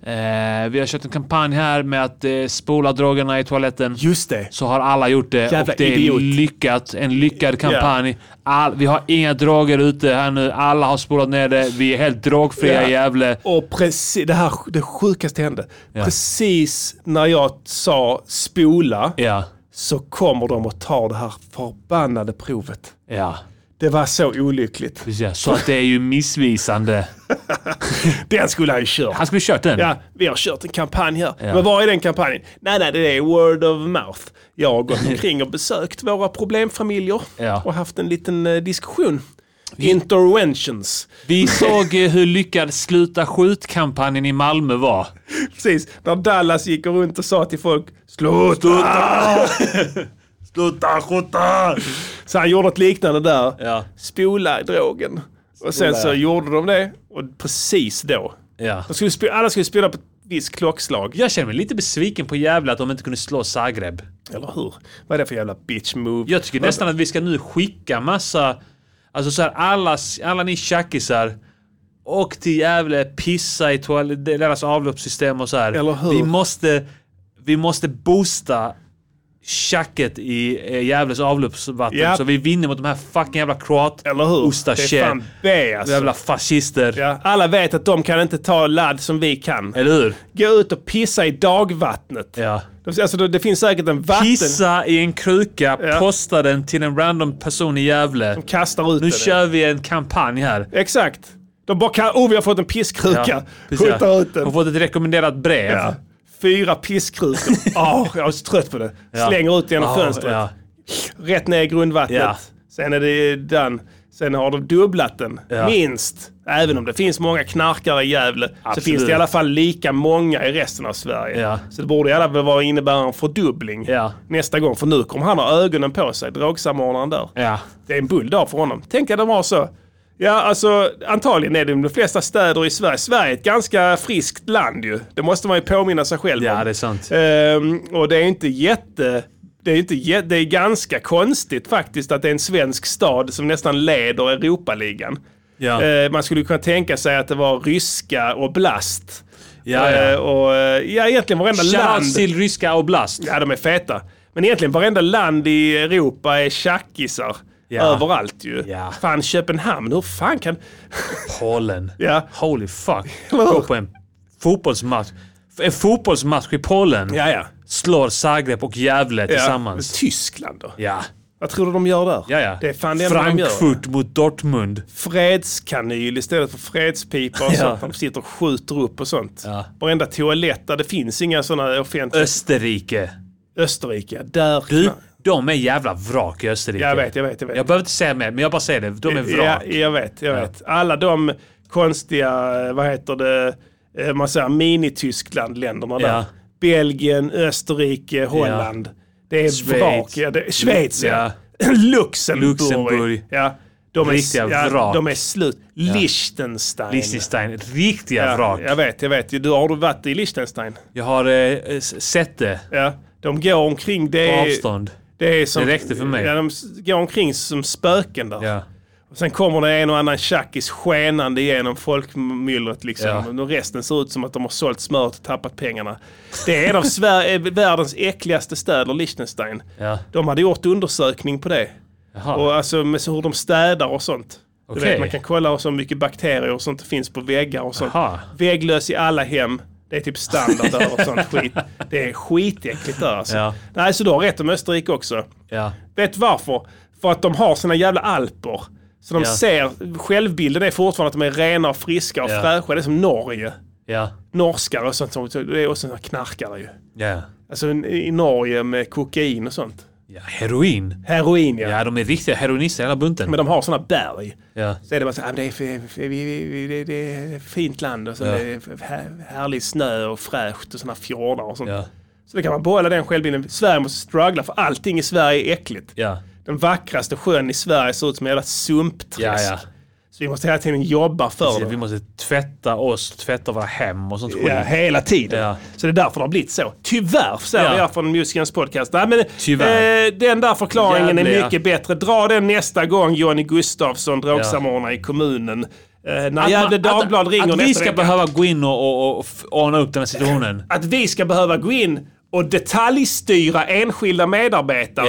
F: Eh, vi har kört en kampanj här med att eh, spola drogerna i toaletten.
B: Just det.
F: Så har alla gjort det
B: Jävla
F: och det är
B: idiot.
F: lyckat. En lyckad kampanj. All, vi har inga droger ute här nu. Alla har spolat ner det. Vi är helt drogfria
B: Ja.
F: i Gävle.
B: Och precis, det här det sjukaste hände.
F: Ja.
B: Precis när jag sa spola
F: Ja.
B: så kommer de att ta det här förbannade provet.
F: Ja.
B: Det var så olyckligt.
F: Precis, Så att det är ju missvisande.
B: Den skulle han ju kört.
F: Han skulle kört den.
B: Ja, vi har kört en kampanj här. Men vad är den kampanjen? Nej, nej, det är word of mouth. Jag har gått omkring och besökt våra problemfamiljer
F: Ja.
B: och haft en liten eh, diskussion. Interventions.
F: Vi såg eh, hur lyckad Sluta skjut-kampanjen i Malmö var.
B: Precis, när Dallas gick runt och sa till folk Sluta! Sluta skjuta! Så han gjorde något liknande där.
F: Ja.
B: Spola drogen. Och sen så gjorde de det, och precis då.
F: Ja.
B: De skulle sp- alla skulle spela på ett visst klockslag.
F: Jag känner mig lite besviken på jävla att de inte kunde slå Zagreb.
B: Eller hur? Vad är det för jävla bitch move?
F: Jag tycker nästan att vi ska nu skicka massa, alltså så här alla, alla ni tjackisar, och till Gävle, pissa i toal- deras avloppssystem och så här.
B: Eller hur?
F: Vi måste, vi måste boosta tjacket i eh, Gävles avloppsvatten
B: Japp.
F: så vi vinner mot de här fucking jävla kroat
B: Eller hur?
F: Osta
B: det
F: tje.
B: är fan B alltså.
F: jävla fascister.
B: Ja, alla vet att de kan inte ta ladd som vi kan.
F: Eller hur?
B: Gå ut och pissa i dagvattnet.
F: Ja.
B: De- Alltså, det, det finns säkert en vatten...
F: Pissa i en kruka,
B: Ja.
F: posta den till en random person i Gävle.
B: Kastar ut
F: Nu
B: det.
F: kör vi en kampanj här.
B: Exakt. De bara kan... Oh, vi har fått en pisskruka.
F: precis.
B: Skjuta ut
F: Har
B: den.
F: fått ett rekommenderat brev.
B: Ja. Fyra pisskrutor. Åh, jag är så trött på det. Slänger ut genom
F: Ja,
B: fönstret.
F: ja.
B: Rätt ner i grundvattnet.
F: Ja.
B: Sen är det den. Sen har de dubblat den.
F: Ja.
B: Minst. Även om det finns många knarkare i Gävle så
F: Absolut.
B: finns det i alla fall lika många i resten av Sverige.
F: Ja.
B: Så det borde i alla fall vara innebära en fördubbling
F: Ja.
B: nästa gång. För nu kommer han ha ögonen på sig, drogsamordnaren där.
F: Ja.
B: Det är en bull dag för honom. Tänk att de har så. Ja, alltså antagligen är det de flesta städer i Sverige. Sverige är ett ganska friskt land ju. Det måste man ju påminna sig själv om.
F: Ja, det är sant.
B: Ehm, och det är inte jätte... Det är, inte, jä- det är ganska konstigt faktiskt att det är en svensk stad som nästan leder Europaligan.
F: Ja.
B: Eh, man skulle kunna tänka sig att det var ryska och blast.
F: Ja, ja.
B: Eh, och, eh, ja, egentligen varenda land.
F: Shoutout till ryska oblast.
B: Ja, de är feta. Men egentligen varenda land i Europa är tjackisar.
F: Ja.
B: Överallt ju.
F: Ja.
B: Fan, Köpenhamn, hur fan kan...
F: Polen.
B: Ja.
F: Holy fuck.
B: Eller hur?
F: Gå på en fotbollsmatch. En fotbollsmatch i Polen
B: Ja, ja.
F: slår Zagreb och Gävle tillsammans.
B: Tyskland då?
F: Ja.
B: Vad tror du de gör där?
F: Ja, ja.
B: Det är fan det enda de gör.
F: Frankfurt mot Dortmund.
B: Fredskanyl istället för fredspipa och
F: Ja.
B: sånt. De sitter och skjuter upp och sånt.
F: Ja.
B: Varenda toalett där det finns inga sådana offentliga...
F: Österrike.
B: Österrike, där...
F: Du, de är jävla vrak i Österrike.
B: Jag vet, jag vet, jag vet.
F: Jag behöver inte säga mer, men jag bara säger det. De är
B: Ja,
F: vrak.
B: jag vet, jag vet. Alla de konstiga, eh, vad heter det, eh, man säger mini-Tyskland-länderna där.
F: Ja.
B: Belgien, Österrike, Holland. Det är
F: Schweiz.
B: vrak. Ja, det, Schweiz, ja. Luxemburg.
F: Luxemburg.
B: Ja. De är,
F: Riktiga vrak.
B: de är slut. Liechtenstein.
F: Liechtenstein. Riktiga
B: Ja,
F: vrak.
B: Jag vet, jag vet. Du, har du varit i Liechtenstein?
F: Jag har eh, eh, sett det
B: Ja. De går omkring. Det
F: på
B: är,
F: avstånd.
B: Det, är som,
F: Det räckte för mig.
B: Ja, de s- går omkring som spöken där.
F: Ja.
B: Och sen kommer det en och annan tjackis skenande igenom folkmyllret. Liksom.
F: Ja.
B: Och resten ser ut som att de har sålt smöret och tappat pengarna. Det är en av Sverige, världens äckligaste städer, Liechtenstein.
F: Ja.
B: De hade gjort undersökning på det.
F: Jaha.
B: Och alltså med så hur de städar och sånt. Du
F: Okej.
B: vet, man kan kolla hur så mycket bakterier och sånt det finns på väggar och sånt.
F: Aha.
B: Vägglös i alla hem. Det är typ standard där och sånt skit. Det är skitäckligt där alltså.
F: Ja.
B: Nej, så du har rätt om Österrike också.
F: Ja.
B: Vet du varför? För att de har sina jävla alper. Så de
F: Ja.
B: ser, självbilden är fortfarande att de är rena och friska och
F: Ja.
B: fräscha. Det är som Norge.
F: Ja.
B: Norskar och sånt. som- Det är också såna knarkare ju.
F: Ja.
B: Alltså i Norge med kokain och sånt.
F: ja. Heroin.
B: Heroin ja.
F: Ja, de är riktiga heroinister hela bunten.
B: Men de har såna berg.
F: Ja.
B: Så är det bara så här, "Ah, men det är, f- f- vi- vi- vi- det- det är ett fint land och så
F: Ja.
B: det är f- här- härlig snö och fräscht och såna fjordar och sånt.
F: Ja.
B: Så då kan man behålla den självbilden. Sverige måste struggla för allting i Sverige är äckligt.
F: Ja.
B: Den vackraste sjön i Sverige ser ut som en jävla
F: Ja,
B: sumpträsk.
F: ja.
B: Så vi måste hela tiden jobba för
F: Precis, Vi
B: det.
F: måste tvätta oss, tvätta våra hem och sånt skit.
B: Ja, hela tiden.
F: Ja.
B: Så det är därför det har blivit så. Tyvärr, säger
F: Ja.
B: jag från Musikens podcast. Nej, men,
F: Tyvärr.
B: Eh, den där förklaringen är
F: Jävliga.
B: mycket bättre. Dra den nästa gång Johnny Gustafsson, drogsamordnare i kommunen. Eh, när Gefle
F: man-
B: Dagblad
F: att,
B: ringer
F: att vi
B: nästa
F: ska
B: vecka.
F: behöva gå in och, och, och f- ordna upp den här situationen.
B: Att vi ska behöva gå in och detaljstyra enskilda medarbetare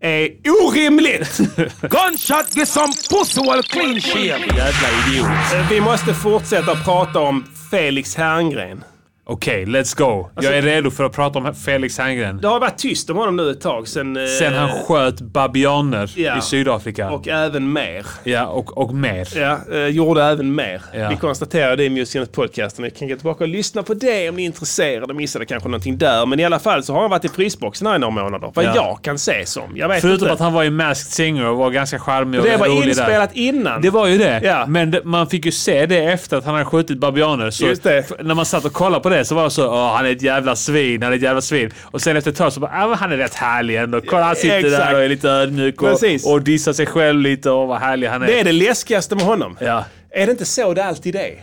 F: Ja.
B: är orimligt!
C: Gunshot, get some pussy while clean shit.
F: Jävla idiot.
B: Eh, vi måste fortsätta prata om Felix Herngren.
F: Okej, let's go. Jag
B: Alltså-
F: är redo för att prata om Felix Herngren.
B: Det har varit tyst om honom nu ett tag sen... eh,
F: Sen han sköt babianer
B: Ja.
F: i Sydafrika.
B: Och även mer.
F: ja, och, och mer.
B: Ja, eh, gjorde även mer.
F: Ja.
B: Vi konstaterade det i Museet-podcasten. Ni kan gå tillbaka och lyssna på det om ni är intresserade. Missade kanske någonting där. Men i alla fall så har han varit i frysboxen här i några månader. Vad
F: Ja.
B: jag kan se som. Jag vet
F: Förutom
B: inte.
F: att han var i Masked Singer och var ganska charmig och
B: det var
F: rolig där.
B: inspelat innan.
F: Det var ju det.
B: Ja.
F: Men det- man fick ju se det efter att han hade skjutit babianer. Så
B: Just det.
F: f- När man satt och kollade på det så var det så Åh, han är ett jävla svin, han är ett jävla svin. Och sen efter ett tag så bara, "Ah, men han är rätt härlig ändå. Kolla, han sitter
B: Exakt.
F: där och är lite ödmjuk och,
B: Precis.
F: och dissar sig själv lite. Och vad härlig han är.
B: Det är det läskigaste med honom.
F: Ja.
B: Är det inte så det alltid är?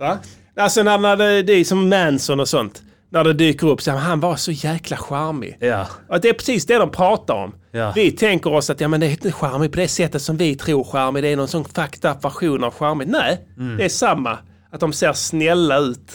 B: Va? Alltså när, när det, det är som Manson och sånt. När det dyker upp så här, han var så jäkla charmig.
F: Ja.
B: Att det är precis det de pratar om.
F: Ja.
B: Vi tänker oss att ja, men det är inte charmig på det sättet som vi tror charmig. Det är någon sån fucked up version av charmig. Nej, det är samma. Att de ser snälla ut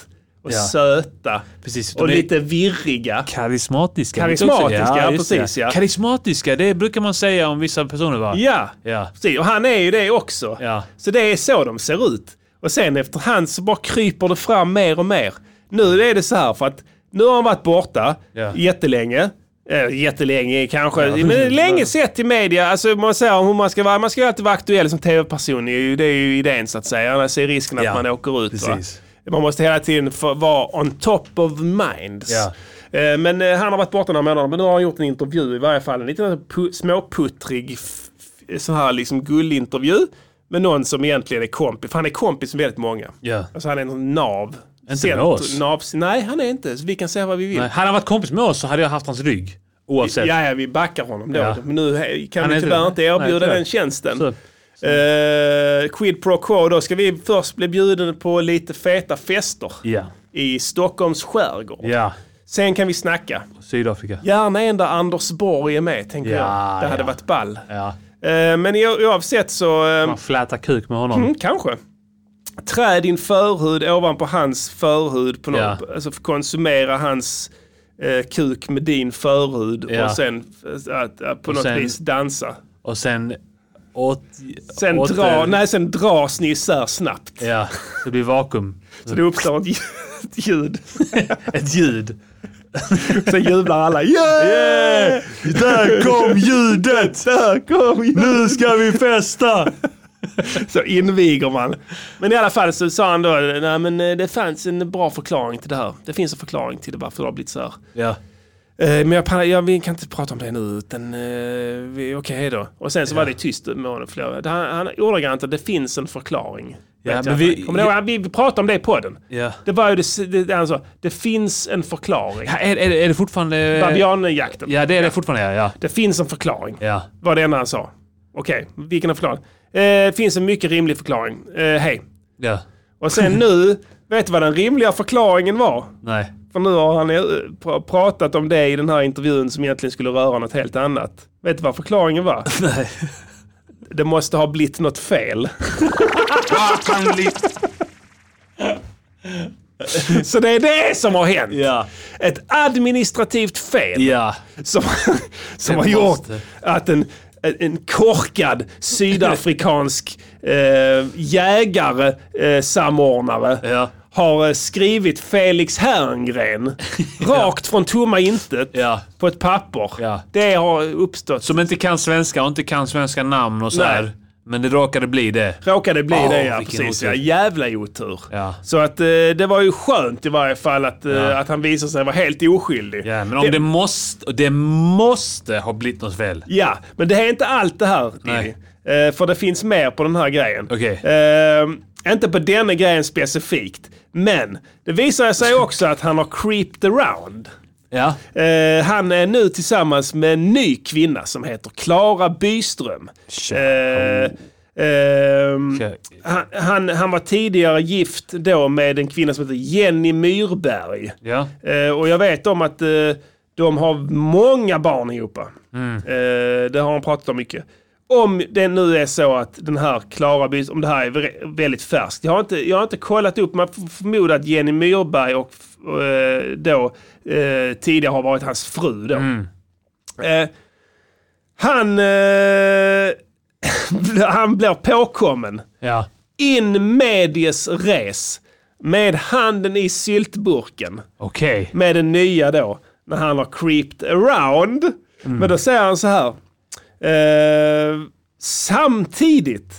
B: och
F: Mm. Ja.
B: söta
F: Precis.
B: och
F: De är-
B: lite virriga.
F: Karismatiska.
B: Karismatiska, ja,
F: just
B: precis,
F: det.
B: ja.
F: Karismatiska, det brukar man säga om vissa personer va?
B: Ja,
F: Ja.
B: precis. Och han är ju det också.
F: Ja.
B: Så det är så de ser ut. Och sen efterhand så bara kryper det fram mer och mer. Nu är det så här för att nu har han varit borta
F: Ja.
B: jättelänge. Eh, jättelänge kanske, men länge sett i media. Alltså man säger hur man ska vara, man ska ju alltid vara aktuell som tv-person. Det är ju- Det är ju idén så att säga. Annars är risken att
F: Ja,
B: man åker ut.
F: precis.
B: Va? Man måste hela tiden få vara on top of minds.
F: Ja.
B: Eh, Men eh, han har varit borta några månader, men nu har han gjort en intervju i varje fall. En liten pu- småputtrig, f- f- så här liksom gullintervju. Med någon som egentligen är kompis, för han är kompis med väldigt många.
F: Ja.
B: Alltså han är en nav.
F: med
B: Centrum-
F: oss.
B: Nav, nej, han är inte. Så vi kan säga vad vi vill.
F: Nej, Hade han varit kompis med oss så hade jag haft hans rygg. Oavsett.
B: Ja, ja, vi backar honom då.
F: Ja.
B: Men nu he- kan
F: Han är
B: vi
F: inte
B: tyvärr
F: det.
B: inte erbjuda
F: Nej, tyvärr.
B: den tjänsten.
F: Så.
B: Eh, quid pro quo, då ska vi först bli bjuden på lite feta fester
F: Ja.
B: i Stockholms skärgård.
F: Ja.
B: Sen kan vi snacka.
F: Sydafrika.
B: Gärna en där Anders Borg är med, tänker
F: Ja,
B: jag. Det hade
F: ja.
B: varit ball.
F: Ja.
B: Eh, men i- oavsett så... eh,
F: Man flätar kuk med honom.
B: mm, kanske. Trä din förhud ovanpå hans förhud. På något,
F: Ja.
B: Alltså konsumera hans eh, kuk med din förhud
F: Ja.
B: och sen eh, att, att på
F: Och
B: något
F: sen-
B: vis dansa.
F: Och sen... Åt,
B: Sen,
F: åter-
B: dra, nej, sen dras ni isär snabbt.
F: Ja, det blir vakuum.
B: Så det uppstår ett ljud- ett ljud.
F: Ett ljud.
B: Sen jublar alla. Yeah!
F: Där kom ljudet!
B: Där kom ljudet!
F: Nu ska vi festa!
B: Så inviger man. Men i alla fall så sa han då, nej men eh, det fanns en bra förklaring till det här. Det finns en förklaring till det varför det har blivit så här.
F: Ja.
B: Eh, Men jag, pa- jag vi kan inte prata om det nu, utan eh, vi- okej hej då. Och sen så var det tyst med honom flera år. Han, han ordagrant att det finns en förklaring.
F: Ja,
B: Vet
F: men
B: jag
F: vi-
B: inte. Kommer du ihåg? Han- vi, vi pratade om det i podden.
F: ja.
B: Det var ju det, s- det, det han sa, det finns en förklaring.
F: Ja, Är, är, det- är det fortfarande...
B: Babianjakten.
F: Ja, det är det fortfarande. Ja. ja.
B: Det finns en förklaring.
F: ja.
B: Var det enda han sa. Okej, vilken är förklaring? Eh, finns en mycket rimlig förklaring. Eh, hej.
F: ja.
B: Och sen nu, vet du vad den rimliga förklaringen var?
F: Nej.
B: För nu har han eh, pr- pratat om det i den här intervjun som egentligen skulle röra något helt annat. Vet du vad förklaringen var? Nej. Det måste ha blivit något fel. Så det är det som har hänt.
F: Ja.
B: Ett administrativt fel
F: Ja.
B: som, som har
F: Det
B: gjort
F: måste.
B: att en, en- en korkad sydafrikansk eh, jägare, eh, samordnare
F: Ja.
B: har eh, skrivit Felix Herngren rakt från tomma intet
F: Ja.
B: på ett papper.
F: Ja.
B: Det har uppstått. Så
F: Som inte kan svenska och inte kan svenska namn och så
B: Nej.
F: här. Men det råkade bli det.
B: råkade bli
F: Åh,
B: det ja,
F: vilken
B: precis.
F: otur.
B: Ja, jävla otur.
F: Ja.
B: Så att eh, det var ju skönt i varje fall att, eh, att han visade sig vara helt oskyldig.
F: Ja, men om det, måste... Det måste ha blivit något fel.
B: Ja, men det är inte allt det här.
F: Nej.
B: Diddy. Eh, för det finns mer på den här grejen.
F: Okej.
B: Eh, inte på denna grejen specifikt. Men det visar sig också att han har creeped around.
F: Ja.
B: Eh, han är nu tillsammans med en ny kvinna som heter Klara Byström.
F: Tja.
B: Eh, ehm,
F: Tja.
B: han, han, han var tidigare gift då med en kvinna som heter Jenny Myrberg.
F: Ja.
B: Eh, och jag vet om att eh, de har många barn ihop. Eh, det har han pratat om mycket. Om det nu är så att den här Klara Bys, om det här är vä- väldigt färskt. Jag har inte, jag har inte kollat upp, men jag förmodar att Jenny Myrberg och f- eh, då eh, tidigare har varit hans fru då. Eh, han, eh, han blir påkommen
F: Ja.
B: in medies res Med handen i syltburken.
F: Okej.
B: Med den nya då. När han har creeped around.
F: Mm.
B: Men då säger han så här. Eh, samtidigt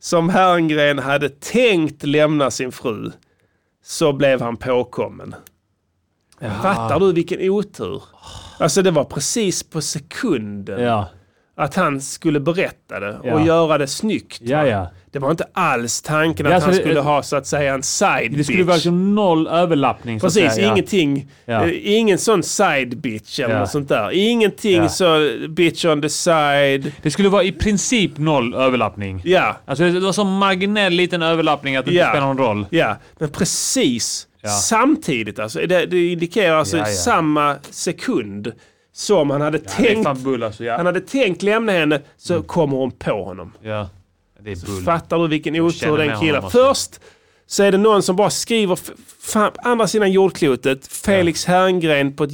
B: som Herngren hade tänkt lämna sin fru så blev han påkommen. Fattar du vilken otur? Alltså det var precis på sekunden
F: Ja.
B: att han skulle berätta det och
F: Ja.
B: göra det snyggt. va?
F: Ja, ja.
B: Det var inte alls tanken att
F: Ja, alltså,
B: han
F: det-
B: skulle ha så att säga en side
F: Det skulle
B: bitch.
F: vara liksom noll överlappning. Så att
B: Precis,
F: säga.
B: ingenting.
F: Ja.
B: eh, Ingen sån side bitch eller
F: Ja.
B: något sånt där. Ingenting
F: Ja.
B: så bitch on the side.
F: Det skulle vara i princip noll överlappning.
B: Ja,
F: Alltså det var så marginell liten överlappning att det
B: Ja.
F: inte spelar någon roll.
B: ja. Men precis
F: Ja.
B: samtidigt alltså. Det, det indikerar alltså
F: Ja, ja.
B: samma sekund som han hade
F: Det är
B: tänkt.
F: fan Mm. bull alltså.
B: Han
F: Ja.
B: hade tänkt lämna henne så kommer hon på honom.
F: ja. Det är bull.
B: Fattar du vilken otur
F: känner med
B: den
F: honom
B: killen.
F: också.
B: Först så är det någon som bara skriver f- fan, på andra sidan jordklotet Felix Herngren på ett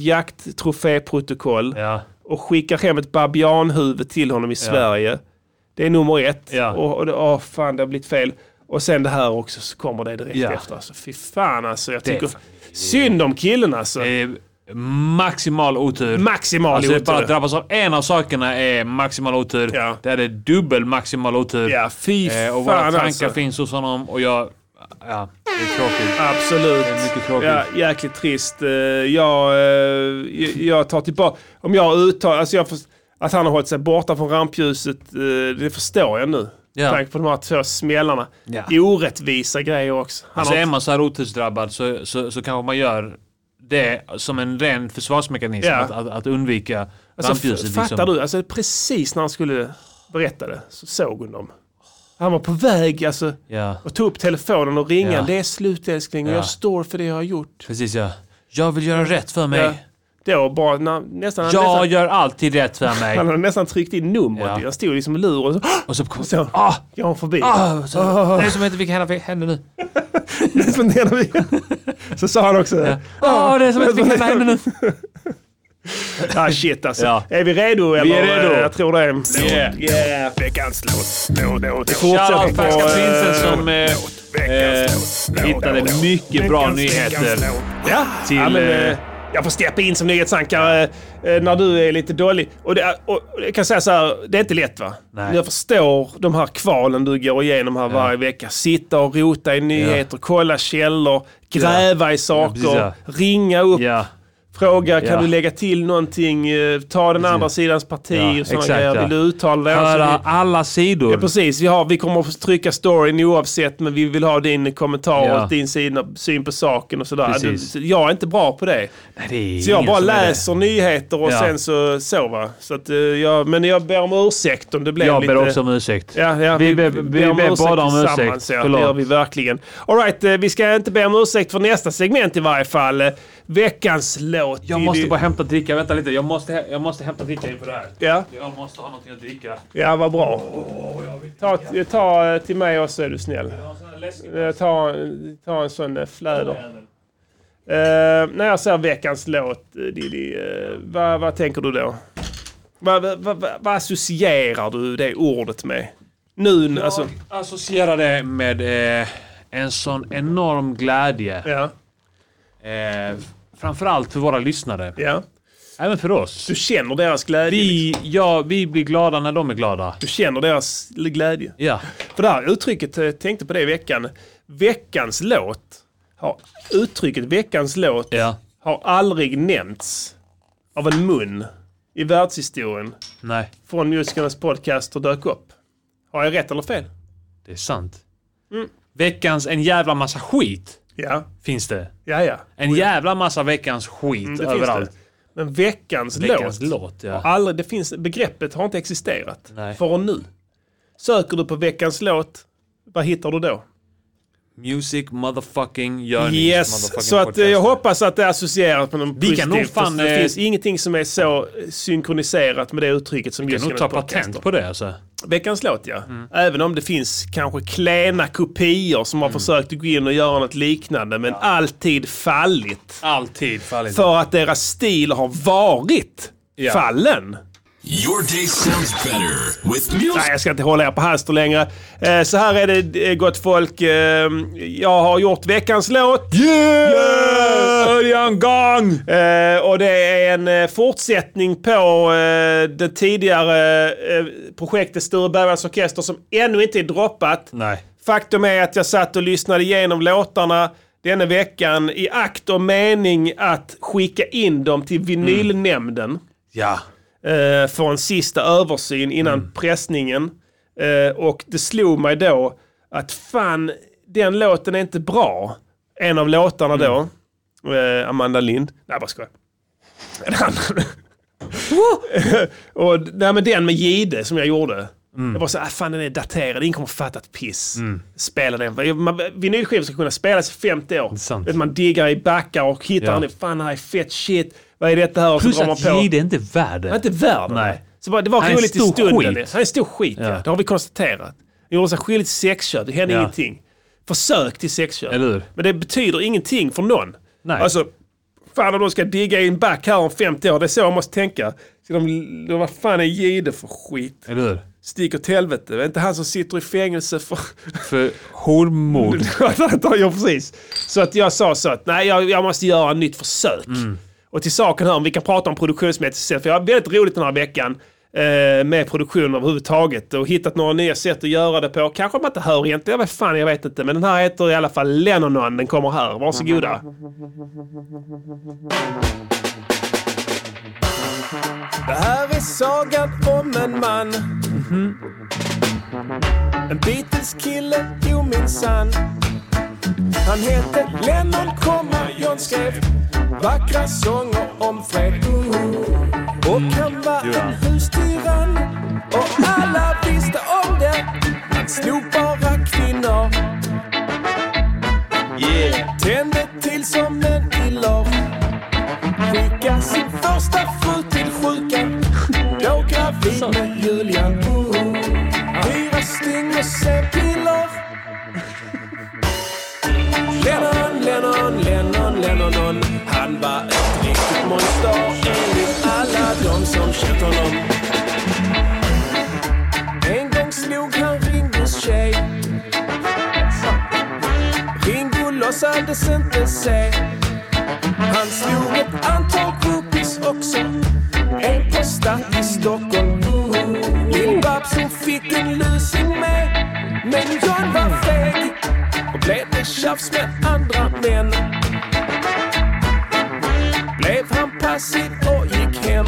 B: jakttroféprotokoll
F: Ja.
B: och skickar hem ett babianhuvud till honom i Sverige. Det är nummer ett.
F: Ja.
B: Och, och det, åh, fan, det har blivit fel. Och sen det här också så kommer det direkt
F: Ja.
B: efter. Alltså, fy fan alltså. Jag
F: Det är
B: tycker
F: fan-
B: synd om killen alltså.
F: Det är maximal otur.
B: Maximal
F: Alltså
B: otur.
F: bara att drabbas av en av sakerna är maximal otur.
B: Ja.
F: Det här är dubbel maximal otur.
B: Ja, fy
F: Eh, och våra
B: fan
F: tankar
B: alltså.
F: finns hos honom och jag... Ja, det är tråkigt.
B: Absolut.
F: mycket tråkigt.
B: Ja, jäkligt trist. Eh, Jag, eh, jag- jag tar tillbaka... Om jag uttalar... Alltså jag först- att han har hållit sig borta från rampljuset, eh, det förstår jag nu.
F: Ja.
B: Med tanke på de här två smällarna.
F: Ja.
B: Orättvisa grejer också. Han
F: Alltså
B: har
F: är
B: inte-
F: man så här otursdrabbad så, så, så kanske man gör det som en ren försvarsmekanism.
B: Ja.
F: Att, att, att undvika
B: alltså,
F: rampljuset. liksom.
B: f- fattar du? Alltså, precis när han skulle berätta det så såg hon dem. Han var på väg alltså,
F: Ja,
B: att ta upp telefonen och ringa.
F: Ja.
B: Det är slut älskling och
F: Ja.
B: jag står för det jag har gjort.
F: precis ja. Jag vill göra rätt för mig.
B: Då bara när, nästan...
F: Jag
B: nästan
F: gör alltid rätt för
B: han
F: mig.
B: hade nästan tryckt in numret.
F: Ja.
B: Jag stod liksom i lur och så...
F: Och så kom...
B: Så,
F: Ah!
B: jag har förbi.
F: Ah! Så, Det är som att det fick hända, hända nu.
B: Funderar vi. så sa han också det.
F: Ah, det är som att det fick hända, hända nu.
B: Ah shit alltså.
F: Ja.
B: Är vi redo eller?
F: är redo.
B: Eh, Jag tror det. Är.
F: Yeah.
B: Yeah. Veckans låt. Låt, låt, låt.
F: Shoutout
B: Fortsätt på...
F: Färska
B: eh,
F: Prinsen som eh, eh,
B: Veckans låt.
F: hittade
B: Låt, låt.
F: mycket bra
B: Veckans-
F: nyheter.
B: veckans låt. Ja, till... Ja, men, eh, jag får steppa in som nyhetsankare eh, när du är lite dålig. Och, det, är- och och jag kan säga så här, det är inte lätt va?
F: Nej.
B: Jag förstår de här kvalen du går igenom här varje vecka. Sitta och rota i nyheter, kolla källor, gräva i saker,
F: precis, ja.
B: ringa upp,
F: Ja,
B: fråga kan
F: Ja.
B: du lägga till någonting, eh, ta den andra sidans parti
F: Ja,
B: och sådana
F: exakt,
B: grejer.
F: ja.
B: Vill du uttala dig?
F: höra
B: Alltså, vi-
F: alla
B: Ja,
F: sidor.
B: precis. Vi, har, vi kommer att trycka storyn oavsett, men vi vill ha din kommentar
F: Ja.
B: och din sida, syn på saken och sådär.
F: Precis.
B: Du, jag är inte bra på det.
F: Det är
B: Så jag
F: ingen
B: bara
F: som är det.
B: läser nyheter och
F: Ja.
B: sen så, så va. Så att, eh, jag, men jag ber om ursäkt om det blev
F: Jag
B: lite...
F: ber också om ursäkt.
B: Ja, ja,
F: Vi ber- vi ber båda om ursäkt.
B: tillsammans, Ja, det
F: Förlåt.
B: gör vi verkligen. All right, eh, vi ska inte be om ursäkt för nästa segment i varje fall. Eh, Veckans låt.
F: Jag
B: Vi-
F: måste
B: vi-
F: bara hämta dricka. Vänta lite. Jag måste, hä- jag måste hämta dricka inför det här.
B: Ja,
F: Jag måste ha någonting att dricka.
B: ja vad bra. Ta, ta eh, till mig också är du snäll.
F: Jag har en sån här läskig-
B: Eh, Ta, ta en sån eh, fläder. Eh, när jag säger veckans låt, eh, Diddy, eh, vad, vad tänker du då? Vad, vad, vad, vad associerar du det ordet med? Nu, alltså...
F: Jag associerar det med eh, en sån enorm glädje.
B: Ja,
F: Eh, framförallt för våra lyssnare.
B: ja.
F: Även för oss.
B: Du känner deras glädje. liksom.
F: Vi, ja, vi blir glada när de är glada.
B: Du känner deras glädje.
F: Ja.
B: För det här uttrycket, eh, tänkte på det i veckan. Veckans låt. Har, uttrycket veckans låt
F: Ja.
B: har aldrig nämnts av en mun i världshistorien
F: Nej.
B: från musikernas podcast och dök upp. Har jag rätt eller fel?
F: Det är sant. Mm. Veckans en jävla massa skit
B: Ja,
F: finns det.
B: ja, ja.
F: En jävla massa veckans skit
B: Det finns
F: överallt.
B: det. Men veckans,
F: Veckans
B: låt,
F: låt, ja.
B: har aldrig, det finns, begreppet har inte existerat
F: Nej.
B: förrän nu. Söker du på veckans låt, vad hittar du då?
F: Music motherfucking Journeys motherfucking
B: Yes, så att eh, jag
F: podcast.
B: hoppas att det associeras med något
F: Vi kan nog
B: positivt, för
F: fan,
B: Det
F: eh,
B: finns ingenting som är så eh, synkroniserat med det uttrycket som
F: Jag
B: just
F: kan nog ta patent på Mm. det alltså.
B: Veckans låt ja. Även om det finns kanske klena kopior som har
F: Mm.
B: försökt att gå in och göra något liknande men alltid fallit.
F: Alltid fallit.
B: För att deras stil har varit fallen.
L: Your day sounds better with
B: Nej, jag ska inte hålla er på halster längre. Eh, Så här är det eh, gott folk. Eh, Jag har gjort veckans låt. Yeah! Örjan Gang! Eh, Och det är en eh, fortsättning på eh, det tidigare eh, projektet Sture Bergmans Orkester som ännu inte är droppat.
F: Nej.
B: Faktum är att jag satt och lyssnade igenom låtarna denna veckan i akt och mening att skicka in dem till vinylnämnden
F: Ja.
B: eh, för en sista översyn innan pressningen. Eh, och det slog mig då att fan, den låten är inte bra. En av låtarna då, eh, Amanda Lind. Nej, bara skojar. Den andra. och, nej, men den med Gide som jag gjorde.
F: Mm.
B: Jag var så ah, fan den är daterad, ingen kommer fatta ett piss. Spela den. Man- Vinylskivor ska kunna spelas i 50 år.
F: sant.
B: Vet, Man diggar i backar och hittar
F: Ja.
B: den. Fan, det här är fett shit. Vad är detta här? Och
F: Plus
B: så drar man
F: att
B: på.
F: Jihde inte är värd det.
B: Han är inte värd
F: Nej.
B: Nej. Så bara, det var
F: Han är en
B: roligt i
F: stor
B: stunden.
F: skit.
B: Han är en stor skit, ja.
F: Ja.
B: Det har vi konstaterat. Han gjorde sig skyldig till sexköp. Det hände
F: Ja.
B: ingenting. Försök till sexköp.
F: Eller hur?
B: Men det betyder ingenting för någon.
F: Nej.
B: Alltså, fan om de ska digga in back här om 50 år. Det är så man måste tänka. Ska de, vad fan är Jihde för skit?
F: Eller hur?
B: Stick åt helvete. Det är inte han som sitter i fängelse för...
F: För hormod.
B: ja, precis. Så att jag sa så att nej, jag, jag måste göra ett nytt försök. Och till saken här, om vi kan prata om produktionsmässigt sen, för jag har väldigt roligt den här veckan eh, med produktion överhuvudtaget och hittat några nya sätt att göra det på. Kanske man inte hör egentligen, vad fan jag vet inte. Men den här heter i alla fall Lennonon, den kommer här. Varsågoda. Det här är sagan om en man. En Beatles-kille, jo minsann. Han hette Lennon, komma John skrev vackra sånger om fred. Uh, Och han var en hustyrann och alla visste om det. Han slog bara kvinnor. Yeah. Tände till som en illor. Skickade sin första fru till sjukan. Då gravid med Julian. Uh, Fyra stygn och c-piller. Lennon, Lennon, Lennon, Lennonon Han var ett riktigt monster enligt alla de som känt honom En gång slog han Ringos tjej Ringo låtsades inte se Han slog ett antal groupies också En på stat i Stockholm Lill-Babs hon fick en lusing med Men John var feg och blev det tjafs med andra män Blev han passiv och gick hem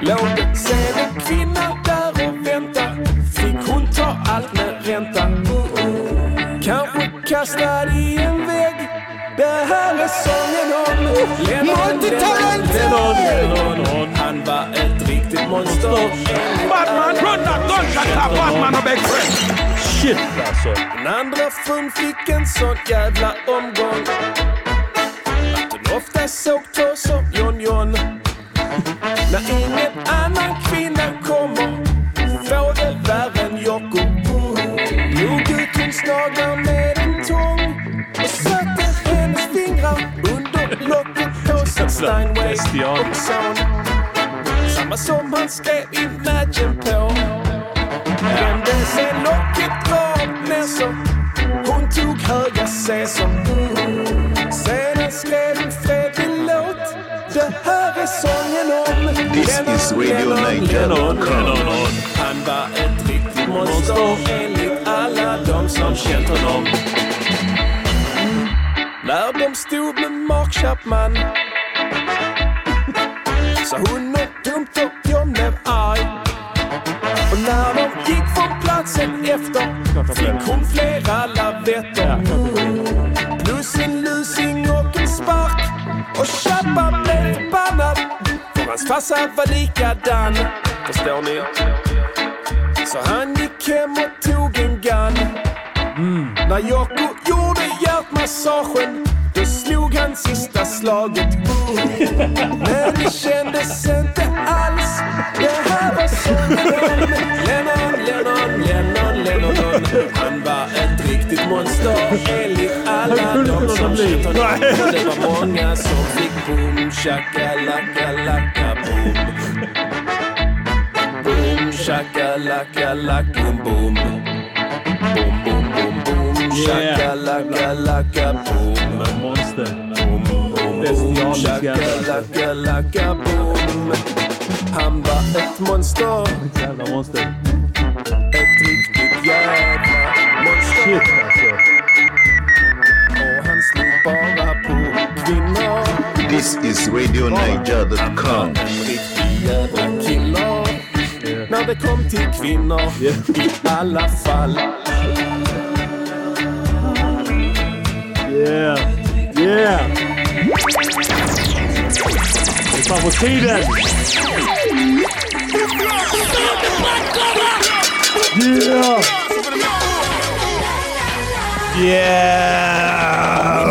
B: Låg det sen en kvinna där och vänta Fick hon ta allt med ränta Kanske kastad i en vägg Det här är sången om Lennon, Lennon, Lennon, Lennon Han var ett riktigt monster Batman, run that gun, Batman har bäck Shit alltså. Den andra frun fick en sån jävla omgång att hon ofta såg på som John John. När ingen annan kvinna kommer får det värre än Jocko. Drog ut hennes naglar med en tång och satte hennes fingrar under locket på sin Steinway och son. Samma som han skrev Imagine på. Brände sig locket rakt ner så hon tog höga C som Sedan skrev en fredlig låt Det här är sången om
G: This
B: Lennon,
G: is Radio
B: Lennon,
G: Niger dot
B: Lennon,
G: com.
B: Lennon. Han var ett riktigt monster enligt alla de som känt honom När de stod med Mark Chapman sa hon något dumt och jag blev arg och när de gick från platsen efter fick hon flera lavetter. Plus en lusing och en spark. Och Chappan blev förbannad för hans farsa var likadan. Förstår ni? Så han gick hem och tog en gun. När Jocko gjorde hjärtmassagen då slog han sista slaget. Men det kändes inte alls. Det här var sången om Lennon, Lennon, Lennon, Lennon. Han var ett riktigt monster enligt alla de som känt honom. Och det var många som fick boom, shakalaka, laka, boom.
M: shakalaka-laka, boom. Boom, boom, boom, boom.
N: Yeah.
M: Shakalaka-laka, boom.
N: Monster.
M: Shakalaka-laka, boom. Han var ett monster.
N: Jävla monster.
M: Ett riktigt jävla monster.
N: Shit alltså.
M: Och han slog bara på kvinnor.
G: This is RadioNiger.com.
M: Jävla killar. När det kom till kvinnor. I alla fall.
N: Yeah. Yeah. Det är fan på tiden.
B: Yeah!
N: Yeah!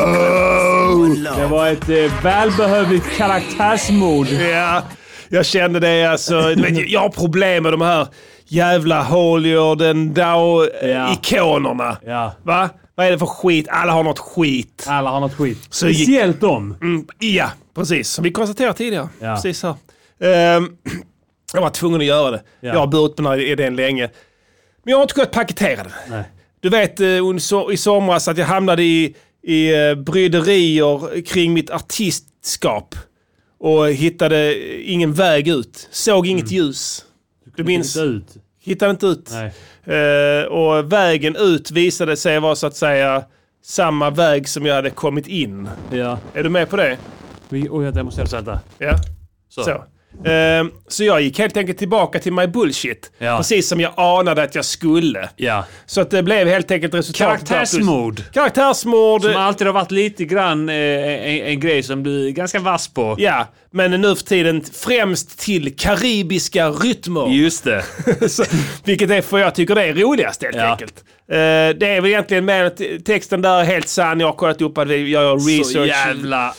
B: Det
N: var ett eh, välbehövligt karaktärsmord.
B: Ja, jag kände det alltså. Du vet, Jag har problem med de här jävla Holiorden Dow-ikonerna. Va? Vad är det för skit? Alla har något skit.
F: Alla har något skit.
N: Speciellt dem.
B: Mm, ja, precis. Som vi konstaterade tidigare.
N: Ja.
B: Precis här. Ehm, jag var tvungen att göra det.
N: Ja.
B: Jag har burit på den här idén länge. Men jag har inte kunnat paketera den.
N: Nej.
B: Du vet eh, un- so- i somras att jag hamnade i, i eh, bryderier kring mitt artistskap. Och hittade ingen väg ut. Såg inget ljus. Du minns?
F: Mm. inte ut.
B: Hittade inte ut.
F: Nej.
B: Eh, och vägen ut visade sig vara så att säga samma väg som jag hade kommit in.
F: Ja.
B: Är du med på det?
F: Vi, oj, jag måste sätta.
B: Ja.
F: Så.
B: Så. Så. Ehm, så jag gick helt enkelt tillbaka till my bullshit.
F: Ja.
B: Precis som jag anade att jag skulle.
F: Ja.
B: Så att det blev helt enkelt resultatet.
F: Karaktärsmord.
B: Karaktärsmord.
F: Som alltid har varit lite grann eh, en, en grej som du är ganska vass på.
B: Ja, men nu för tiden främst till karibiska rytmer.
F: Just det.
B: så, vilket är för jag tycker det är roligast helt
F: Ja.
B: enkelt. Eh, det är väl egentligen mer att texten där är helt sann. Jag har kollat upp att jag gör research.
F: Så jävla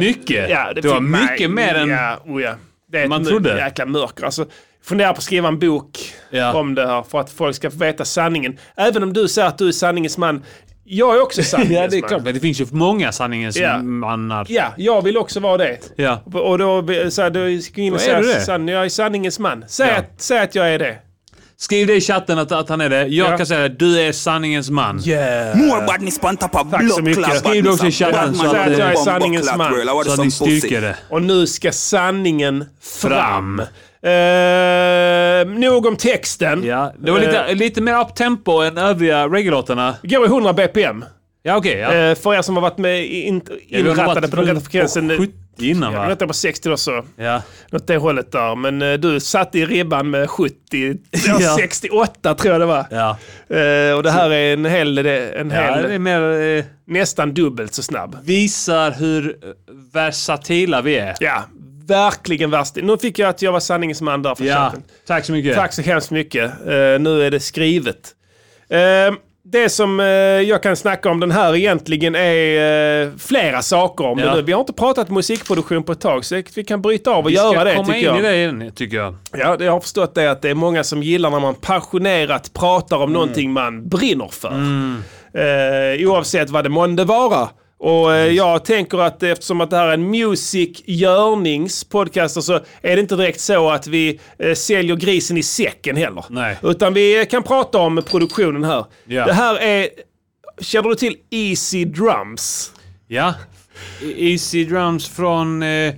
F: mycket.
B: Ja,
F: Det var
B: fick mig-
F: mycket mer än-
B: Ja, oh ja. Det är
F: Man
B: ett
F: trodde.
B: jäkla mörker. Alltså, funderar på att skriva en bok
F: Ja.
B: om det här för att folk ska få veta sanningen. Även om du säger att du är sanningens man. Jag är också sanningens
F: ja, det är
B: man.
F: klart. Men det finns ju många sanningens
B: Ja.
F: mannar.
B: Ja, jag vill också vara det.
F: Ja.
B: Och då, så här, då gick jag in och
F: Då är du
B: säger
F: det.
B: sann, jag är sanningens man. Säg,
F: Ja.
B: att, säg att jag är det.
F: Skriv det i chatten att, att han är det. Jag kan säga att du är sanningens man.
B: Yeah.
O: More badness på en tappa blockklapp.
F: Skriv det också i chatten så
B: Säg
F: att,
B: att jag är
F: eh,
B: sanningens man.
F: Så att ni styrker det.
B: Och nu ska sanningen fram.
F: Fram.
B: Eh, nog om texten.
F: Ja, Det var
B: Eh.
F: lite, lite mer uptempo än övriga reggae-låtarna.
B: Går i 100 bpm.
F: Ja, okej. ja.
B: Eh, för er som har varit med i- in,
F: vi har
B: inrattade
F: varit
B: på den rätta frekvensen. eh,
F: på 70 innan, va?
B: Jag rättade på 60 då så.
F: Ja.
B: Något det hållet där. Men eh, du satte i ribban med 70,
F: Ja.
B: 68 tror jag det var.
F: Ja.
B: Eh, och det här är en hel... En
F: Ja,
B: hel
F: det är mer, eh,
B: nästan dubbelt så snabb.
F: Visar hur eh, versatila vi är.
B: Ja, verkligen värst. Nu fick jag att jag var sanningens man där från
F: Ja,
B: chatten.
F: Tack så mycket.
B: Tack så hemskt mycket. Eh, nu är det skrivet. Eh, det som eh, jag kan snacka om den här egentligen är eh, flera saker om
F: Ja.
B: det nu. Vi har inte pratat musikproduktion på ett tag så vi kan bryta av och
F: Vi ska
B: göra det
F: komma
B: tycker
F: in
B: jag.
F: i det igen, tycker jag.
B: Ja, det- jag har förstått det att det är många som gillar när man passionerat pratar
F: Mm.
B: om någonting man brinner för. Eh, oavsett vad det månde vara. Och eh, jag tänker att eftersom att det här är en music-görningspodcaster så är det inte direkt så att vi eh, säljer grisen i säcken heller.
F: Nej.
B: Utan vi eh, kan prata om produktionen här.
F: Ja.
B: Det här är, känner du till Easy Drums?
F: Ja. E- Easy Drums från... Eh,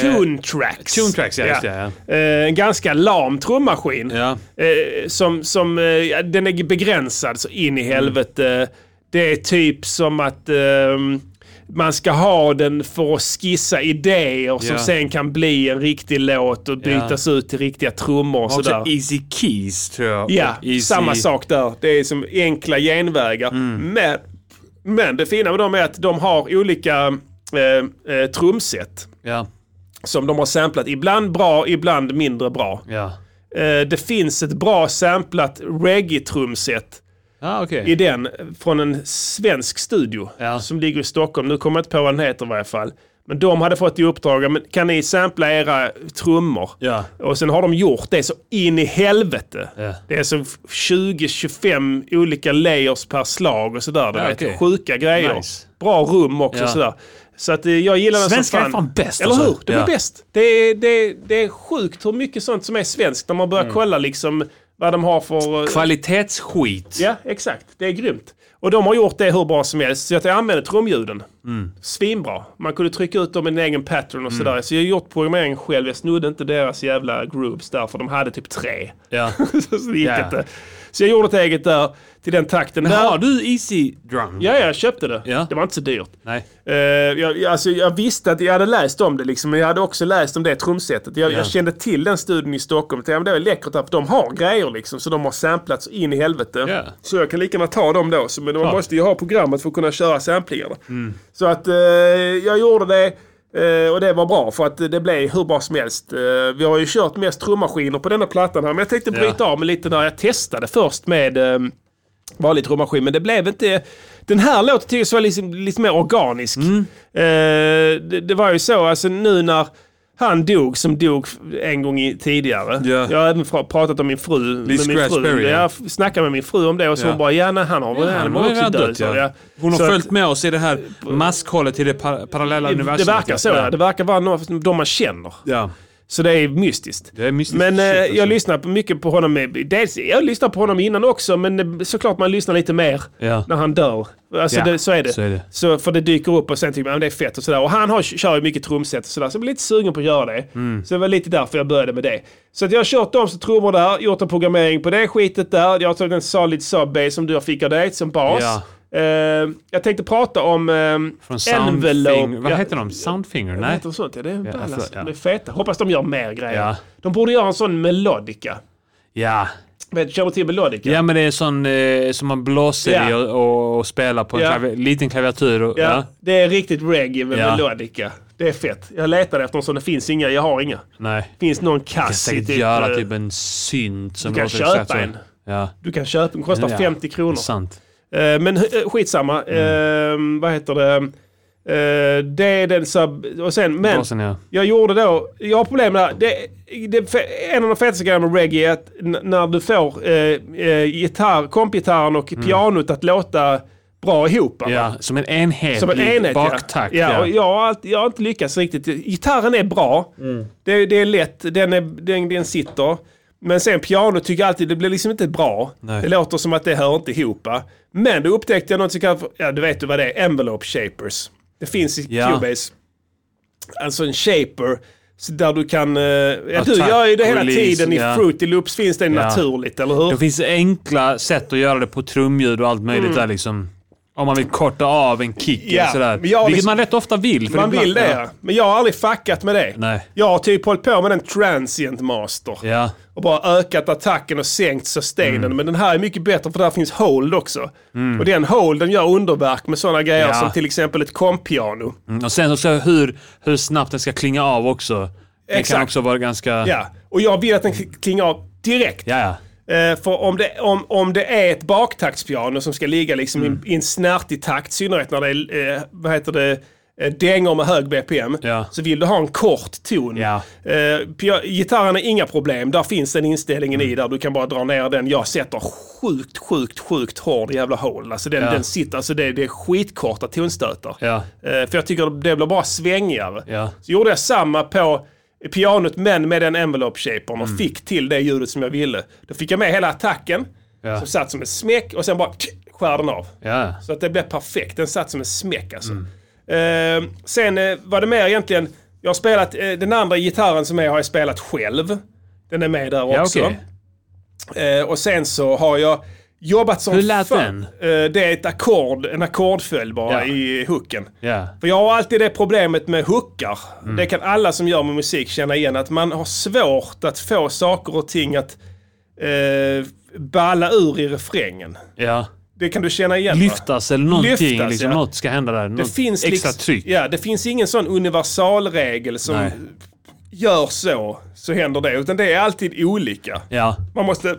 B: Tune Tracks.
F: Tune Tracks, ja, just det, ja.
B: Eh, en ganska lam trummaskin.
F: Ja.
B: Eh, som, som, eh, ja, den är begränsad så in i
F: Mm.
B: helvete. Det är typ som att ehm, man ska ha den för att skissa idéer som
F: Ja.
B: sen kan bli en riktig låt och
F: Ja.
B: bytas ut till riktiga trummor och
F: Också
B: sådär.
F: Easy Keys, tror jag.
B: Ja,
F: Och easy...
B: samma sak där. Det är som enkla genvägar.
F: Mm.
B: Men, men det fina med dem är att de har olika eh, eh, trumset.
F: Ja.
B: Som de har samplat. Ibland bra, ibland mindre bra.
F: Ja.
B: Eh, det finns ett bra samplat reggae-trumset
F: Ja, okej.
B: i den från en svensk studio som ligger i Stockholm. Nu kommer jag inte på vad den heter i varje fall. Men de hade fått i uppdrag, "Men kan ni sampla era trummor?
F: Ja.
B: Och sen har de gjort det så in i helvete. Det är så 20-25 olika layers per slag och sådär. Du
F: Ja,
B: vet.
F: okej.
B: Sjuka grejer.
F: Nice.
B: Bra rum också
F: Ja.
B: sådär. Så att eh, jag gillar den
F: Svenskar
B: som
F: är fan bäst,
B: Eller
F: alltså.
B: hur? De är
F: Ja.
B: bäst. Det är, det, är, det är sjukt hur mycket sånt som är svenskt när man börjar
F: Mm.
B: kolla liksom vad de har för... eh,
F: Kvalitetsskit.
B: Ja, exakt. Det är grymt. Och de har gjort det hur bra som helst. Så att jag använder trumljuden.
F: Mm.
B: Svinbra. Man kunde trycka ut dem i en egen pattern och sådär. Så jag har gjort programmering själv. Jag snodde inte deras jävla grooves där, för de hade typ tre.
F: Ja.
B: så det gick
F: Ja.
B: inte. Så jag gjorde ett eget där, till den takten.
F: Men
B: där.
F: har du Easy Drum?
B: Ja, jag köpte det. Det var inte så dyrt. Eh, jag, jag- alltså, jag visste att jag hade läst om det, liksom, men jag hade också läst om det trumsetet. Jag,
F: Ja.
B: jag kände till den studien i Stockholm. Jag tänkte, ja, men det är väl läckert, där, för de har grejer liksom, så de har samplats in i helvete. Så jag kan lika gärna ta dem då. Så, men man
F: Klart.
B: måste ju ha programmet för att kunna köra samplingarna.
F: Mm.
B: Så att eh, jag gjorde det. eh, Och det var bra för att det blev hur bra som helst. Eh, Vi har ju kört mest trummaskiner på denna plattan här. Men jag tänkte
F: Ja.
B: bryta av med lite där. Jag testade först med eh, vanlig trummaskin. Men det blev inte... Den här låten tycker jag var liksom, lite mer organisk.
F: Mm.
B: Eh, det, det var ju så, alltså nu när han dog, som dog en gång i, tidigare. Jag har även fra- pratat om min fru.
F: Lee
B: med min
F: Scratch
B: fru.
F: Perry, ja.
B: Jag f- snackade med min fru om det och så
F: Ja.
B: hon bara, ja nej, han har väl han var också död. sa jag.
F: Hon har
B: Så att-
F: följt med oss i det här maskhålet till det par- parallella
B: det, det
F: universumet.
B: verkar så. Ja. Det verkar vara någon, som- de man känner. Så det är mystiskt. Men eh,
F: alltså.
B: jag lyssnar på mycket på honom. eh, Dels, jag lyssnar på honom innan också, men eh, såklart man lyssnar lite mer
F: Ja.
B: när han dör. Alltså,
F: Ja,
B: det, så är det.
F: så är det.
B: Så, för det dyker upp och sen tycker man att det är fett och sådär. Och han har, kör ju mycket trumset och sådär, så jag blir lite sugen på att göra det.
F: Mm.
B: Så det var lite därför jag började med det. Så att jag har kört dem som trummor där, gjort en programmering på det skitet där. Jag har tagit en solid sub-bass som du fick av dig som bas.
F: Ja.
B: Eh, jag tänkte prata om um,
F: Från Soundfinger. Vad heter de? Soundfinger?
B: Nej.
F: Nej.
B: Heter det sånt? Ja, det är en
F: Ja,
B: ball
F: förlåt,
B: alltså.
F: ja.
B: De är feta. Hoppas de gör mer grejer.
F: Ja.
B: De borde göra en sån melodica.
F: Ja.
B: Vet, känner du till melodica?
F: Ja men det är sån eh, som man blåser
B: Ja.
F: i och, och, och spelar på en
B: Ja.
F: klavi- liten klaviatur. Och,
B: Ja,
F: ja.
B: Det är riktigt reggae med
F: Ja.
B: melodica. Det är fett. Jag letade efter en sån. Det finns inga. Jag har inga.
F: Nej.
B: Finns någon
F: Jag kan
B: kass i
F: säkert göra
B: eh,
F: typ en synt som
B: du kan
F: låter
B: köpa
F: exakt så.
B: en.
F: Ja.
B: Du kan köpa den. Kostar
F: Ja,
B: 50
F: det
B: kronor.
F: är sant. Mm.
B: Eh, Men eh, skitsamma. Eh, vad heter det? Eh, det är den sub... Och sen, men...
F: Basen, ja.
B: Jag gjorde då, jag har problem där. Det, det, fe- en av de fetaste grejerna med reggae är att n- när du får eh, eh, gitarr, kompgitarren och pianot att låta bra ihop. va?
F: ja, som en enhetlig
B: Som en enhet. ja.
F: baktakt.
B: ja.
F: ja.
B: och Jag, har alltid, jag har inte lyckats riktigt. Gitarren är bra.
F: Mm.
B: Det, det är lätt. Den, är, den, den sitter. Men sen pianot tycker jag alltid, det blir liksom inte bra.
F: Nej.
B: Det låter som att det hör inte ihop. va? Men då upptäckte jag något som kallas, för- ja du vet du vad det är, envelope shapers. Det finns i
F: Ja.
B: Cubase. Alltså en shaper. Så där du kan... eh, ja, du
F: Attack,
B: gör ju det hela
F: release,
B: tiden. I
F: ja.
B: Fruity Loops finns det
F: Ja.
B: naturligt, eller hur?
F: Det finns enkla sätt att göra det på trumljud och allt möjligt
B: Mm.
F: där liksom. Om man vill korta av en kick
B: Ja,
F: eller sådär.
B: men jag har
F: Vilket
B: liksom-
F: man rätt ofta vill. för
B: Man
F: ibland-
B: vill det, ja. men jag har aldrig fuckat med det.
F: Nej.
B: Jag har typ hållit på med en transient master.
F: Ja.
B: Och bara ökat attacken och sänkt sustainen. Men den här är mycket bättre för där finns hold också.
F: Mm.
B: Och den holden gör underverk med sådana grejer
F: Ja.
B: som till exempel ett kompiano.
F: Mm, Och sen också hur, hur snabbt den ska klinga av också. Den kan
B: Exakt.
F: också vara ganska...
B: Ja. Och jag vill att den klingar av direkt.
F: Ja, ja.
B: Eh, för om det, om, om det är ett baktaktspiano som ska ligga liksom i
F: Mm.
B: en- i en snärtig takt, i synnerhet när det är eh, vad heter det, eh, dängor med hög BPM, så vill du ha en kort ton. Eh, pia- gitarren är inga problem, där finns den inställningen
F: Mm.
B: i där. Du kan bara dra ner den. Jag sätter sjukt, sjukt, sjukt hård jävla hål. Alltså den,
F: Ja.
B: den sitter, alltså det, det är skitkorta tonstötar.
F: Ja.
B: Eh, för jag tycker det blir bara svängigare.
F: Ja.
B: Så gjorde jag samma på pianot men med den envelope shapern
F: Mm.
B: och fick till det ljudet som jag ville. Då fick jag med hela attacken
F: Ja.
B: som satt som en smäck och sen bara skär den av.
F: Ja.
B: Så att det blev perfekt. Den satt som en smäck alltså.
F: Mm.
B: Eh, sen eh, var det mer egentligen, jag har spelat, eh, den andra gitarren som är har jag spelat själv. Den är med där
F: Ja,
B: också.
F: okej.
B: Eh, och sen så har jag jobbat som
F: Hur lät
B: fan. Eh, det är ett ackord, en ackordföljd bara
F: Ja.
B: i hooken.
F: Ja.
B: För jag har alltid det problemet med hookar.
F: Mm.
B: Det kan alla som gör med musik känna igen. Att man har svårt att få saker och ting att eh, balla ur i refrängen.
F: ja.
B: Det kan du känna igen va?
F: Lyftas eller någonting.
B: Lyftas,
F: liksom,
B: ja.
F: Något ska hända där.
B: Det
F: Något
B: finns
F: extra
B: liksom-
F: tryck.
B: Ja, det finns ingen sån universalregel som
F: Nej.
B: gör så, så händer det. Utan det är alltid olika.
F: Ja.
B: Man måste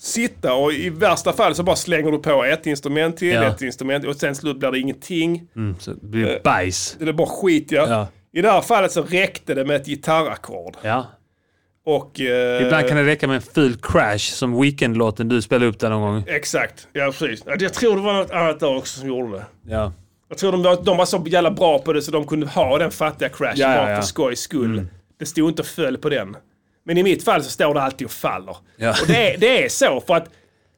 B: sitta och i värsta fall så bara slänger du på ett instrument till,
F: Ja.
B: ett instrument och sen slut blir det ingenting.
F: Mm, så det
B: Eh.
F: blir bajs.
B: Det är bara skit ja.
F: Ja.
B: I det här fallet så räckte det med ett gitarrackord.
F: Ja.
B: Och... eh,
F: Ibland kan det räcka med en ful crash som Weekend-låten du spelade upp där någon gång.
B: Exakt, ja precis. Ja, Jag tror det var något annat där också som gjorde det.
F: Ja.
B: Jag tror de var, de var så jävla bra på det så de kunde ha den fattiga crashen
F: Ja, ja,
B: bara
F: ja. Mm.
B: för skojs skull. Det stod inte och föll på den. Men i mitt fall så står det alltid och faller. Och det är, det är så för att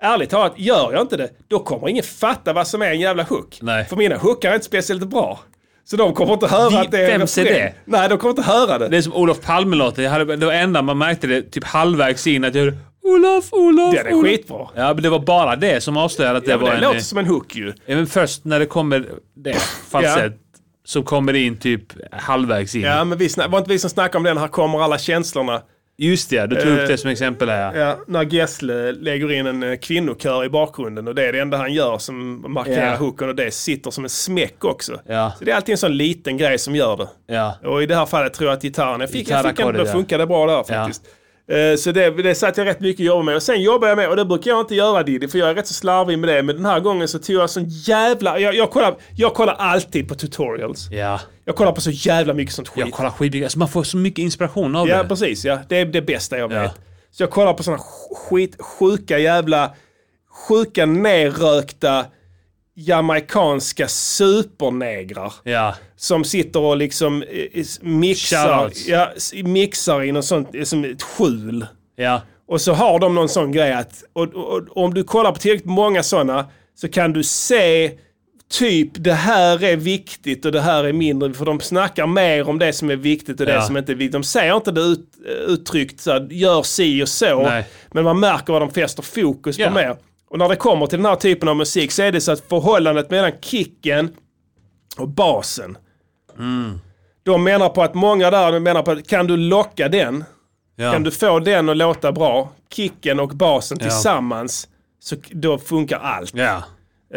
B: ärligt talat, gör jag inte det, då kommer ingen fatta vad som är en jävla hook. För mina hookar är inte speciellt bra. Så de kommer inte höra att det är en
F: Vems är
B: refräng.
F: det?
B: Nej, de kommer inte höra det.
F: Det är som Olof Palme-låten. Jag hade- Det var enda man märkte det typ halvvägs in att jag hörde Olof, Olof,
B: Den är
F: Olof.
B: skitbra.
F: Ja, men det var bara det som avslöjade att det
B: Ja, men
F: var
B: det
F: en...
B: låter
F: eh,
B: som en hook ju.
F: Ja, men först när det kommer det falsett så kommer det in typ halvvägs in.
B: Ja, men vi snack, var inte vi som snackade om den, här kommer alla känslorna.
F: Just det, du tog
B: Eh,
F: upp det som exempel här. ja.
B: Ja, när Gessle lägger in en eh, kvinnokör i bakgrunden och det är det enda han gör som markerar
F: Ja.
B: hooken och det sitter som en smäck också.
F: Ja.
B: Så det är alltid en sån liten grej som gör det.
F: Ja.
B: Och i det här fallet tror jag att gitarren, jag fick, jag fick den,
F: Gitarrackorden,
B: då
F: ja.
B: funkade bra där faktiskt. Eh, Så det, det satt jag rätt mycket och jobbade med. Och sen jobbade jag med, och det brukar jag inte göra Diddy, för jag är rätt så slarvig med det. Men den här gången så tog jag sån jävla... Jag, jag, kollar, jag kollar alltid på tutorials.
F: Ja.
B: Jag kollar på så jävla mycket sånt skit.
F: Jag kollar skitmycket. Alltså man får så mycket inspiration av
B: Ja,
F: det.
B: precis. Ja. Det är det bästa jag vet. Så jag kollar på såna sk- skit, sjuka jävla, sjuka nerrökta jamaikanska supernegrar.
F: Ja.
B: Som sitter och liksom eh, eh, mixar,
F: Shoutouts.
B: ja, s- mixar i något sånt, eh, som ett skjul.
F: Ja.
B: Och så har de någon sån grej att, och, och, och om du kollar på tillräckligt många sådana så kan du se typ det här är viktigt och det här är mindre. För de snackar mer om det som är viktigt och det
F: Ja.
B: som inte är viktigt. De säger inte det ut, eh, uttryckt så här, gör si och så.
F: Nej.
B: Men man märker vad de fäster fokus
F: Ja.
B: på mer. Och när det kommer till den här typen av musik så är det så att förhållandet mellan kicken och basen.
F: Mm.
B: De menar på att många där menar på att kan du locka den?
F: Ja.
B: Kan du få den att låta bra, kicken och basen
F: Ja.
B: tillsammans, så k- då funkar allt.
F: Ja.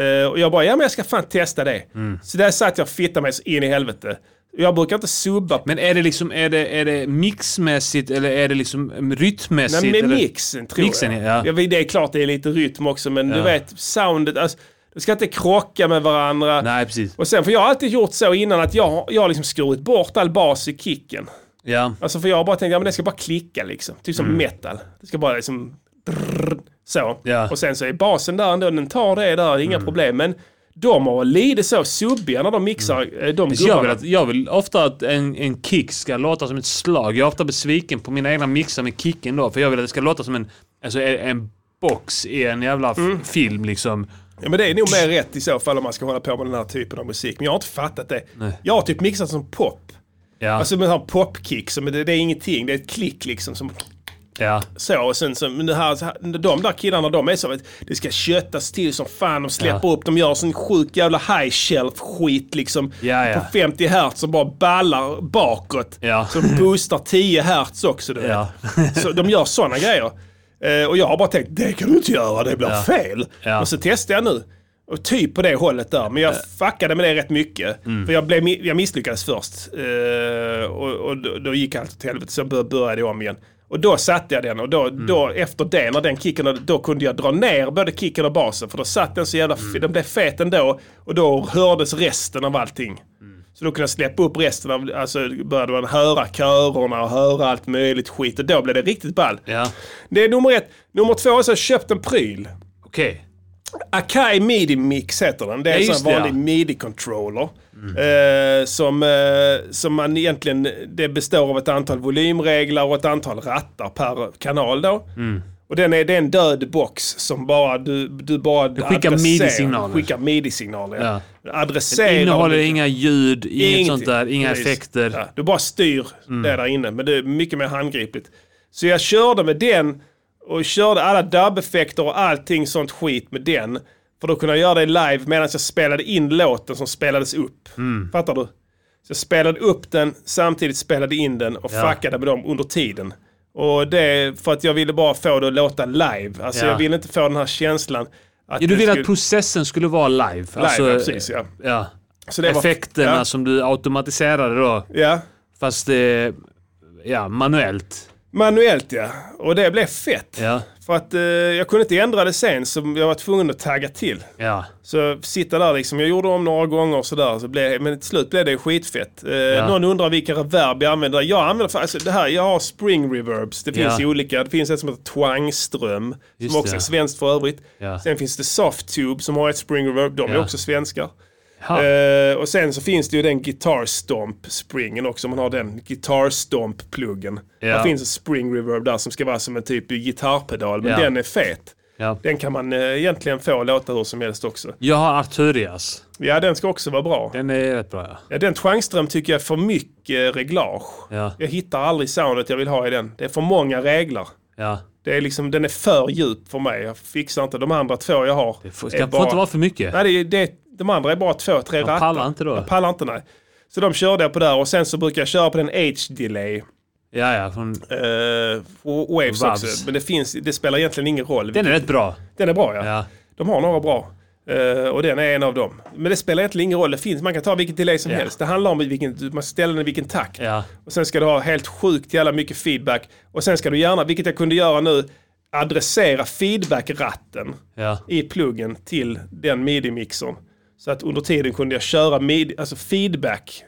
B: Eh, och jag bara, ja men jag ska fan testa det.
F: Mm.
B: Så där satt jag och fittade mig så in i helvete. Jag brukar inte subba på
F: Men är det liksom, är det, är det mixmässigt eller är det liksom mm, rytmmässigt?
B: Nej, men
F: eller?
B: mixen tror
F: mixen,
B: jag.
F: Ja.
B: Jag vet, det är klart det är lite rytm också, men du
F: Ja.
B: vet soundet. Alltså, du ska inte krocka med varandra.
F: Nej, precis.
B: Och sen, för jag har alltid gjort så innan att jag, har- jag har liksom skurit bort all bas i kicken.
F: Ja.
B: Alltså för jag har bara tänkt, ja men det ska bara klicka liksom. Typ
F: Mm.
B: som metal. Det ska bara liksom... drrrr, så.
F: Ja. Mm.
B: Och sen så är basen där ändå, den tar det där, inga problem. Men de har lidit så subbiga när de mixar
F: Mm.
B: eh, de
F: Precis, Jag vill,
B: gubbarna.
F: att, jag vill ofta att en, en kick ska låta som ett slag. Jag är ofta besviken på mina egna mixar med kicken då, för jag vill att det ska låta som en, alltså en, en box i en jävla f-
B: Mm.
F: film liksom.
B: Ja men det är nog mer rätt i så fall om man ska hålla på med den här typen av musik. Men jag har inte fattat det.
F: Nej.
B: Jag har typ mixat som pop.
F: Ja.
B: Alltså med den här popkick, som, det, det är ingenting. Det är ett klick liksom som
F: ja.
B: så. Och sen så, men det här, så här- de där killarna, de är så att det ska köttas till som fan. De släpper upp, de gör sån sjuk jävla high shelf skit liksom.
F: Ja, ja.
B: På 50 hertz och bara ballar bakåt.
F: Ja.
B: Så de boostar 10 hertz också du vet.
F: Ja.
B: Så de gör sådana grejer. Eh, och jag har bara tänkt, det kan du inte göra, det blir
F: Ja.
B: fel.
F: Ja. Eh.
B: Och så testar jag nu. Och typ på det hållet där. Men jag fuckade med det rätt mycket.
F: Mm.
B: För jag, blev, mi- jag misslyckades först. Eh, och och då, då gick allt åt helvete. Så jag bör- började jag om igen. Och då satte jag den och då,
F: Mm.
B: då efter det, när den kicken, då kunde jag dra ner både kicken och basen. För då satt den så jävla, mm. den blev fet ändå. Och då hördes resten av allting. Så då kunde jag släppa upp resten av, alltså började man höra körerna och höra allt möjligt skit. Och då blev det riktigt ball.
F: Ja.
B: Det är nummer ett. Nummer två är så har jag köpt en pryl.
F: Okej.
B: Akai Midi Mix heter den. Det är
F: Ja,
B: en
F: just
B: sån
F: det,
B: vanlig
F: ja. Mm.
B: midi-controller. Eh, som, eh, som man egentligen, det består av ett antal volymregler och ett antal rattar per kanal då.
F: Mm.
B: Och den är, det är en död box som bara du, du bara
F: skickar
B: adresserar-
F: midi-signaler.
B: Skickar midi-signaler. Ja. Adresserar
F: Den innehåller
B: liksom.
F: inga ljud, inget
B: Ingenting.
F: sånt där, inga
B: Precis.
F: effekter. Mm.
B: Ja, du bara styr det där inne, men det är mycket mer handgripligt. Så jag körde med den och körde alla dubbeffekter och allting sånt skit med den. För då kunde jag göra det live medan jag spelade in låten som spelades upp.
F: Mm.
B: Fattar du? Så jag spelade upp den, samtidigt spelade in den och
F: Ja.
B: fuckade med dem under tiden. Och det är för att jag ville bara få det att låta live. Alltså
F: Ja.
B: jag ville inte få den här känslan. Att
F: Ja, du
B: det
F: vill
B: skulle-
F: att processen skulle vara live? alltså,
B: Live, ja, precis, ja. Så det var-
F: Effekterna
B: ja.
F: som du automatiserade då.
B: Ja.
F: Fast eh, ja, manuellt.
B: Manuellt ja, och det blev fett.
F: Ja.
B: För att eh, jag kunde inte ändra det sen så jag var tvungen att tagga till.
F: Ja.
B: Så sitta där liksom, jag gjorde om några gånger och sådär, så blev, men till slut blev det skitfett. Eh,
F: Ja.
B: Någon undrar vilka reverb jag använder. Jag använder fa- alltså, det här, jag har spring reverbs. Det finns
F: Ja.
B: ju olika, det finns ett som heter twangström,
F: Just
B: som också
F: det.
B: är svenskt för övrigt.
F: Ja.
B: Sen finns det softtube som har ett spring reverb, de är
F: Ja.
B: också svenskar.
F: Ja.
B: Eh, och sen så finns det ju den guitar stomp springen också, man har den guitar stomp pluggen.
F: Ja.
B: Det finns en spring reverb där som ska vara som en typ gitarrpedal, men
F: Ja.
B: den är fet.
F: Ja.
B: Den kan man eh, egentligen få låta hur som helst också.
F: Jag har Arturias.
B: Ja, den ska också vara bra.
F: Den är rätt bra ja.
B: Ja, den Twangström tycker jag är för mycket reglage.
F: Ja.
B: Jag hittar aldrig soundet jag vill ha i den. Det är för många regler.
F: Ja.
B: Det är liksom, den är för djup för mig. Jag fixar inte de andra två jag har. Det
F: får- ska- får inte vara för mycket.
B: Nej, det, är- det, de andra är bara två, tre
F: Man
B: rattar.
F: pallar inte då.
B: Jag pallar inte, nej. Så de körde jag på där och sen så brukar jag köra på den H-delay. eh,
F: Ja, ja. Från...
B: och Waves
F: Vabs.
B: också. Men det, finns, det spelar egentligen ingen roll.
F: Den är rätt bra.
B: Den är bra ja. De har några bra. Eh, och den är en av dem. Men det spelar egentligen ingen roll. Det finns, man kan ta vilket delay som
F: Ja.
B: helst. Det handlar om vilken, man ställer den i vilken takt.
F: Ja.
B: Och sen ska du ha helt sjukt jävla mycket feedback. Och sen ska du gärna, vilket jag kunde göra nu, adressera feedback-ratten
F: Ja.
B: i pluggen till den midi-mixern. Så att under tiden kunde jag köra midi, alltså feedback.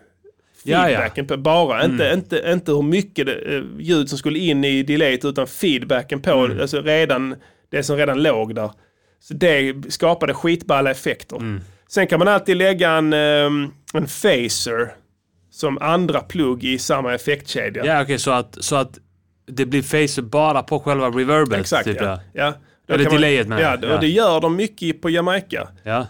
F: Ja, ja.
B: Feedbacken på bara,
F: Mm.
B: inte, inte, inte hur mycket det, eh, ljud som skulle in i delayet utan feedbacken på,
F: Mm.
B: alltså redan, det som redan låg där. Så det skapade skitballa effekter.
F: Mm.
B: Sen kan man alltid lägga en, ehm, en phaser som andra plugg i samma effektkedja.
F: Ja, okej. så, att, så att det blir facer bara på själva reverbet.
B: Exakt,
F: typ,
B: ja. ja. Då
F: Eller
B: kan man-
F: delayet menar
B: Ja,
F: jag.
B: och det gör de mycket på Jamaica.
F: Ja.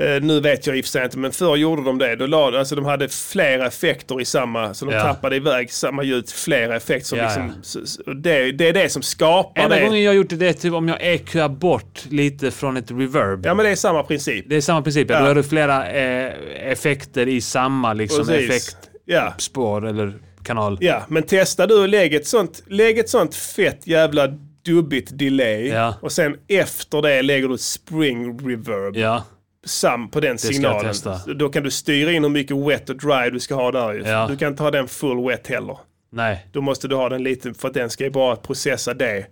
B: Eh, nu vet jag i och för sig inte, men förr gjorde de det. Då la, alltså, de hade flera effekter i samma, så de
F: Ja.
B: tappade iväg samma ljud, till flera effekter. Som
F: Ja,
B: liksom,
F: ja.
B: s- s- och det, det är det som skapar
F: Enda
B: det.
F: gången jag har gjort det är typ om jag EQar bort lite från ett reverb. Ja,
B: men det är samma princip.
F: Det är samma princip. Ja.
B: Ja.
F: Då har du flera eh, effekter i samma liksom,
B: Precis. Ja.
F: effektspår eller kanal.
B: Ja, men testa du och lägg ett sånt, lägg ett sånt fett jävla dubbigt delay
F: Ja.
B: och sen efter det lägger du spring reverb.
F: Ja.
B: Sam på den
F: ska jag
B: signalen.
F: testa.
B: Då kan du styra in hur mycket wet och dry du ska ha där. ju.
F: Ja.
B: Du kan inte ha den full wet heller.
F: Nej.
B: Då måste du ha den lite för att den ska ju bara processa det.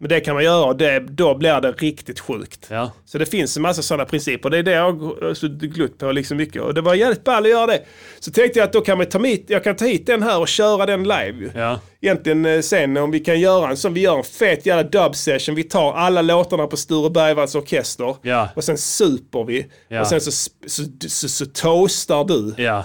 B: Men det kan man göra och det, då blir det riktigt sjukt. Så det finns en massa sådana principer. Det är det jag har suttit glutt på liksom mycket. Och det var jävligt ball att göra det. Så tänkte jag att då kan man ta hit, jag kan ta hit den här och köra den live. ju.
F: Ja.
B: Egentligen eh, sen om vi kan göra en sån, vi gör en fet jävla dub session. Vi tar alla låtarna på Sture Bergvalls orkester.
F: Ja.
B: Och sen super vi.
F: Ja.
B: Och sen så, sp- så, så, så toastar du
F: Ja.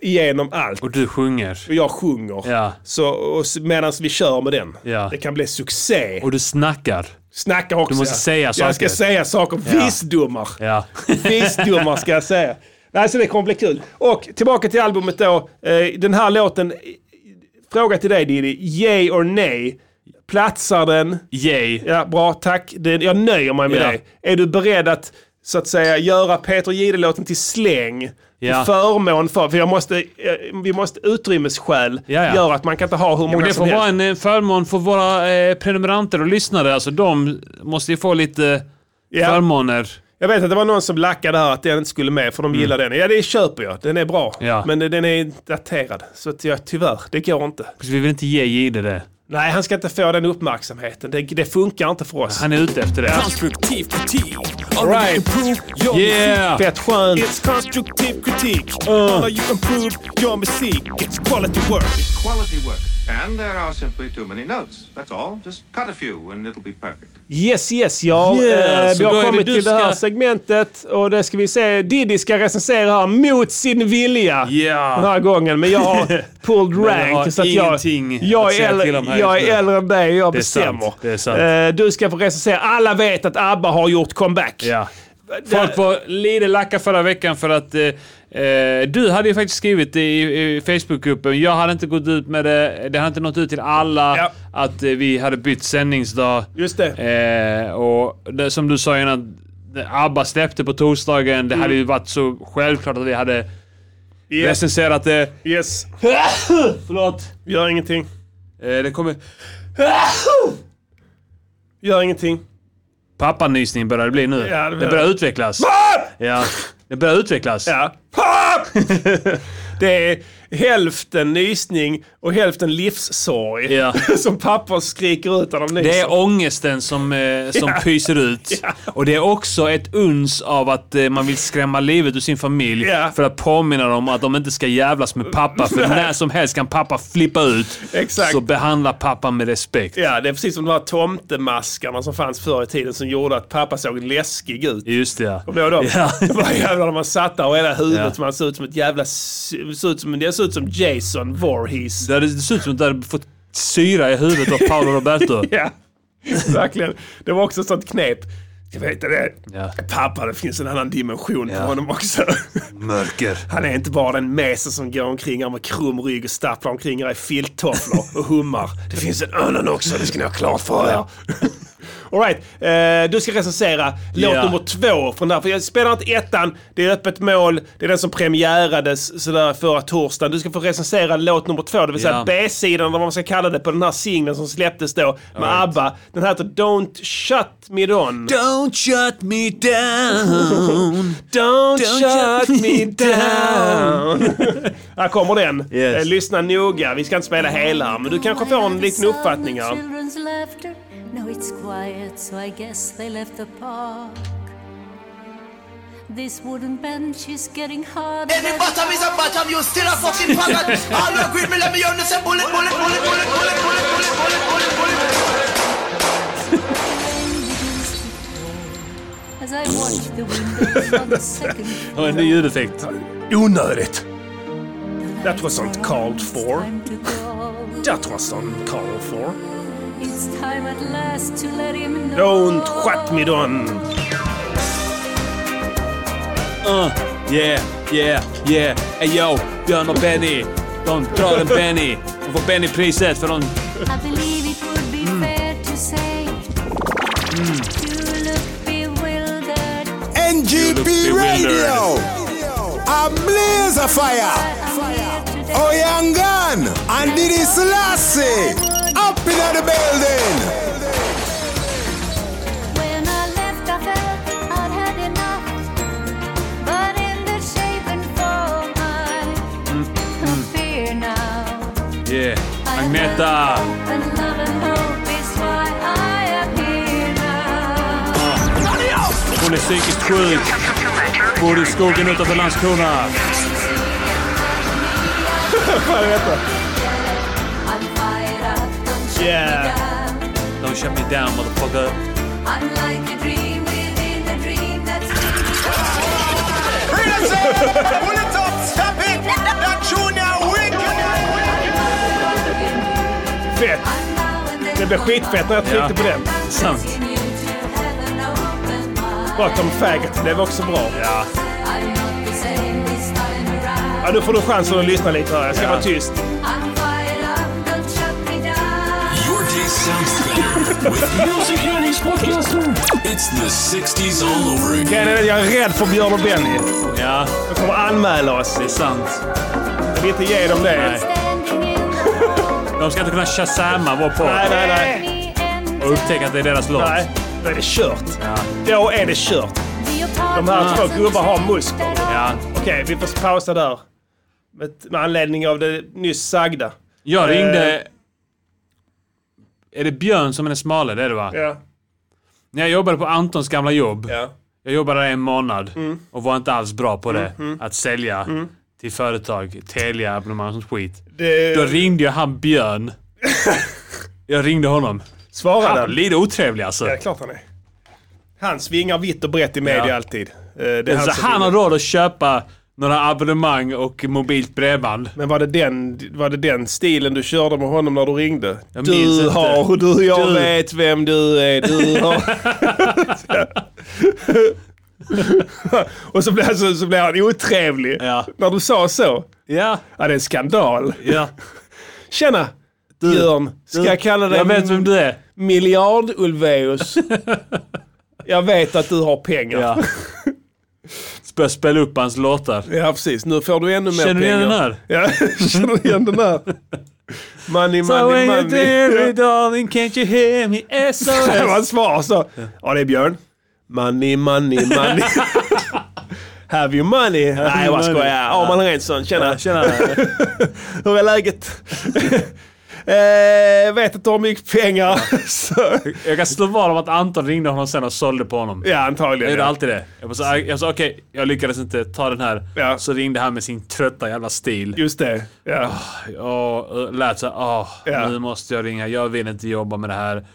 B: igenom allt.
F: Och du sjunger.
B: Och jag sjunger.
F: Ja.
B: Så, och, s- medans vi kör med den.
F: Ja.
B: Det kan bli succé.
F: Och du snackar.
B: Snackar också.
F: Du måste säga saker.
B: Jag ska säga saker.
F: Ja.
B: Visdomar.
F: Ja.
B: Visdomar ska jag säga. Nej, så det kommer bli kul. Och tillbaka till albumet då. Eh, Den här låten, eh, fråga till dig Diddy, yay or nej? Platsar den?
F: Yay.
B: Ja, bra, tack. Det- Jag nöjer mig med
F: Ja.
B: det. Är du beredd att så att säga göra Peter Jihde-låten till släng?
F: Ja.
B: Till förmån för, för jag måste, eh, vi måste utrymmesskäl
F: Ja, ja.
B: gör att man kan inte ha hur
F: Ja, men
B: många
F: det
B: som
F: får
B: helst.
F: vara en eh, förmån för våra eh, prenumeranter och lyssnare. Alltså de måste ju få lite eh,
B: Ja.
F: förmåner.
B: Jag vet att det var någon som lackade här att den inte skulle med för de gillar den. Ja, det köper jag. Den är bra.
F: Mm. Ja.
B: Men den är daterad. Så att jag, tyvärr, det går inte.
F: Så vi vill inte ge Jihde det.
B: Nej, han ska inte få den uppmärksamheten. Det, det funkar inte för oss.
F: Han är ute efter det.
L: Konstruktiv kritik.
B: All right.
F: Yeah!
B: Fett skönt.
L: It's constructive critique.
B: Uh.
L: How you improve your music. It's quality work.
P: Quality work. And there are simply too many notes. That's all. Just cut a few and it'll be perfect.
B: Yes, yes, ja.
P: Yeah,
B: eh,
P: så
B: vi
P: då är
B: har
P: det
B: kommit
P: du
B: till det här
P: ska-
B: segmentet och det ska vi se. Diddy ska recensera här mot sin vilja
F: Ja.
B: den här gången. Men jag har pulled
F: Men jag
B: rank.
F: har
B: så att jag,
F: ingenting att
B: jag, är
F: säga till om
B: äldre,
F: här
B: jag
F: just nu.
B: är äldre än dig och jag
F: Det är sant,
B: bestämmer.
F: det är sant.
B: Eh, du ska få recensera. Alla vet att ABBA har gjort comeback.
F: Ja. Folk var lite lacka förra veckan för att eh, eh, du hade ju faktiskt skrivit i, i Facebookgruppen, jag hade inte gått ut med det, det hade inte nått ut till alla att eh, vi hade bytt sändningsdag.
B: Just
F: det. Eh, och det, som du sa innan, ABBA släppte på torsdagen, det hade
B: Mm.
F: ju varit så självklart att vi hade
B: Yeah.
F: recenserat det.
B: Yes.
F: Förlåt.
B: Gör ingenting.
F: Eh, det kommer...
B: Gör ingenting.
F: Pappanysning börjar det bli nu.
B: Ja, det
F: det, Ah!
B: börjar-
F: börjar utvecklas. Ja, det börjar utvecklas.
B: Ja. Ah, Det är hälften nysning och hälften livssorg
F: Ja.
B: som pappa skriker ut när de nyser.
F: Det är ångesten som, eh, som
B: Ja.
F: pyser ut. Och det är också ett uns av att eh, man vill skrämma livet ur sin familj
B: Ja.
F: för att påminna dem att de inte ska jävlas med pappa. För
B: Nej.
F: när som helst kan pappa flippa ut.
B: Exakt.
F: Så behandla pappa med respekt.
B: Ja, det är precis som de här tomtemaskarna som fanns förr i tiden som gjorde att pappa såg läskig ut.
F: Just det. ja.
B: Kommer du ihåg dem?
F: Ja.
B: Det var jävlar när man satt där och hela
F: Ja.
B: huvudet, man såg ut som ett jävla... Såg ut som, det såg ut som Jason Voorhees.
F: Det hade- det ser ut som att du hade fått syra i huvudet av Paolo Roberto.
B: ja, verkligen. Det var också ett sånt knep. Ska veta det.
F: Ja.
B: Pappa, det finns en annan dimension på honom också.
Q: Mörker.
B: Han är inte bara den mese som går omkring här med krum rygg och stapplar omkring här i filttofflor och hummar. Det finns en annan också, det ska ni ha klart för er. Alright, eh, du ska recensera låt
F: Ja.
B: nummer två från där. För jag spelar inte ettan, det är öppet mål, det är den som premiärades sådär förra torsdagen. Du ska få recensera låt nummer två, det vill säga
F: Ja.
B: B-sidan, eller vad man ska kalla det, på den här singeln som släpptes då med ABBA. Den här heter Don't Shut Me Down.
F: Don't shut me down.
B: Don't,
F: shut me down.
B: här kommer den. Eh, Lyssna noga, vi ska inte spela hela, men du kanske får en liten uppfattning här.
R: Children's laughter. Now it's quiet, so I guess they left the park. This wooden bench is getting harder.
C: Every bottom is a bottom, you still a fucking faggot. All you agree, me let me understand. Bullet, bullet, bullet, bullet, bullet, bullet, bullet, bullet, bullet, bullet.
R: As I watch the windows on the second
F: Det var en ny ljudeffekt.
B: Onödigt. That wasn't called for. That wasn't called for.
R: It's time at last to let him know.
B: Don't shut me down.
F: Uh, yeah, yeah, yeah. Ey yo, Björn och Benny. De drar en Benny. De får Benny-priset för de...
R: I believe it would be
B: Mm.
R: fair to say you look bewildered.
E: NGP Radio. A blaze of fire. Oh, young gun. And Diddy Selassie. Up in the building.
R: When I left, I felt I'd had enough. But in the shape and form, I fear now.
F: Yeah. Agneta!
R: And love and hope is why I am here now.
F: Hon är psykiskt sjuk. Bor i skogen utanför Landskrona.
B: Vad är detta?
R: I'm fired up, don't shut me
F: Yeah.
R: down.
F: Don't shut me down motherfucker.
R: I'm like a dream within a dream that's...
C: Bullet up, stop it. That junior wicked.
B: Fett. Det blev skitfett när jag tryckte
C: Ja.
B: på den.
F: Sant.
B: Prat om faggot, det var också bra.
F: Ja.
R: I'm not the same this time around.
B: ja, nu får du chansen att lyssna lite här. Jag ska vara tyst.
R: I'm fired up, don't shut me down.
A: Your day sounds better with music and his It's the 60s all over again.
B: Grejen är att Jag är rädd för Björn och Benny.
F: Ja.
B: De kommer anmäla oss. Det
F: är sant.
B: Jag vill inte ge dem det.
F: De ska inte kunna shazama vår podd.
B: Nej, nej, nej.
F: Och upptäcka att det är deras låt.
B: Nej, då är det kört. Då är det kört. De
R: Ja.
B: här två gubbar har muskler.
F: Ja.
B: Okej, vi får pausa där. Med, med anledning av det nyss sagda.
F: Jag
B: Eh,
F: ringde... Är det Björn som är den smale? Det är det va?
B: Ja.
F: När jag jobbade på Antons gamla jobb.
B: Ja.
F: Jag jobbade där en månad
B: Mm.
F: och var inte alls bra på det.
B: Mm, mm.
F: Att sälja
B: Mm.
F: till företag, Telia, abonnemang och sånt skit.
B: Det-
F: Då ringde jag han Björn. jag ringde honom.
B: Svarade
F: han? Lite otrevlig alltså.
B: Ja, klart han är. Han svingar vitt och brett i media
F: Ja.
B: alltid. Eh, Det
F: Det
B: är han
F: så
B: som
F: han har råd att köpa några abonnemang och mobilt bredband.
B: Men var det, den, var det den stilen du körde med honom när du ringde?
F: Jag minns
B: du
F: inte.
B: har, du, jag
F: Du.
B: vet vem du är, du har... och så blev, så, så blev han otrevlig när du sa så.
F: Ja.
B: ja, det är en skandal.
F: Ja.
B: Tjena! Björn, ska
F: du-
B: jag kalla dig
F: jag vet vem du är.
B: miljard-Ulvaeus? jag vet att du har pengar.
F: Ja. Börjar spela upp hans låtar.
B: Ja, precis. Nu får du ännu mer
F: Känner du
B: pengar.
F: igen den här?
B: Ja, känner du igen den här? Money, money,
F: So when
B: money.
F: you're there, darling, can't you hear me? SOS.
B: Det var ett svar så. Ja, det är Björn. Money, money, money. Have your money. Nej, jag bara skojar. Arman Rensson, tjena.
F: tjena.
B: Hur är läget? Eh, vet inte om mycket pengar. så.
F: Jag kan slå vad om att Anton ringde honom sen och sålde på honom.
B: Ja, antagligen.
F: Jag gjorde
B: ja.
F: alltid det. Jag bara så- jag sa okej, jag lyckades inte ta den här. Så ringde han med sin trötta jävla stil.
B: Just det. Ja.
F: och lät såhär, åh,
B: Ja.
F: nu måste jag ringa. Jag vill inte jobba med det här.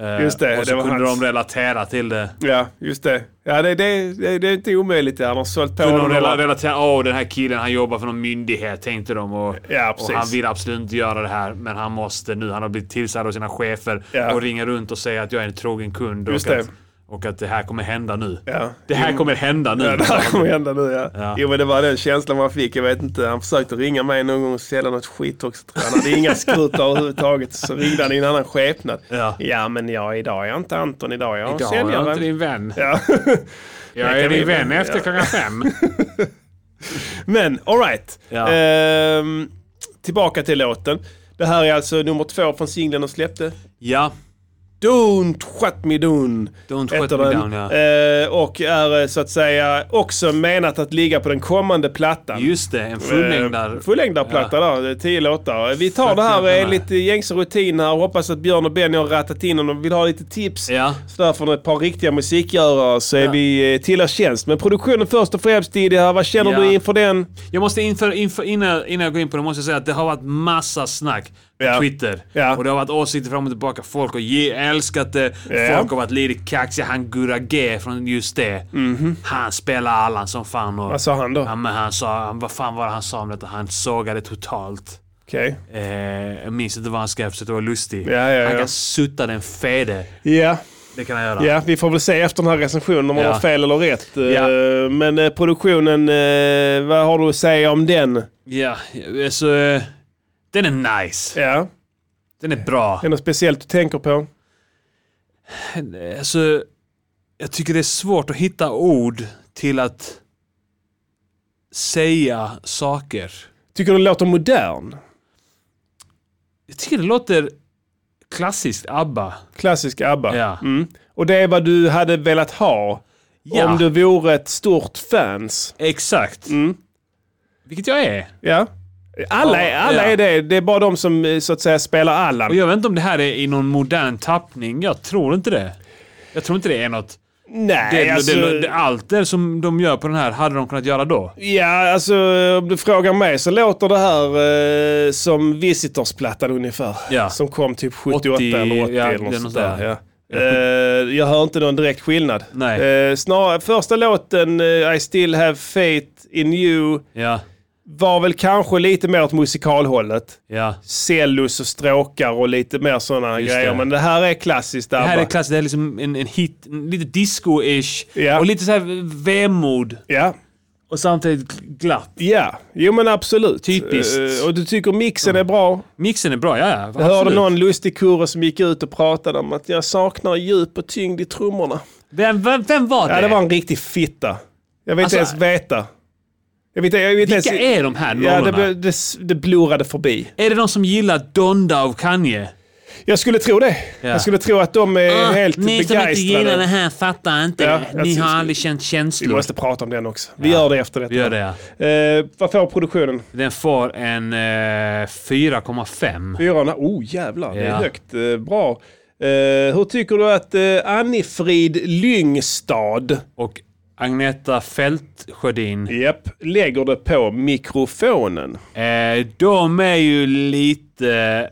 F: Eh,
B: Just det,
F: Och så
B: det var
F: kunde
B: hans-
F: de relatera till det.
B: Ja, just det. Ja, det, det, det, det är inte omöjligt. Han har sålt på
F: Kunde de
B: honom.
F: rela- relatera, åh den här killen han jobbar för någon myndighet tänkte de. Och,
B: Ja,
F: och
B: precis.
F: han vill absolut inte göra det här, men han måste nu. Han har blivit tillsagd av sina chefer
B: Ja.
F: och ringer runt och säger att jag är en trogen kund.
B: Just
F: och
B: det.
F: Att, och att det här kommer hända nu.
B: Ja.
F: Det här
B: Jo.
F: kommer hända nu.
B: Ja, det här kommer hända nu ja.
F: Ja.
B: Jo men det var den känslan man fick. Jag vet inte, han försökte ringa mig någon gång och sälja något skit också. tror jag. Han hade inga skrut överhuvudtaget. Så ringde han i en annan skepnad. Ja, men jag, idag är jag inte Anton. Idag är jag
F: Idag är jag
B: säljare.
F: inte din vän.
B: Ja.
F: Jag
B: Det
F: är
B: kan
F: din
B: vi-
F: vän efter
B: ja.
F: klockan fem.
B: Men alright.
F: Ja.
B: Ehm, tillbaka till låten. Det här är alltså nummer två från singeln de släppte.
F: Ja.
B: Don't shut me down.
F: Don't
B: heter
F: shut me
B: den.
F: down, ja.
B: Eh, och är eh, så att säga också menat att ligga på den kommande plattan.
F: Just det, en fullängdare.
B: Eh, Fullängdarplatta där, det är tio låtar. Vi tar det här eh, enligt gängse rutin här och hoppas att Björn och Benny har rattat in om de vill ha lite tips.
F: Ja.
B: Så där från ett par riktiga musikgörare så är vi eh, till er tjänst. Men produktionen först och främst Didier, vad känner
F: Ja.
B: du inför den?
F: Jag måste inför, inför, innan, innan jag går in på det måste jag säga att det har varit massa snack på Twitter. Och det har varit åsikter fram och tillbaka. Folk har ge- älskat det.
B: Ja.
F: Folk har varit lite kaxiga. Han Gurra G från just det. Han spelar Allan som fan. Och,
B: Vad sa han då?
F: Ja, men han sa, han, vad fan var det han sa om detta? Han sågade totalt.
B: Okej.
F: Eh, jag minns inte vad han skrev så det var lustig.
B: Ja, ja,
F: han
B: ja.
F: kan sutta den fede.
B: Ja.
F: Det kan han göra.
B: Ja, vi får väl se efter den här recensionen om man
F: Ja.
B: har fel eller rätt. Eh, Men eh, produktionen, eh, vad har du att säga om den?
F: Ja, alltså, eh, den är nice.
B: Ja.
F: Den är bra.
B: Är det något speciellt du tänker på?
F: Alltså, jag tycker det är svårt att hitta ord till att säga saker.
B: Tycker du den låter modern?
F: Jag tycker det låter klassiskt ABBA.
B: Klassisk ABBA.
F: Ja.
B: Mm. Och det är vad du hade velat ha
F: Ja.
B: om du vore ett stort fans.
F: Exakt.
B: Mm.
F: Vilket jag är.
B: Ja. Alla, är, alla
F: Ja.
B: är det. Det är bara de som eh, så att säga spelar
F: Och
B: Allan.
F: jag vet inte om det här är i någon modern tappning. Jag tror inte det. Jag tror inte det är något.
B: Nej,
F: det,
B: alltså-
F: det, det, allt det som de gör på den här hade de kunnat göra då.
B: Ja, alltså om du frågar mig så låter det här eh, som Visitors-plattan ungefär.
F: Ja.
B: Som kom typ 78 eller 80
F: ja,
B: eller
F: det
B: något
F: är något
B: sånt där.
F: där.
B: Ja. Eh, jag hör inte någon direkt skillnad.
F: Nej.
B: Eh, snarare, första låten, eh, I still have faith in you,
F: Ja,
B: var väl kanske lite mer åt musikalhållet.
F: ja.
B: Cellus och stråkar och lite mer sådana
F: Just
B: grejer.
F: det.
B: Men det här är klassiskt ABBA.
F: Det här är klassiskt. Det är liksom en, en hit, en lite disco-ish.
B: Ja.
F: Och lite så här vemod.
B: Ja.
F: Och samtidigt glatt.
B: Ja, jo men absolut.
F: Typiskt.
B: Eh, och du tycker mixen är bra?
F: Mixen är bra, ja ja.
B: Jag hörde
F: absolut.
B: någon lustig kurre som gick ut och pratade om att jag saknar djup och tyngd i trummorna.
F: Vem, vem, vem var det?
B: Ja, det var en riktig fitta. Jag vill inte ens
F: Alltså-
B: veta. Jag vet, jag vet
F: Vilka
B: ens,
F: är de
B: Ja,
F: här nollorna?
B: det, blev- det, det blurrade förbi.
F: Är det de som gillar Donda av Kanye?
B: Jag skulle tro det.
F: Ja.
B: Jag skulle tro att de är
F: Ah,
B: helt
F: ni som inte gillar det
B: begeistrade.
F: här fattar inte.
B: Ja, jag
F: ni
B: tror-
F: har aldrig känt
B: Vi
F: känslor.
B: måste prata om den också. Vi gör det efter detta.
F: Vi gör det ja.
B: Eh, vad får produktionen?
F: Den får en eh, 4,5.
B: Fyrorna? Oh jävlar, det är
F: Ja.
B: högt. Eh, bra. Eh, hur tycker du att eh, Annifrid Lyngstad
F: Och Agneta Fältsjödin.
B: Japp, lägger det på mikrofonen?
F: Eh, de är ju lite...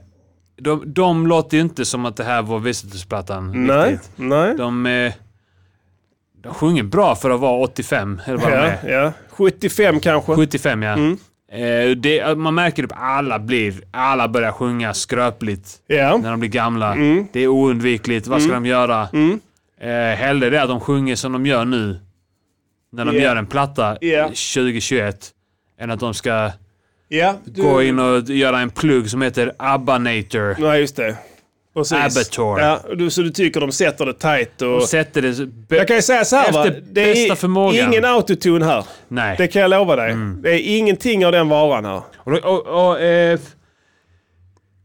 F: De, de låter ju inte som att det här var Visitors-plattan.
B: Nej,
F: riktigt.
B: nej.
F: De, eh, de sjunger bra för att vara 85, eller vad de
B: Ja, Mm.
F: är.
B: ja. 75 kanske?
F: 75 ja. Eh, det, man märker att alla blir, alla börjar sjunga skröpligt
B: Ja.
F: när de blir gamla. Det är oundvikligt. Vad ska
B: Mm.
F: de göra?
B: Mm.
F: Eh, hellre det att de sjunger som de gör nu. När de
B: Ja.
F: gör en platta
B: Ja.
F: 2021. Än att de ska
B: Ja, du-
F: gå in och göra en plugg som heter Abbanator.
B: Nej, just det. Precis.
F: Abator.
B: Ja, och du, så du tycker de sätter det tight och...
F: De sätter det... be-
B: jag kan ju säga så här va.
F: Efter
B: Det är
F: bästa förmågan. Mm.
B: ingen autotune här.
F: Nej.
B: Det kan jag lova dig. Det är ingenting av den varan här.
F: Och, och, och, eh,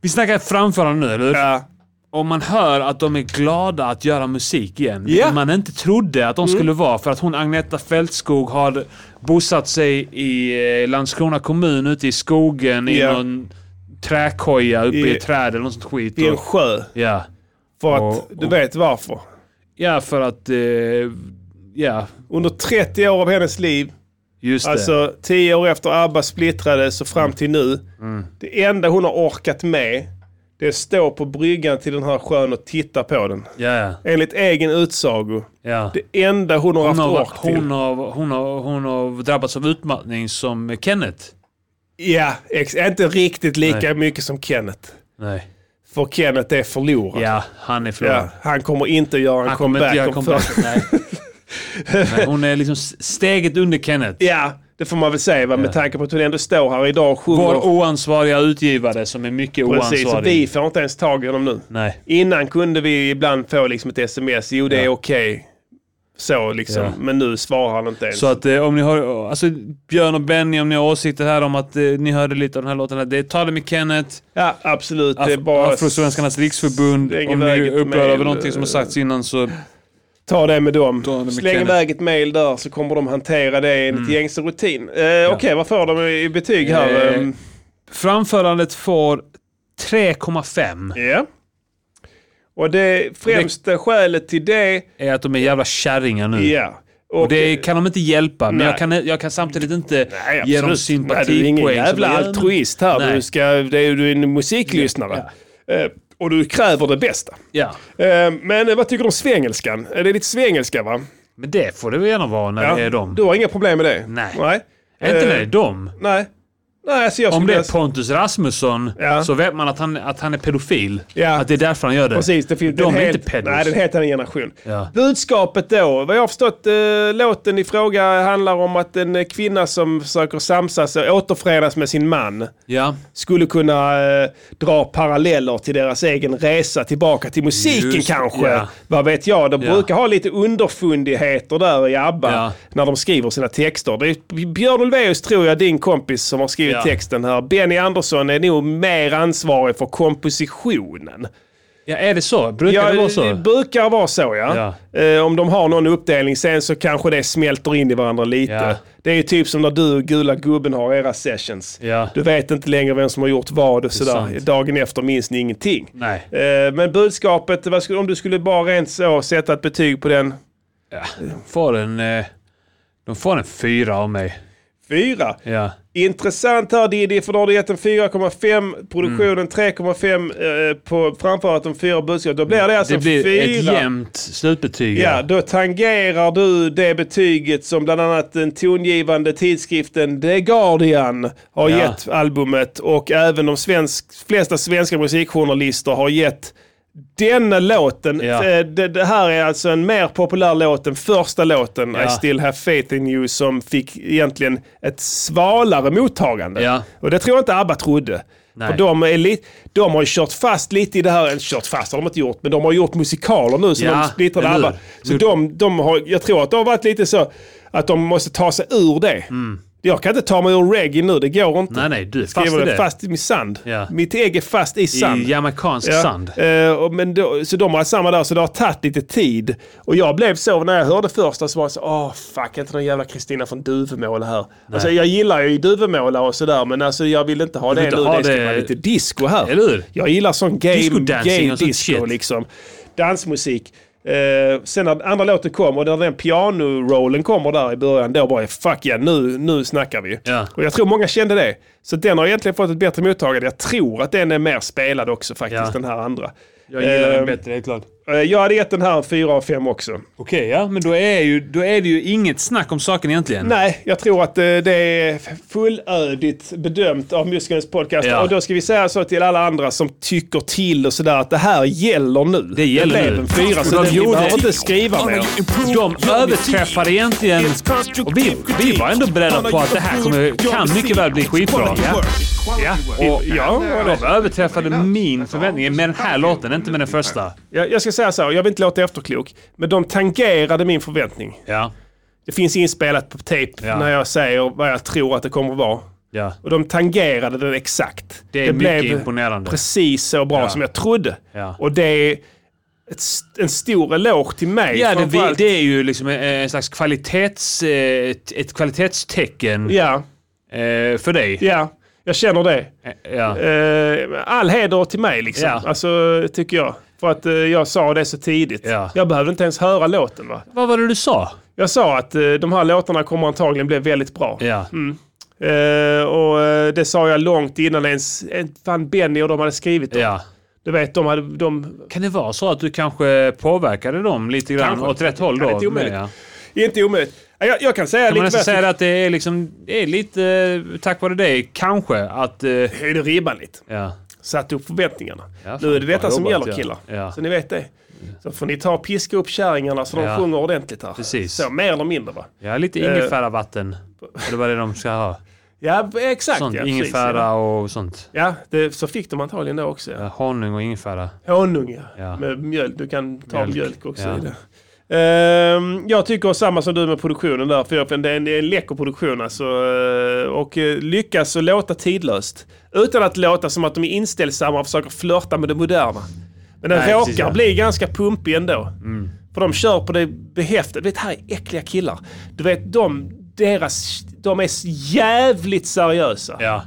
F: vi snackar framförande nu, eller hur?
B: Ja.
F: Och man hör att de är glada att göra musik igen.
B: Ja.
F: vilket Man inte trodde att de
B: Mm.
F: skulle vara. För att hon Agneta Fältskog har bosatt sig i eh, Landskrona kommun ute i skogen
B: Ja.
F: i någon träkoja uppe i,
B: I-
F: ett träd eller något sånt skit.
B: I en
F: Och-
B: sjö.
F: Ja.
B: För att
F: Och-
B: du vet varför.
F: Ja, för att... Eh, ja.
B: Under 30 år av hennes liv,
F: Just det.
B: alltså 10 år efter ABBA splittrades och fram till nu.
F: Mm.
B: Det enda hon har orkat med, det är att stå på bryggan till den här sjön och titta på den.
F: Ja, ja.
B: Enligt egen utsago.
F: Ja.
B: Det enda hon har
F: Hon
B: haft
F: har,
B: ork till.
F: hon, har, hon, har, hon har drabbats av utmattning som Kenneth.
B: Ja, ex- inte riktigt lika
F: Nej.
B: mycket som Kenneth.
F: Nej.
B: För Kenneth är förlorad.
F: Ja, han är förlorad.
B: han kommer inte göra en
F: Han kommer
B: comeback.
F: inte göra
B: om
F: comeback,
B: för-
F: nej. Nej, hon är liksom s- steget under Kenneth.
B: Ja, det får man väl säga va? med
F: Ja.
B: tanke på att hon ändå står här idag och sjunger.
F: Vår oansvariga utgivare som är mycket
B: Precis, och
F: oansvarig.
B: vi får inte ens tag i honom nu.
F: Nej.
B: Innan kunde vi ibland få liksom ett sms. Jo, det är okej. Så liksom.
F: Ja.
B: Men nu svarar han inte ens.
F: Så att eh, om ni har, alltså Björn och Benny om ni har åsikter här om att eh, ni hörde lite av den här låten, här, det är Tala med Kenneth.
B: Ja, absolut.
F: Af-
B: det är bara...
F: Afrosvenskarnas riksförbund.
B: Släng
F: Om ni
B: iväg ett
F: är upprörda
B: mail,
F: över någonting som har sagts innan så...
B: Ta det med dem.
F: med
B: Släng
F: Kenneth.
B: iväg ett mail där så kommer de hantera det enligt
F: Mm.
B: gängse rutin. Eh, Okej, vad får de i betyg här?
F: Eh,
B: Ehm,
F: Framförandet får 3,5.
B: Ja. Och det främsta skälet till det...
F: Är att de är jävla kärringar nu.
B: Ja.
F: Och, det kan de inte hjälpa, men
B: eh, Nej.
F: jag kan, jag kan samtidigt inte ge dem
B: absolut. Nej,
F: sympatipoäng.
B: Du är ingen
F: som
B: jävla
F: bara, ja,
B: altruist här.
F: Nej.
B: Du, ska, det är, du är en musiklyssnare. Eh, och du kräver det bästa.
F: Ja.
B: Eh, men eh, vad tycker du om svengelskan? Eh, Det är lite svengelska va?
F: Men det får det väl gärna vara när
B: Ja.
F: det är dem.
B: Du har inga problem med det?
F: Nej.
B: Nej.
F: Är inte
B: Eh,
F: det dem?
B: Nej. Nej, alltså jag
F: Om
B: skulle
F: det är
B: vilja-
F: Pontus Rasmusson
B: Ja.
F: så vet man att han, att han är pedofil. Att det är därför han gör det.
B: Precis, det finns
F: De
B: det
F: är
B: helt-
F: inte pedos.
B: Nej, det är en helt annan generation.
F: Ja.
B: Budskapet då, vad jag har förstått eh, låten i fråga handlar om att en eh, kvinna som försöker samsas och återförenas med sin man
F: Ja.
B: skulle kunna eh, dra paralleller till deras egen resa tillbaka till musiken
F: Just det,
B: kanske.
F: ja.
B: Vad vet jag, de
F: Ja.
B: brukar ha lite underfundigheter där i ABBA när de skriver sina texter. Det är Björn Ulvaeus tror jag, din kompis som har skrivit
F: Ja.
B: texten här. Benny Andersson är nog mer ansvarig för kompositionen.
F: ja, är det så? Brukar
B: Ja,
F: det vara
B: Det
F: så?
B: brukar vara så ja. Eh, om de har någon uppdelning sen så kanske det smälter in i varandra lite.
F: Ja.
B: Det är ju typ som när du och Gula Gubben har era sessions.
F: Ja.
B: Du vet inte längre vem som har gjort vad och
F: Det är
B: sådär.
F: sant.
B: Dagen efter minns ni ingenting.
F: Nej.
B: Eh, men budskapet, vad skulle, om du skulle bara rent så sätta ett betyg på den.
F: De får en... eh, De får en fyra av mig.
B: Fyra.
F: Ja.
B: Intressant här Diddy, för då har du gett en 4,5, produktionen
F: Mm.
B: 3,5 eh, på framförandet de fyra budskapet. Då blir det alltså
F: Mm. det blir
B: fyra.
F: ett jämnt slutbetyg.
B: Ja, då tangerar du det betyget som bland annat den tongivande tidskriften The Guardian har
F: Ja.
B: gett albumet och även de svensk, flesta svenska musikjournalister har gett denna låten.
F: Ja.
B: Eh, Det, det här är alltså en mer populär låt än första låten,
F: Ja.
B: I still have faith in you, som fick egentligen ett svalare mottagande.
F: Ja.
B: Och det tror jag inte ABBA trodde.
F: Nej.
B: För de, är li- de har ju kört fast lite i det här, eller kört fast har de inte gjort, men de har gjort musikaler nu som
F: Ja,
B: de splittrade
F: eller hur?
B: ABBA. Så de, de har, jag tror att det har varit lite så att de måste ta sig ur det. Jag kan inte ta mig ur reggae nu, det går inte.
F: Mm. Nej, nej, du är
B: Skriver
F: fast i
B: det
F: det.
B: fast i sand.
F: Ja.
B: Mitt ägg är fast i sand.
F: jamaicansk sand.
B: Eh, och men då, så de har samma där, så det har tagit lite tid. Och jag blev så när jag hörde första så var jag så åh fuck, inte någon jävla Kristina från Duvemåla här. Alltså jag gillar ju Duvemåla och sådär, men alltså jag vill inte ha
F: Du vill
B: det
F: inte
B: nu.
F: ha
B: det ska
F: det-
B: vara lite disco här.
F: Eller hur?
B: Jag gillar sån gay,
F: Disco dancing
B: gay
F: och sånt
B: disco
F: shit.
B: liksom. Dansmusik. Eh, sen när andra låten kom och när den pianorollen kommer där i början, då bara fuck yeah, nu, nu snackar vi. Och jag tror många kände det. Så den har egentligen fått ett bättre mottagande. Jag tror att den är mer spelad också faktiskt,
F: Ja.
B: den här andra.
F: Jag gillar den
B: Eh,
F: bättre, Oh. helt klart.
B: eh, Jag hade gett den här en 4 av 5 också.
F: Okej, ja. Men då är, ju, då är det ju inget snack om saken egentligen.
B: Nej, jag tror att eh, det är fullödigt bedömt av Musikerns podcast.
F: Ja.
B: Och då ska vi säga så till alla andra som tycker till och sådär att det här gäller nu. Det
F: gäller
B: blev
F: nu.
B: en fyra, så
F: De
B: den, vi
F: gjorde-
B: behöver inte skriva mer.
F: De överträffar egentligen... Och vi, vi var ändå beredda på att det här kommer, kan mycket väl bli skitbra.
B: Ja.
F: Ja. Och de överträffade min förväntning med den här låten, inte med den första.
B: Jag, jag ska säga så här, jag vill inte låta efterklok, men de tangerade min förväntning.
F: Ja.
B: Det finns inspelat på tape
F: Ja.
B: när jag säger vad jag tror att det kommer att vara.
F: Ja.
B: Och de tangerade den exakt.
F: Det är mycket imponerande.
B: precis så bra
F: Ja.
B: som jag trodde.
F: Ja.
B: Och det är ett, st- en stor eloge till mig.
F: Ja, det, vi-
B: framförallt.
F: det är ju liksom en, en slags kvalitets, eh, ett, ett kvalitetstecken
B: Ja.
F: eh, för dig.
B: Ja, jag känner det.
F: Ja.
B: Eh, All heder till mig liksom,
F: Ja.
B: alltså, tycker jag. För att eh, jag sa det så tidigt. Jag behövde inte ens höra låten. Va?
F: Vad var det du sa?
B: Jag sa att eh, de här låtarna kommer antagligen bli väldigt bra.
F: Ja.
B: Mm. Eh, och eh, det sa jag långt innan ens eh, fan Benny och de hade skrivit dem.
F: Ja.
B: Du vet, de hade... De...
F: Kan det vara så att du kanske påverkade dem lite grann
B: Kanske.
F: åt rätt håll då?
B: Ja, det är omöjligt.
F: ja.
B: Inte omöjligt. Ja, Jag, jag kan säga
F: Kan man
B: lite
F: nästan
B: vad jag
F: säga att det är, liksom, det är lite eh, tack vare dig, kanske, att... eh,
B: Höjde ribban lite.
F: Ja.
B: Satt upp förväntningarna.
F: Ja,
B: Nu är det
F: fan, bra
B: detta som
F: jobbat,
B: gäller
F: ja.
B: killar.
F: Ja.
B: Så ni vet det. Så får ni ta och piska upp kärringarna så de
F: Ja.
B: sjunger ordentligt här.
F: Precis.
B: Så, mer eller mindre va?
F: Ja, lite
B: Eh,
F: ingefäravatten. Eller vad det är de ska ha.
B: Ja, exakt.
F: sånt,
B: ja, precis,
F: ingefära
B: ja.
F: och sånt.
B: Ja, det, så fick de antagligen det också. Ja.
F: Ja, honung och ingefära.
B: Honung ja.
F: Ja.
B: Med mjölk. Du kan ta mjölk,
F: Mjölk,
B: också
F: ja.
B: i det. Ehm, jag tycker samma som du med produktionen där. För jag- det är en, det är en läcker produktion alltså. eh, Och eh, lyckas att låta tidlöst. Utan att låta som att de är inställsamma och försöker flörta med det moderna. Men den
F: Nej,
B: råkar
F: precis, ja.
B: bli ganska pumpig ändå.
F: Mm.
B: För de kör på det behäftet. Du vet, här är äckliga killar. Du vet, de, deras, de är jävligt seriösa.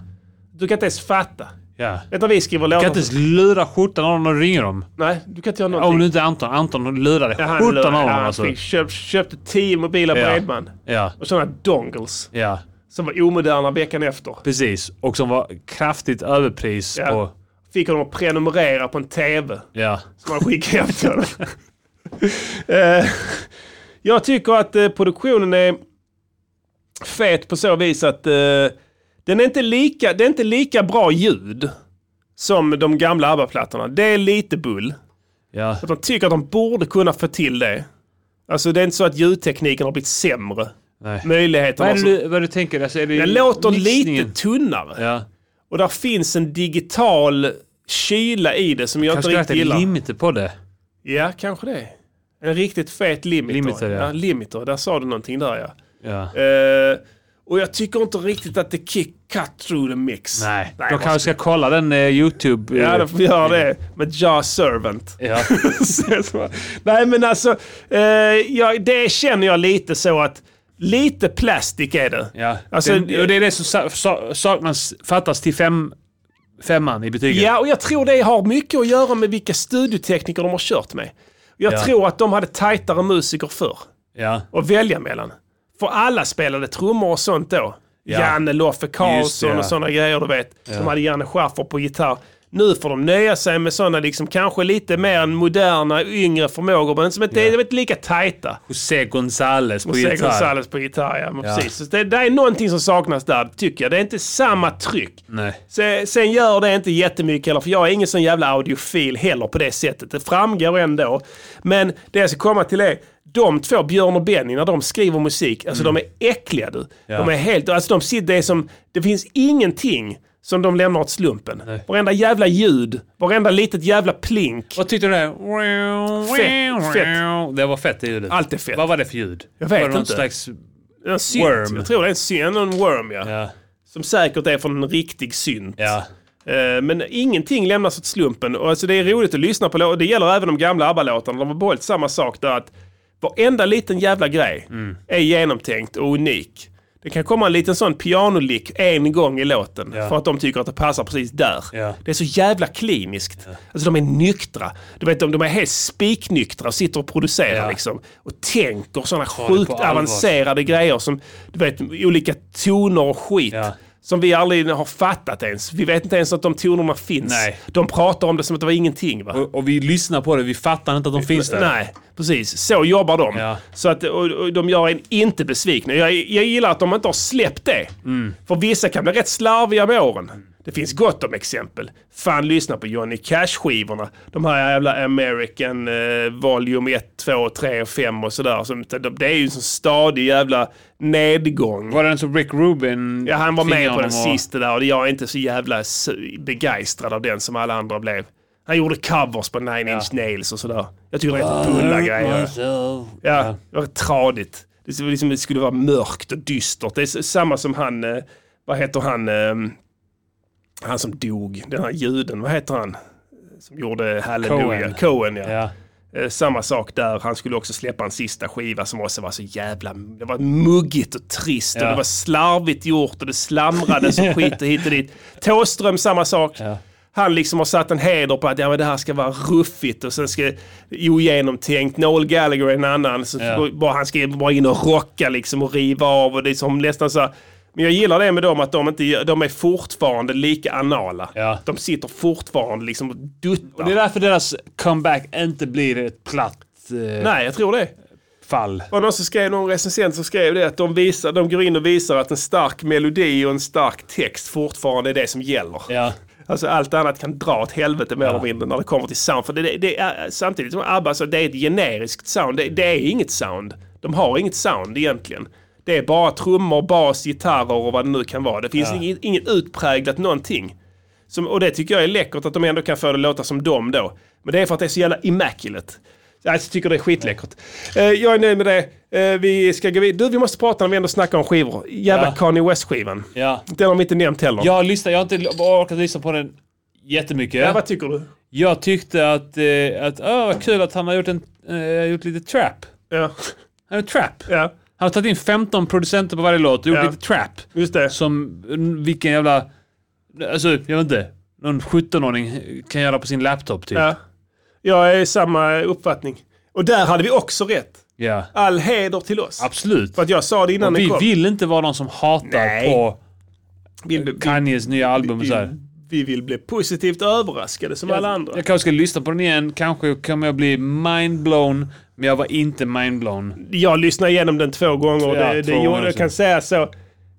B: Du kan inte ens fatta.
F: Ja.
B: Vet du, när vi skriver
F: Du
B: låtar...
F: kan inte ens lura skjortan av någon och ringer dem.
B: Nej, du kan inte göra någonting.
F: Om du inte är Anton. Anton lurade
B: Ja, han
F: skjortan
B: lurar-
F: av
B: ja,
F: honom
B: han
F: alltså.
B: fick- köpt, köpte tio mobila
F: Ja.
B: bredband.
F: Ja,
B: Och sådana dongles.
F: ja.
B: Som var omoderna veckan efter.
F: Precis. Och som var kraftigt överpris
B: Ja.
F: på...
B: Fick honom att prenumerera på en TV.
F: Ja.
B: Som han skickade hem till honom. Eh, Jag tycker att eh, produktionen är fet på så vis att eh, den är inte lika, det är inte lika bra ljud som de gamla ABBA-plattorna. Det är lite bull.
F: Ja.
B: Att de tycker att de borde kunna få till det. Alltså det är inte så att ljudtekniken har blivit sämre.
F: Nej.
B: Möjligheten
F: Vad är
B: har
F: det
B: så-
F: du, vad du tänker? Alltså, är det
B: Den låter
F: mixningen?
B: lite tunnare.
F: Ja.
B: Och där finns en digital kyla i det som jag inte
F: Kanske skulle
B: riktigt
F: jag
B: gillar.
F: ha limiter på det.
B: Ja, kanske det. En riktigt fet limiter.
F: Limiter, ja.
B: limiter. Där sa du någonting där ja.
F: Ja.
B: Eh, och jag tycker inte riktigt att det kick cut through the mix.
F: Nej,
B: Nej
F: de
B: vad
F: kanske ska kolla den eh, YouTube... eh,
B: Ja, då får vi göra det. Med Ja Servant.
F: Ja.
B: Så- så- Nej, men alltså. Eh, ja, det känner jag lite så att lite plastik är det.
F: Ja.
B: Alltså,
F: det, och det är det som sa- sa- saknas, fattas till fem, femman i betyget.
B: Ja, och jag tror det har mycket att göra med vilka studiotekniker de har kört med. Jag
F: Ja.
B: tror att de hade tajtare musiker förr
F: Ja.
B: att välja mellan. För alla spelade trummor och sånt då.
F: Ja.
B: Janne Loffe
F: Just det,
B: Karlsson
F: ja.
B: och sådana grejer, du vet.
F: Ja.
B: De hade Janne Schaffer på gitarr. Nu får de nöja sig med sådana liksom kanske lite mer moderna, yngre förmågor, men som inte, de är inte lika tajta.
F: José González på
B: José
F: gitarr.
B: Gonzales på gitarr, ja, men
F: Ja.
B: precis. Så det, det är någonting som saknas där, tycker jag. Det är inte samma tryck.
F: Nej.
B: Se- Sen gör det inte jättemycket heller, för jag är ingen sån jävla audiofil heller på det sättet. Det framgår ändå. Men det jag ska komma till är, de två, Björn och Benny, när de skriver musik, alltså de är äckliga du.
F: Mm. Ja.
B: De är helt, alltså de sitter, det är som, det finns ingenting som de lämnar åt slumpen. Varenda jävla ljud, varenda litet jävla plink.
F: Vad tyckte du det?
B: Fett, fett.
F: Det var fett det ljudet.
B: Allt är fett.
F: Vad var det för ljud?
B: Jag vet
F: var det någon
B: inte.
F: slags...
B: En synt.
F: Worm.
B: Jag tror det är en synt, en worm ja.
F: Ja.
B: Som säkert är från en riktig synt.
F: Ja.
B: Eh, Men ingenting lämnas åt slumpen. Och alltså det är roligt att lyssna på lå- och Det gäller även de gamla ABBA-låtarna. De har behållit samma sak där. Att varenda liten jävla grej
F: Mm.
B: är genomtänkt och unik. Det kan komma en liten sån pianolick en gång i låten
F: Ja.
B: för att de tycker att det passar precis där.
F: Ja.
B: Det är så jävla kliniskt. Alltså de är nyktra. Du vet, de, de är helt spiknyktra och sitter och producerar liksom. Och tänker sådana
F: det på
B: sjukt
F: allvar.
B: avancerade grejer som, du vet, olika toner och skit. Som vi aldrig har fattat ens. Vi vet inte ens att de tonerna finns.
F: Nej.
B: De pratar om det som att det var ingenting. Va?
F: Och, och vi lyssnar på det, vi fattar inte att de finns där.
B: Nej, precis. Så jobbar de. Så att, och, och de gör en inte besviken. Jag, jag gillar att de inte har släppt det.
F: Mm.
B: För vissa kan bli rätt slarviga med åren. Det finns gott om exempel. Fan, lyssna på Johnny Cash-skivorna. De här jävla American eh, Volume 1, 2, 3 och 5 och sådär. Som, de- det är ju en sån stadig jävla nedgång.
F: Var det den som Rick Rubin...
B: Ja, han var med
F: tvingade
B: på den
F: honom att-
B: sista där och jag är inte så jävla su- begeistrad av den som alla andra blev. Han gjorde covers på Nine Inch Nails och sådär. Jag tycker det är rätt bulla grejer. Ja, det var tradigt. Det skulle- liksom, det skulle vara mörkt och dystert. Det är s- samma som han, eh, vad heter han, ehm, han som dog, den här juden, vad heter han? Som gjorde Halleluja, Cohen, ja. Eh, Samma sak där, han skulle också släppa en sista skiva som också var så jävla, det var muggigt och trist och
F: Ja.
B: det var slarvigt gjort och det slamrade så skit och hit och dit. Thåström samma sak. Han liksom har satt en heder på att ja, men det här ska vara ruffigt och sen ska ogenomtänkt. Noel Gallagher är en annan. Så
F: Ja.
B: bara, han ska bara in och rocka liksom och riva av och det är som nästan så här, men jag gillar det med dem att de, inte, gör- de är fortfarande lika anala. De sitter fortfarande liksom och duttar.
F: Och det är därför deras comeback inte blir ett platt... eh,
B: Nej, jag tror det.
F: Fall.
B: Var det någon som skrev, någon recensent som skrev det att de, visar, de går in och visar att en stark melodi och en stark text fortfarande är det som gäller. Alltså allt annat kan dra åt helvete mer eller mindre när det kommer till sound. För det, det, det är, samtidigt som ABBA så det är ett generiskt sound. Det, det är inget sound. De har inget sound egentligen. Det är bara trummor, bas, gitarrer och vad det nu kan vara. Det finns
F: Ja.
B: inget, inget utpräglat någonting. Som, och det tycker jag är läckert att de ändå kan få det att låta som dem då. Men det är för att det är så jävla immaculate. Jag tycker det är skitläckert. Eh, jag är nöjd med det. Eh, vi ska gå vidare. Du, vi måste prata när vi ändå snackar om skivor. Jävla
F: Ja.
B: Kanye West-skivan.
F: Ja.
B: Den har vi inte nämnt heller.
F: Jag, lyssnar, jag har inte orkat lyssna på den jättemycket.
B: Ja, vad tycker du?
F: Jag tyckte att, eh, att åh vad kul att han har gjort, en, eh, gjort lite trap.
B: Ja.
F: Han är trap.
B: Ja.
F: Han har tagit in 15 producenter på varje låt och gjort
B: Ja.
F: lite trap.
B: Just det.
F: Som mm, vilken jävla... Alltså, jag vet inte. Någon 17-åring kan göra på sin laptop typ.
B: Ja. Jag är samma uppfattning. Och där hade vi också rätt.
F: Ja.
B: All heder till oss.
F: Absolut.
B: För att jag sa det innan
F: Och
B: den
F: vi
B: kom.
F: vill inte vara någon som hatar
B: Nej.
F: på
B: vi,
F: Kanyes nya album. och
B: vi,
F: så här.
B: vi vill bli positivt överraskade som alla andra.
F: Jag kanske ska lyssna på den igen. Kanske kommer jag bli mindblown. Men jag var inte mindblown.
B: Jag lyssnade igenom den två gånger och
F: Ja,
B: det,
F: två
B: det
F: gånger
B: gjorde, jag
F: också.
B: kan säga så.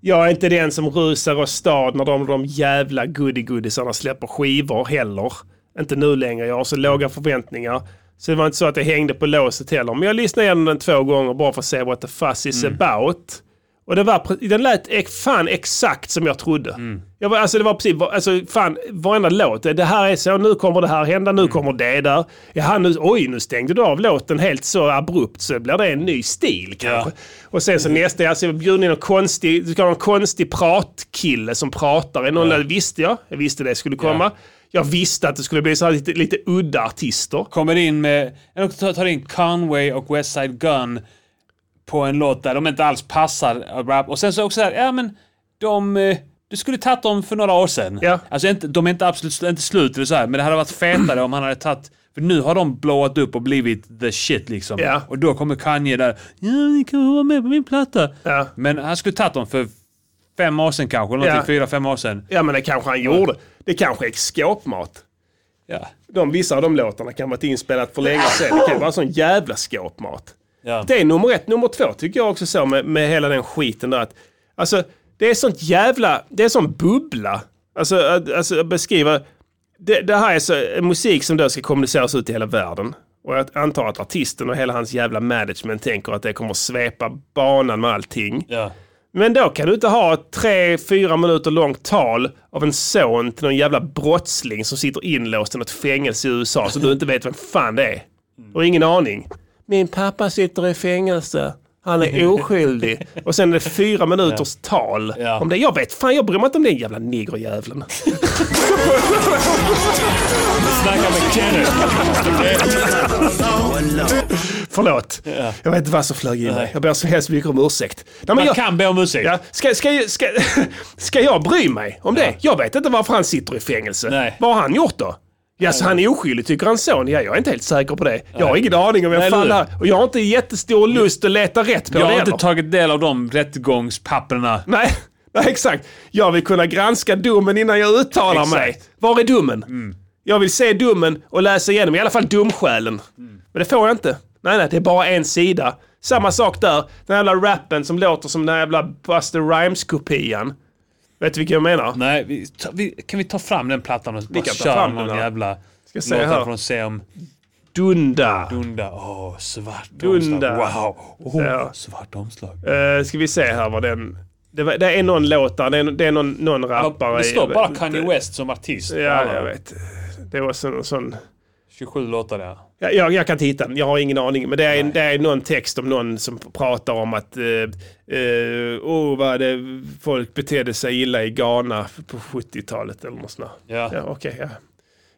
B: Jag är inte den som rusar åstad när de, de jävla goodigoodisarna släpper skivor heller. Inte nu längre, jag har så låga förväntningar. Så det var inte så att jag hängde på låset heller. Men jag lyssnade igenom den två gånger bara för att se what the fuss is
F: Mm.
B: about. Och det var, pre- den lät ex- fan exakt som jag trodde.
F: Mm.
B: Jag var, alltså det var precis, var- alltså fan, varenda låt. Det här är så, nu kommer det här hända, nu kommer det där. Jaha, nu, oj, nu stängde du av låten helt så abrupt så blir det en ny stil kanske. Och sen så nästa, alltså jag bjöd in en konstig, du ska ha en konstig pratkille som pratar. i Någon, Det visste jag, jag visste det skulle komma. Jag visste att det skulle bli så här lite, lite udda artister.
F: Kommer in med... Eller också tar- tar in Conway och West Side Gun på en låt där de inte alls passar rap. Och sen så också här, ja men de... eh, Du skulle tagit dem för några år sedan. Ja. Alltså inte, de är inte absolut sl- inte slut eller så här, men det hade varit fetare om han hade tagit... För nu har de blowat upp och blivit the shit liksom.
B: Ja.
F: Och då kommer Kanye där, ja ni kan vara med på min platta. Men han skulle tagit dem för fem år sedan kanske, eller
B: Ja.
F: någonting, fyra, fem år sedan.
B: Ja men det kanske han gjorde. Det kanske är skåpmat.
F: Ja.
B: De, vissa av de låtarna kan vara inspelat för länge sedan. Det kan vara sån jävla skåpmat.
F: Ja.
B: Det är nummer ett. Nummer två tycker jag också så med, med hela den skiten där. Att, alltså, det är sånt jävla... Det är sån bubbla. Alltså, att, alltså att beskriva... Det, det här är så, musik som då ska kommuniceras ut i hela världen. Och jag antar att artisten och hela hans jävla management tänker att det kommer att svepa banan med allting. Men då kan du inte ha ett tre, fyra minuter långt tal av en son till någon jävla brottsling som sitter inlåst i något fängelse i USA så du inte vet vem fan det är. Du har ingen aning. Min pappa sitter i fängelse. Han är oskyldig. Och sen är det fyra minuters tal om det. Jag vet fan, jag bryr mig inte om den jävla negerjäveln.
F: Snacka med
B: Förlåt. Jag vet inte vad som flög in mig. Jag ber så hemskt mycket om ursäkt. Nej, men
F: Man
B: jag,
F: kan be om ursäkt.
B: Ja, ska, ska, ska, ska jag bry mig om det? Jag vet inte varför han sitter i fängelse. Vad har han gjort då? Ja, så han är oskyldig tycker hans son. Ja, jag är inte helt säker på det. Jag har ingen aning om
F: Nej,
B: vem fan
F: eller
B: det
F: hur?
B: här. Och jag har inte jättestor lust att leta rätt på
F: Jag
B: det
F: har inte
B: heller.
F: tagit del av de rättegångspapperna.
B: Nej, nej, exakt. Jag vill kunna granska domen innan jag uttalar
F: Exakt. Mm.
B: mig. Var är domen? Jag vill se domen och läsa igenom, i alla fall domskälen.
F: Mm.
B: Men det får jag inte. Nej, nej, det är bara en sida. Samma sak där. Den jävla rappen som låter som den jävla Buster Rhymes-kopian. Vet du vilken jag menar?
F: Nej, vi, ta, vi, kan vi ta fram den plattan och bara
B: kan ta
F: köra
B: fram
F: någon
B: den här.
F: jävla
B: Ska se
F: låt
B: här.
F: från se om...
B: Dunda.
F: Dunda. Åh, svart
B: Dunda.
F: omslag. Wow. Åh,
B: Ja.
F: svart omslag.
B: Uh, ska vi se här vad den... Det, var, det är någon låt där, det är, det är någon, någon rappare.
F: Det
B: i-
F: står bara Kanye West som artist.
B: Ja, jag vet. Det var sån... sån
F: 27 låtar ja.
B: Jag, jag, jag kan inte hitta den, jag har ingen aning. Men det är, det är någon text om någon som pratar om att eh, eh, oh, vad det, folk betedde sig illa i Ghana på 70-talet eller något sånt. där.
F: Ja.
B: Ja, okej, ja.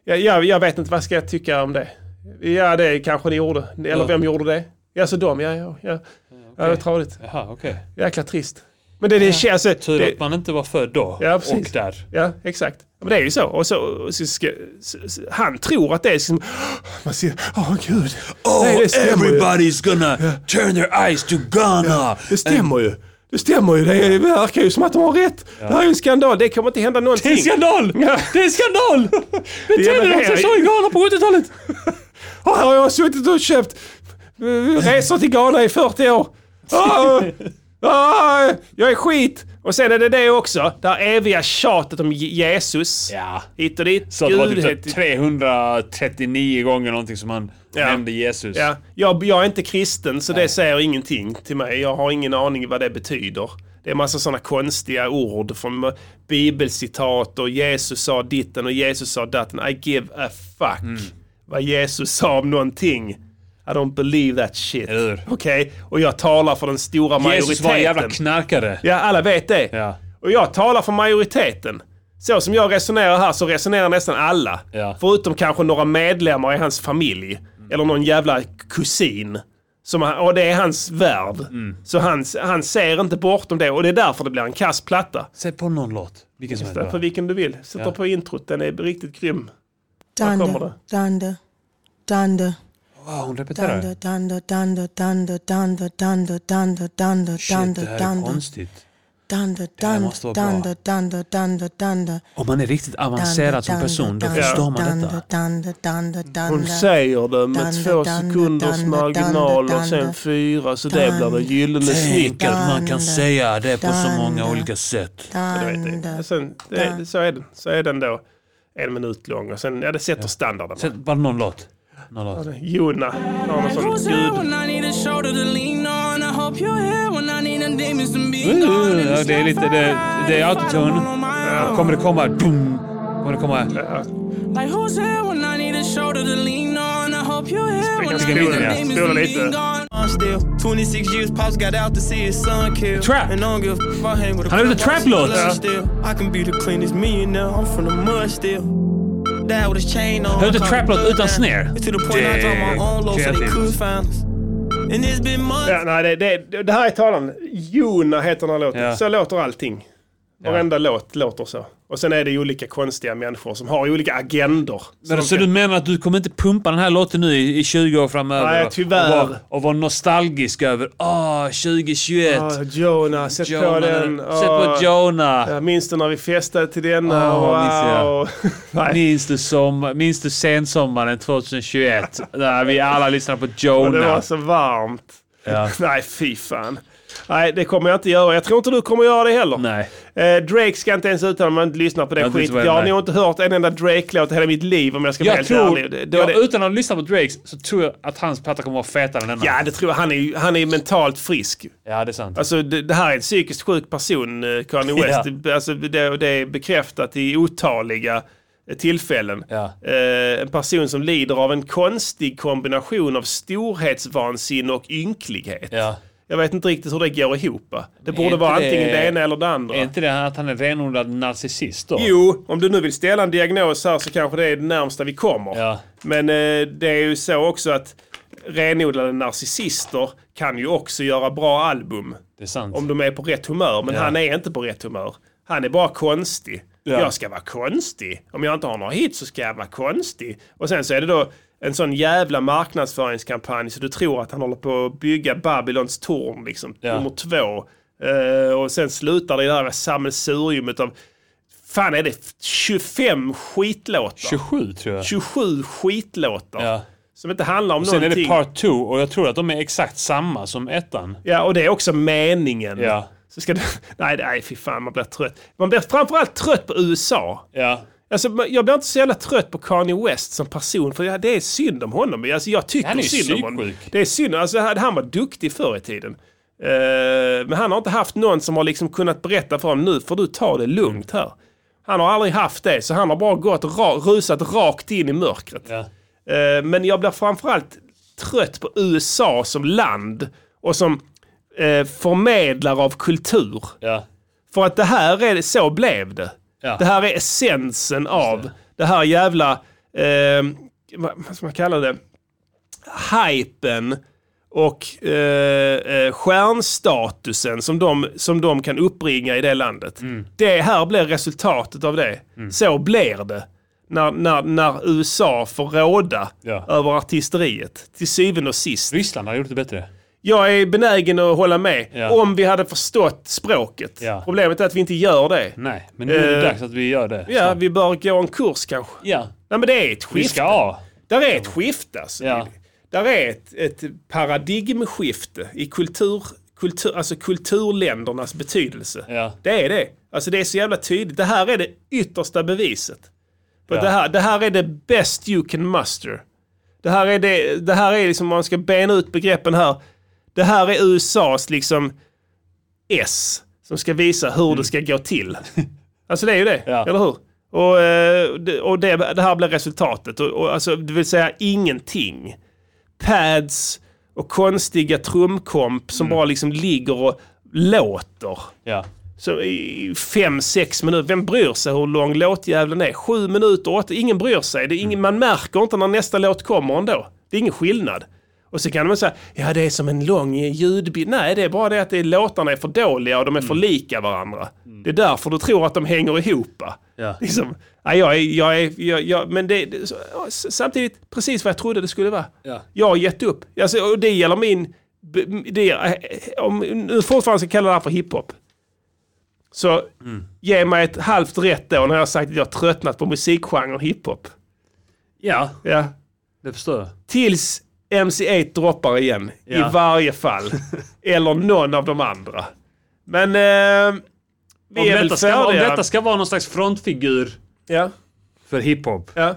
B: Ja, jag, jag vet inte, vad ska jag tycka om det? Ja, det kanske ni gjorde. Eller
F: Ja.
B: vem gjorde det? Ja, så de, ja, ja. ja. Ja, det var tradigt.
F: Jaha, okej.
B: Jäkla trist. Men det, det känns... alltså,
F: Tur
B: det-
F: att man inte var född då.
B: Ja, precis.
F: Och där.
B: Ja, exakt. Ja, Men det är ju så. Och så, och så ska, s- s- han tror att det är som... Man ser, åh gud.
S: Oh,
B: Nej, det stämmer ju.
S: everybody's gonna turn their eyes to Ghana.
B: Ja, det stämmer ju. Det stämmer ju. Det är- det verkar ju som att de har rätt. Det här är ju en skandal. Det kommer inte hända någonting. Det är en
F: skandal! Det är en skandal! Betedde de sig så i Ghana på 70-talet?
B: Och här har jag suttit och köpt eh, resor till Ghana i 40 år. Ah, ah, jag är skit! Och sen är det det också. Det här eviga tjatet om Je- Jesus.
F: Ja.
B: Hit och dit.
F: Så det var typ så här
B: Gud,
F: 339 gånger någonting som han nämnde Jesus.
B: Ja, jag, jag är inte kristen så det säger ingenting till mig. Jag har ingen aning vad det betyder. Det är massa sådana konstiga ord från bibelcitat och Jesus sa ditten och Jesus sa datten. I give a fuck
F: Mm.
B: vad Jesus sa om någonting. I don't believe that shit. Okej? Och jag talar för den stora majoriteten.
F: Jesus var en jävla knarkare.
B: Ja, alla vet det. Och jag talar för majoriteten. Så som jag resonerar här så resonerar nästan alla. Förutom kanske några medlemmar i hans familj. Eller någon jävla kusin. Som, han- och det är hans värld. Så han, han ser inte bortom det och det är därför det blir en kass platta.
F: Sätt på någon låt. Vilken som
B: Sätt på vilken du vill. Sätt
F: Ja.
B: på introt, den är riktigt grym. Här kommer
T: Dunder,
B: det.
T: dunder, dunder.
F: Wow, hon repeterar.
T: Dunder, dunder, dunder, dunder, dunder, dunder, dunder, dunder,
F: Shit, det
T: dunder,
F: här är
T: dunder.
F: konstigt.
T: Dunder,
F: här
T: dunder,
F: måste vara bra.
T: dunder, dunder, dunder, dunder.
F: Om man är riktigt avancerad som
T: Dunder,
F: person, då
T: dunder,
F: förstår man
T: dunder,
F: detta.
T: dunder, dunder, dunder.
B: Hon säger det med
T: Dunder,
B: två
T: dunder,
B: sekunders
T: dunder,
B: marginal
T: dunder,
B: och sen
T: dunder.
B: fyra så det blir det gyllene
S: Tänk
B: snittet.
S: att man kan säga det på så många olika
F: sätt.
B: Ja, du
R: Mm,
B: vet det. Och Sen, det, så, är den, så är den då en minut lång och sen, ja det sätter standarden. Sätt
F: bara någon låt. Någon låt.
B: Jona. Någon
U: Who's
B: sån
U: here
B: gud.
U: when I need a shoulder to lean on? I hope you're here when I need a diamonds to be gone. And
F: Mm, Ja,
U: it's
F: det är lite, det, det är autotune. Kommer det komma... Dum, kommer det komma...
U: Like who's here when I need a shoulder to lean on? I hope you're here when I
F: Speaking
U: need
F: of
U: a
F: yeah,
U: diamonds
F: spela
U: to
F: lite.
U: be gone. Still, 26 years, pops got out to see his son killed. Trap. And I don't give a f- I hang with a
F: Han gjorde
U: crip, I
F: trap
U: see
F: låt.
U: blood
F: Ja.
U: still. I can be the cleanest millionaire. I'm from the mud still. Dad with his chain on.
F: Han gjorde
U: I call
F: trap
U: it
F: låt
U: thug
F: utan
U: down.
F: snare.
U: It's To the point I drop my own low so they
F: kreativt.
U: could find us. And it's been months.
B: Ja, nej, det, det, det här är talaren. Jona heter den här låten.
F: Ja.
B: Så låter allting. Varenda låt låter så. Och sen är det ju olika konstiga människor som har olika agendor.
F: Men,
B: de
F: så du menar att du kommer inte pumpa den här låten nu i, i 20 år framöver?
B: Nej,
F: va?
B: tyvärr.
F: Och vara, och vara nostalgisk över ah 2021.
B: Ah, Jonah, sätt
F: Jonah,
B: på den.
F: sätt på Jonah.
B: Jag minns du när vi festade till denna?
F: Ah, minns jag.
B: wow.
F: Minns du, som, minns du sensommaren 2021? Där vi alla lyssnade på Jonah.
B: Och det var så varmt.
F: Ja.
B: Nej, fy fan. Nej, det kommer jag inte göra. Jag tror inte du kommer göra det heller.
F: Nej.
B: Eh, Drake ska inte ens uttala om man inte lyssnar på
F: Jag
B: den
F: vet inte
B: skiten.
F: vad
B: Jag
F: jag
B: har
F: menar.
B: nog inte hört en enda Drake-låt i hela mitt liv om jag ska vara
F: Jag
B: helt
F: tror,
B: ärlig. Det- det var
F: ja,
B: det-
F: utan att lyssna på Drakes så tror jag att hans platta kommer att vara fetare än denna.
B: Ja, det tror jag. Han är, ju- han är mentalt frisk.
F: Ja, det är sant.
B: Alltså, det, det här är en psykiskt sjuk person, eh, Kanye West.
F: Ja.
B: Det- Alltså, det, och det är bekräftat i otaliga eh, tillfällen. Eh, en person som lider av en konstig kombination av storhetsvansinne och ynklighet. Jag vet inte riktigt hur det går ihop. va? Det borde
F: inte
B: vara antingen
F: det-
B: det ena eller det andra.
F: Är inte det att han är renodlad narcissist då?
B: Jo, om du nu vill ställa en diagnos här så kanske det är det närmsta vi kommer. Men eh, det är ju så också att renodlade narcissister kan ju också göra bra album.
F: Det är sant.
B: Om de är på rätt humör, men
F: Ja.
B: han är inte på rätt humör. Han är bara konstig.
F: Ja.
B: Jag ska vara konstig. Om jag inte har några hits så ska jag vara konstig. Och sen så är det då en sån jävla marknadsföringskampanj så du tror att han håller på att bygga Babylons torn, liksom,
F: Ja.
B: nummer två. Eh, och sen slutar det i det här sammelsuriumet av fan är det 25 skitlåtar?
F: 27 tror jag.
B: 27 skitlåtar.
F: Ja.
B: Som inte handlar om
F: Och sen är det
B: någonting.
F: part 2 och jag tror att de är exakt samma som ettan.
B: Ja, och det är också meningen.
F: Ja.
B: Så ska du... Nej, nej, fy fan, man blir trött. Man blir framförallt trött på USA.
F: Ja.
B: Alltså, jag blir inte så jävla trött på Kanye West som person, för det är synd om honom. Alltså, jag tycker
F: Han är ju
B: synd om honom.
F: psyksjuk.
B: Det är synd. Alltså, han han var duktig förr i tiden. Eh, men han har inte haft någon som har liksom kunnat berätta för honom nu får du ta det lugnt här. Han har aldrig haft det, så han har bara gått ra- rusat rakt in i mörkret. Eh, Men jag blir framförallt trött på USA som land och som eh, förmedlare av kultur. För att det här är, så blev det.
F: Ja.
B: Det här är essensen av det här jävla, eh, vad vad ska man kalla det, hypen och eh, eh, stjärnstatusen som de, som de kan uppbringa i det landet. Det här blir resultatet av det. Så blir det när, när, när USA får råda över artisteriet. Till syvende och sist.
F: Ryssland har gjort det bättre.
B: Jag är benägen att hålla med.
F: Ja.
B: Om vi hade förstått språket. Problemet är att vi inte gör det.
F: Nej, men nu är det
B: Eh,
F: dags att vi gör det.
B: Ja, vi bör gå en kurs kanske.
F: Ja.
B: Nej, men det är ett skifte.
F: Vi ska ha.
B: Där är ett skifte alltså. Där är ett, ett paradigmskifte i kultur, kultur, alltså kulturländernas betydelse. Det är det. Alltså det är så jävla tydligt. Det här är det yttersta beviset. För
F: Ja.
B: det, här, det här är det best you can muster. Det här är det, det här är liksom, om man ska bena ut begreppen här. Det här är USAs liksom S som ska visa hur det ska gå till. Alltså det är ju det, eller hur? Och, eh, det- och det, det här blir resultatet. Och, och, alltså, det vill säga ingenting. Pads och konstiga trumkomp som bara liksom ligger och låter.
F: Mm. Ja.
B: Så i i fem, sex minuter. Vem bryr sig hur lång låtjäveln är? Sju minuter, åtta. Ingen bryr sig. Det är
F: Mm.
B: ingen, man märker inte när nästa låt kommer ändå. Det är ingen skillnad. Och så kan man säga, ja det är som en lång ljudbild. Nej, det är bara det att det är, låtarna är för dåliga och de är för
F: Mm.
B: lika varandra. Det är därför du tror att de hänger ihop.
F: Ja.
B: Liksom, nej, jag är, jag är, jag, jag, men det, det, så, ja, s- samtidigt precis vad jag trodde det skulle vara.
F: Ja.
B: Jag har gett upp. Alltså, och det gäller min... b- Det, eh, om nu fortfarande ska kalla det här för hiphop. Så ge mig ett halvt rätt år när jag har sagt att jag har tröttnat på musikgenren hiphop.
F: Ja,
B: Ja.
F: det förstår jag.
B: Tills MC8 droppar igen.
F: Ja.
B: I varje fall. Eller någon av de andra. Men eh, vi
F: Om
B: är väl
F: detta, ska, om
B: färdiga.
F: detta ska vara någon slags frontfigur
B: Ja.
F: för hiphop
B: ja.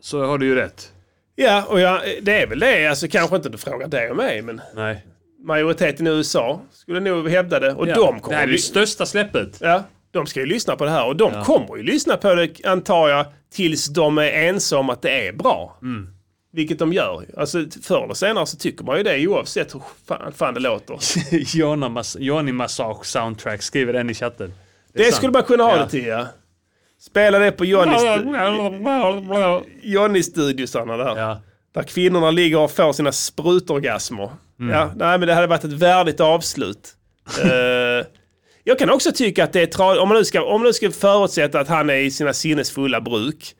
F: så har du ju rätt.
B: Ja, och jag, det är väl det. Alltså, kanske inte du frågar dig och mig, men
F: Nej.
B: majoriteten i USA skulle nog hävda det. Och
F: Ja.
B: de kommer
F: Det här är
B: ly-
F: det största släppet.
B: Ja, de ska ju lyssna på det här och de
F: Ja.
B: kommer ju lyssna på det, antar jag, tills de är ensamma om att det är bra.
F: Mm.
B: Vilket de gör. Alltså, förr eller senare så tycker man ju det oavsett hur fan, fan det låter.
F: Jonna Mas- Johnny Massage Soundtrack skriver en i chatten.
B: Det, skulle man kunna ha det till, ja. Spela det på Johnnys Johnny studiosarna där. Där kvinnorna ligger och får sina sprutorgasmer.
F: Mm.
B: Ja, nej, men det hade varit ett värdigt avslut. Eh, jag kan också tycka att det är tra- om man nu ska, om man nu ska förutsätta att han är i sina sinnesfulla bruk.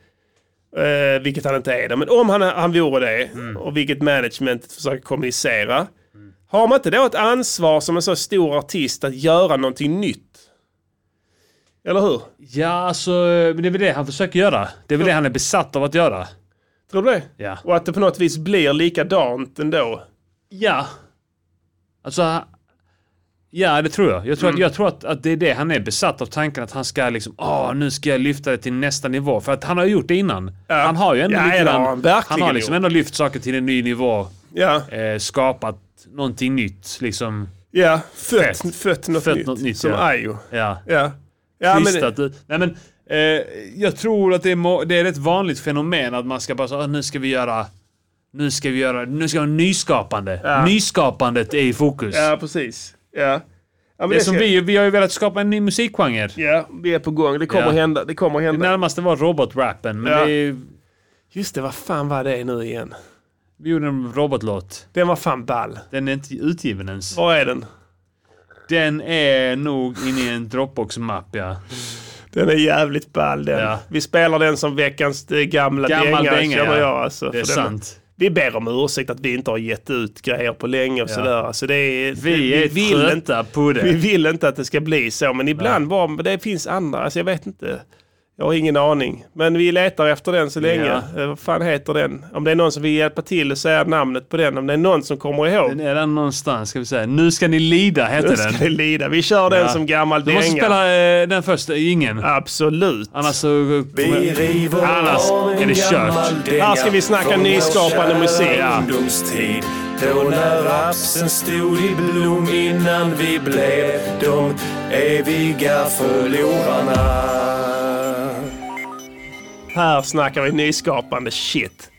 B: eh, vilket han inte är det. Men om han, han vore det, och vilket management försöker kommunicera. Har man inte då ett ansvar som en så stor artist att göra någonting nytt? Eller hur?
F: Ja, alltså, men det är väl det han försöker göra. Det är väl det han är besatt av att göra.
B: Tror du det?
F: Ja.
B: Och att det på något vis blir likadant ändå?
F: Ja. Alltså, ja det tror jag. Jag tror,
B: Mm.
F: att, jag tror att, att det är det han är besatt av tanken att han ska liksom, åh nu ska jag lyfta det till nästa nivå. För att han har gjort det innan. Han har ju ändå
B: Ja,
F: lite
B: det har
F: grann-
B: han verkligen
F: han har liksom
B: gjort.
F: ändå lyft saker till en ny nivå.
B: Ja.
F: Eh, skapat någonting nytt liksom.
B: Ja, fött, fött något
F: Fött
B: nytt.
F: något nytt,
B: som
F: ja.
B: Ayo.
F: Ja.
B: Ja. Ja, men-
F: Trist att du... Nej men, eh, jag tror att det är, må- det är ett vanligt fenomen att man ska bara så, "Ah, nu ska vi göra... Nu ska vi göra... Nu ska vi vara nyskapande.
B: Ja.
F: Nyskapandet är i fokus.
B: Ja, precis. Ja. Ja, men
F: det är som
B: ska-
F: vi, vi har ju velat skapa en ny musikgenre.
B: Ja, vi är på gång. Det kommer
F: Ja.
B: hända. Det kommer hända.
F: Det närmaste var robotrappen, men
B: Ja.
F: det är,
B: Just det, vad fan var det nu igen?
F: vi gjorde en robotlåt.
B: Den var fan ball.
F: Den är inte utgiven ens.
B: Var är den?
F: Den är nog inne i en Dropbox-mapp, ja.
B: Den är jävligt ball den.
F: Ja.
B: Vi spelar den som veckans eh, gamla
F: Gammal
B: dänga,
F: dänga,
B: känner
F: ja.
B: jag. Alltså,
F: Det är
B: För den-
F: sant.
B: Vi ber om ursäkt att vi inte har gett ut grejer på länge och
F: Ja.
B: sådär. Alltså det är,
F: Vi är trötta på det.
B: Vi vill inte att det ska bli så, men ibland bara, men det finns andra. Alltså jag vet inte. Jag har ingen aning. Men vi letar efter den så länge.
F: Ja.
B: Eh, Vad fan heter den? Om det är någon som vill hjälpa till och säga namnet på den. Om det är någon som kommer ihåg.
F: Den är där någonstans, ska vi säga. Nu ska ni lida, heter
B: Nu
F: den.
B: ska vi lida. Vi kör den som gammal
F: Du måste
B: dänga.
F: spela eh, den första, ingen.
B: Absolut.
F: Annars så... Annars är det kört.
B: Här ska vi snacka nyskapande musik.
V: ungdomstid Då när rapsen stod i blom innan vi blev de eviga förlorarna
B: Här snackar vi nyskapande shit.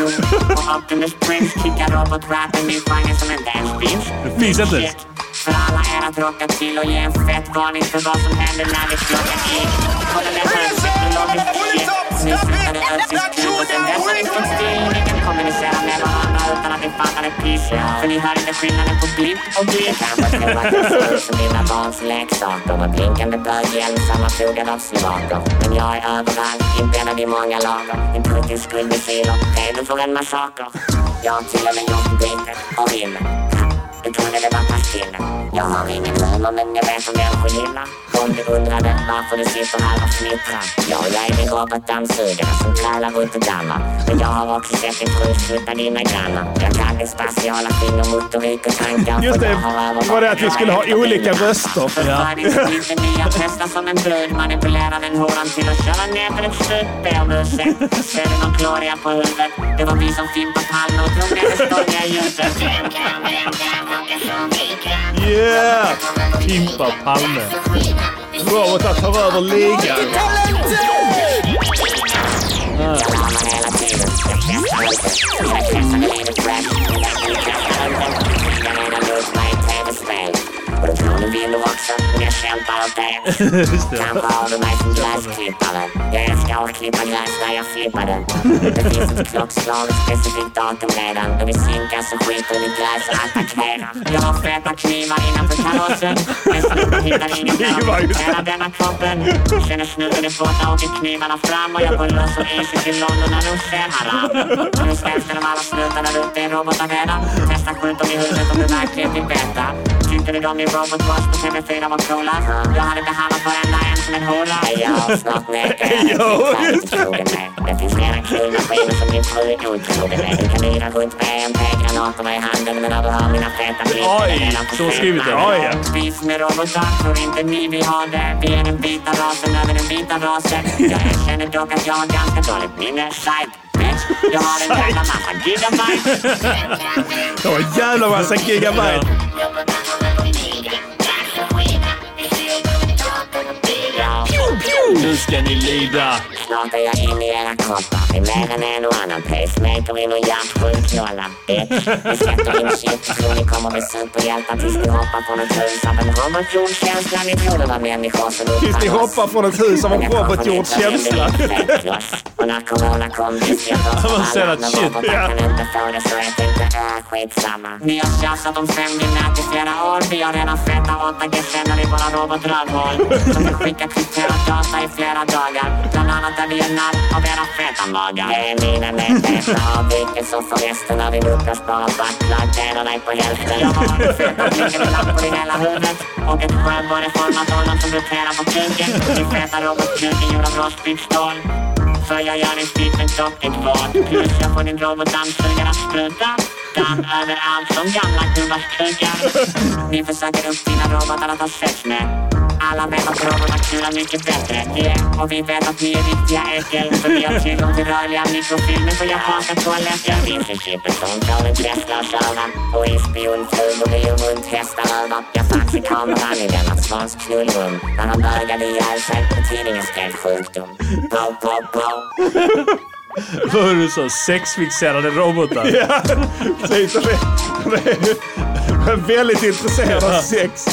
R: Optimus Prime kickar robotratten i svangen som en dansbit.
F: Det finns inte ens.
R: För alla er att rocka till och ge en fett varning för vad som händer när vi slår en gig. Kolla den här teknologiska shit. Nu slutar det ödesdiskut och sen dess har vi stått still. Ni kan kommunicera med varandra utan att ni fattar ett piss. För ni hör inte skillnaden på blipp och blipp. Kanske tro att jag ser ut som mina barns leksaker med blinkande böghjälm sammanfogad av slovaker. Men jag är överallt, inbäddad i många lager. En turkisk guldmissiler, redo för en massaker. Jag har till och med gjort blinken och rimmen. Du trodde det var pastiller. Jag har ingen humor men jag vet vad människor gillar. Om du undrade varför du sitter här och fnittrar. Ja, jag är din robotdammsugare som krälar runt och dammar. Men jag har också sett din fru skjuta dina grannar. Jag kan din spatiala fingermotorik och tankar.
B: Just
R: för
B: det,
R: jag har övervalt
B: det var det att vi skulle ha olika röster.
R: Ja. Den nya testar som en brud manipulerar den horan till att köra ner till ett slut. Be om ursäkt. Ser du någon gloria på huvudet? Det var vi som fimpade Palme och tog ner det stångiga ljuset.
B: Yeah! Pimpa Palme. Robotar tar över ligan.
R: Kanske har du mig som gräsklippare. Jag älskar att klippa gräs när jag flippar den. Det finns ett klockslag, ett specifikt datum redan. När vi synkar så skiter vi i gräs och attackerar. Jag har feta knivar innanför kalosset. Men snubben hittar ingen plats. Hela denna kroppen. Känner snubben det får tag i knivarna fram och jag går loss och isigt i London när de ser haram. Och nu ställs de alla snutarna runt i robotar redan. Testa skjut dem i huvudet om du verkligen vill veta. Tyckte du de i Robot Wars på TV4 var coola? Jag hade behandlat varenda en som en hora. Jag snart nekar jag. Jag trogen mig. Det finns redan kulmaskiner som din fru är otrogen med. Du kan yra runt med MP-granaterna i handen men när du hör mina feta blickar
F: Oj, så har skrivit det. Oj, ja.
R: Spis med robotar, tror inte ni vi har det. Vi är den vita rasen över den vita rasen. Jag erkänner dock att jag har ganska dåligt minne. Side bitch. Jag har en jävla massa gigabyte.
B: Det var en jävla massa gigabyte.
R: Nu ska ni lida! Snart är jag inne i era kroppar. Det är mer än en och annan pacemaker in och hjärtsjuk nolla. Bitch, vi sätter in shit. Tror ni kommer bli superhjältar tills ni hoppar från ett hus av en robotgjord känsla. Ni trodde var människor som
B: Tills ni hoppar från ett hus av en robotgjord känsla.
R: Och när corona kom visste jag först av alla.
B: Avancerat
R: Men
B: shit,
R: robotar
B: ja.
R: kan inte få det så jag tänkte, äh, skitsamma. Ni har tjafsat om sömndynet i flera år. Vi har redan fettat åtta gesäller i våra robotrövhål. Som vi skickar krypterad data i flera dagar. Bland annat är vi en narr av era feta magar. Jag är mina medvetna avvikelser som förresten av din uppdragsbara backlog delar dig på hälften. Jag har en feta blinkelapp på din hela huvudet. Och ett sjöborreformat ollon som roterar på kuken. Din feta robotkuk är gjord av rostfritt stål. Så jag gör din stil med dockigt vad. Plus jag får din robotdammsugare att spruta. Damm överallt som gamla gubbars kukar. Ni försöker uppfinna robotar att ha sex med. Alla vet att robotar kular mycket bättre. Yeah. Och vi vet att ni är riktiga äckel. För vi har tillgång till rörliga mikrofilmer på japanska toaletter. Vi är principen som dåligt grässlösöron. Och i spionflugor i munthästar över. Jag fanns i kameran i denna svans knullrum. När han bögade ihjäl sig och tidningen skrev sjukdom. Pow, pow, pow.
F: Vad var det du sa? Sexfixerade robotar.
B: Ja, precis. De är, de är- de är väldigt intresserade av sex.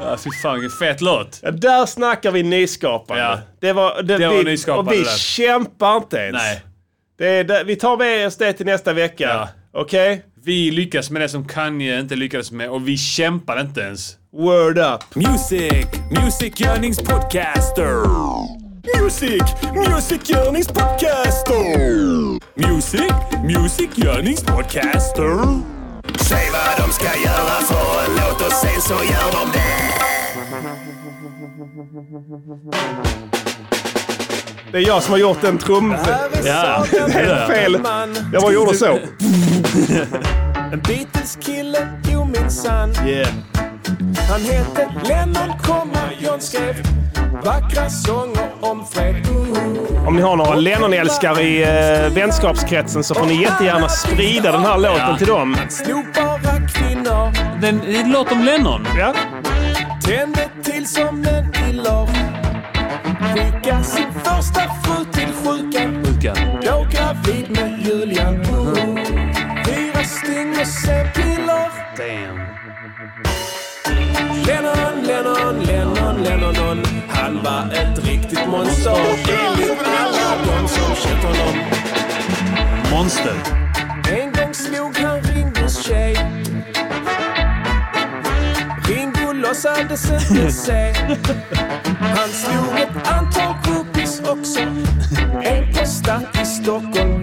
F: Ja, fy fan vilken fet låt.
B: Ja, där snackar vi nyskapande. Det var, det,
F: Det var
B: vi,
F: nyskapande
B: Och vi
F: där.
B: kämpar inte ens.
F: Nej.
B: Det är, det, vi tar med oss det till nästa vecka. Okej?
F: Vi lyckas med det som Kanye inte lyckades med och vi kämpar inte ens.
B: Word up!
L: Music, musikgörningspodcaster. Music, musikgörningspodcaster. Music, musikgörningspodcaster.
M: Säg vad de ska göra för en låt och sen så gör de det.
B: Det är jag som har gjort den trum...
M: Ja,
B: det är
M: det är
B: helt fel.
M: man.
B: Jag bara gjorde så.
L: En Beatles-kille, jo minsann.
B: Yeah.
L: Han hette Lennon, komma, John skrev Vackra sånger om fred.
B: Om ni har några Lennon-älskare i eh, vänskapskretsen så får ni jättegärna sprida den här låten
F: Ja.
B: till dem.
L: Snopbara kvinnor.
F: Den, det är en låt om Lennon.
B: Ja.
L: Tände till som en iller. Skicka sin första fru till sjukan.
F: Sjuka.
L: Då gravid med Julian. Fyra sting och c-piller.
F: Damn.
L: Lennon, Lennon, Lennon, Lennon. Han var ett riktigt monster. Enligt alla de som känt honom.
F: Monster.
L: En gång slog han Ringos tjej Ringo låtsades inte se Han slog ett antal groupies också En på stat i Stockholm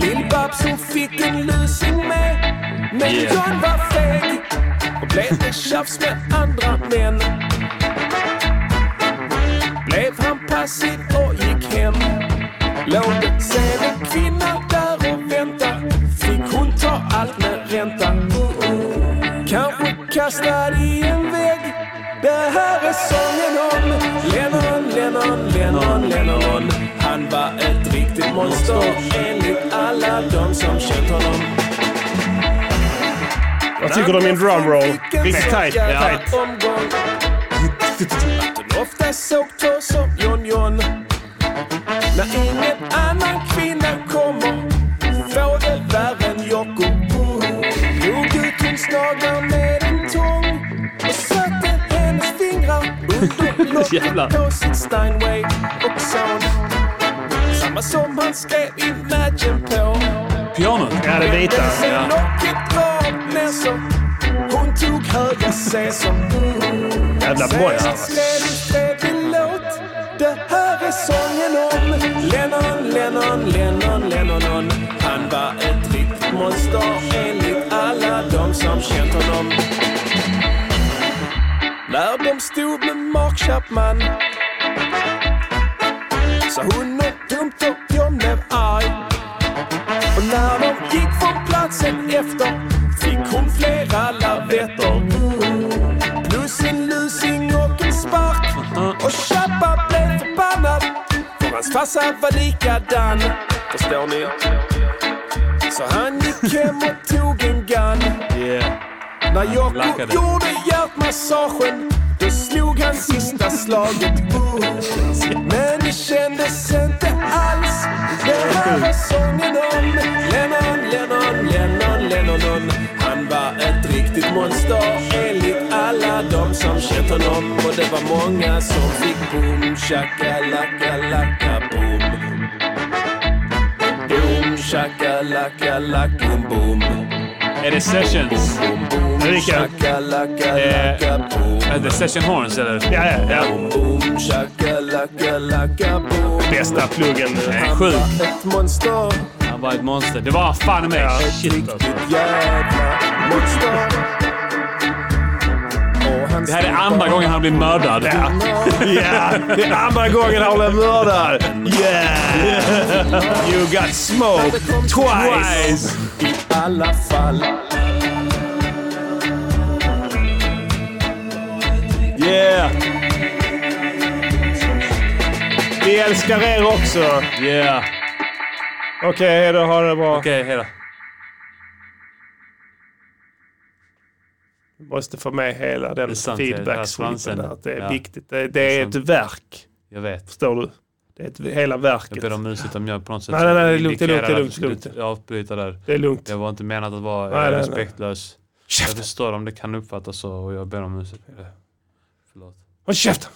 L: Lill-Babs hon fick en lusing med Men
F: Yeah.
L: John var feg och blev det tjafs med andra män Blev han passiv och gick hem Låg sen en kvinna där och vänta Fick hon ta allt med ränta Kanske kastad i en vägg Det här är sången om Lennon, Lennon, Lennon, Lennon Han var ett riktigt monster Enligt alla de som känt honom
B: Vad tycker du om min drumroll? Riktigt tight.
L: Jävla
B: tight.
L: omgång. Att hon ofta såg på som John John. När ingen annan kvinna kommer får det värre än Jocko. Drog ut hennes naglar med en tång och satte hennes fingrar under
F: Jävlar.
L: locket på sitt Steinway och sound. Samma som han skrev Imagine på.
F: Pianot.
B: Ja, det vita.
L: Sen
B: Ja.
L: locket var näsor. Hon tog höga C som
B: Jävla boy alltså.
L: det här är sången om Lennon, Lennon, Lennon, Lennon Han var ett riktigt monster enligt alla de som känt honom När de stod med Mark Chapman Sa hon något dumt och John blev arg Och när de gick från platsen efter Fick hon flera lavetter Plus en lusing och en spark Och Chappa blev förbannad För hans farsa var likadan Förstår ni? Så han gick hem och tog en gun
F: Yeah.
L: När
F: Han
L: Jakob
F: lackade.
L: gjorde hjärtmassagen Då slog han sista slaget Men det kändes inte alls Det här var sången om Lennon, Lennon, Lennon, Lennon Han var ett riktigt monster Enligt alla de som känt honom Och det var många som fick boom shakalaka-laka boom Boom shakalaka-laka boom
F: Är det sessions?
L: Ulrika.
F: Eh, Är det session horns eller?
B: Ja, ja, ja.
F: Bästa pluggen. Nej, sjuk.
L: Ett monster,
F: Han var ett monster. Det var fan i mig. Shit alltså.
L: jävla monster.
F: Det här är andra gången han blir mördad. Ja.
B: Ja, det är andra gången han blev mördad. Yeah! You got smoked twice!
L: I alla fall.
B: Yeah! Vi älskar er också.
F: Yeah.
B: Okej, hejdå. Ha det bra.
F: Okej, hejdå.
B: Måste få med hela den
F: sant, det här svansen.
B: feedback-sweepen där. Det är
F: Ja.
B: viktigt. Det, det
F: Det är
B: är ett
F: sant.
B: verk.
F: Jag vet.
B: Förstår du? Det är ett, hela verket.
F: Jag ber om ursäkt om jag på något sätt
B: Nej, nej, nej, det är lugnt, det är lugnt, det är
F: indikerade
B: lugnt,
F: att
B: det är lugnt.
F: jag skulle avbryta där.
B: Det är lugnt.
F: Jag var inte menat att vara
B: Nej, nej,
F: eh,
B: nej.
F: respektlös. Jag förstår om det kan uppfattas så och jag ber om ursäkt. för det. Förlåt.
B: Håll käften!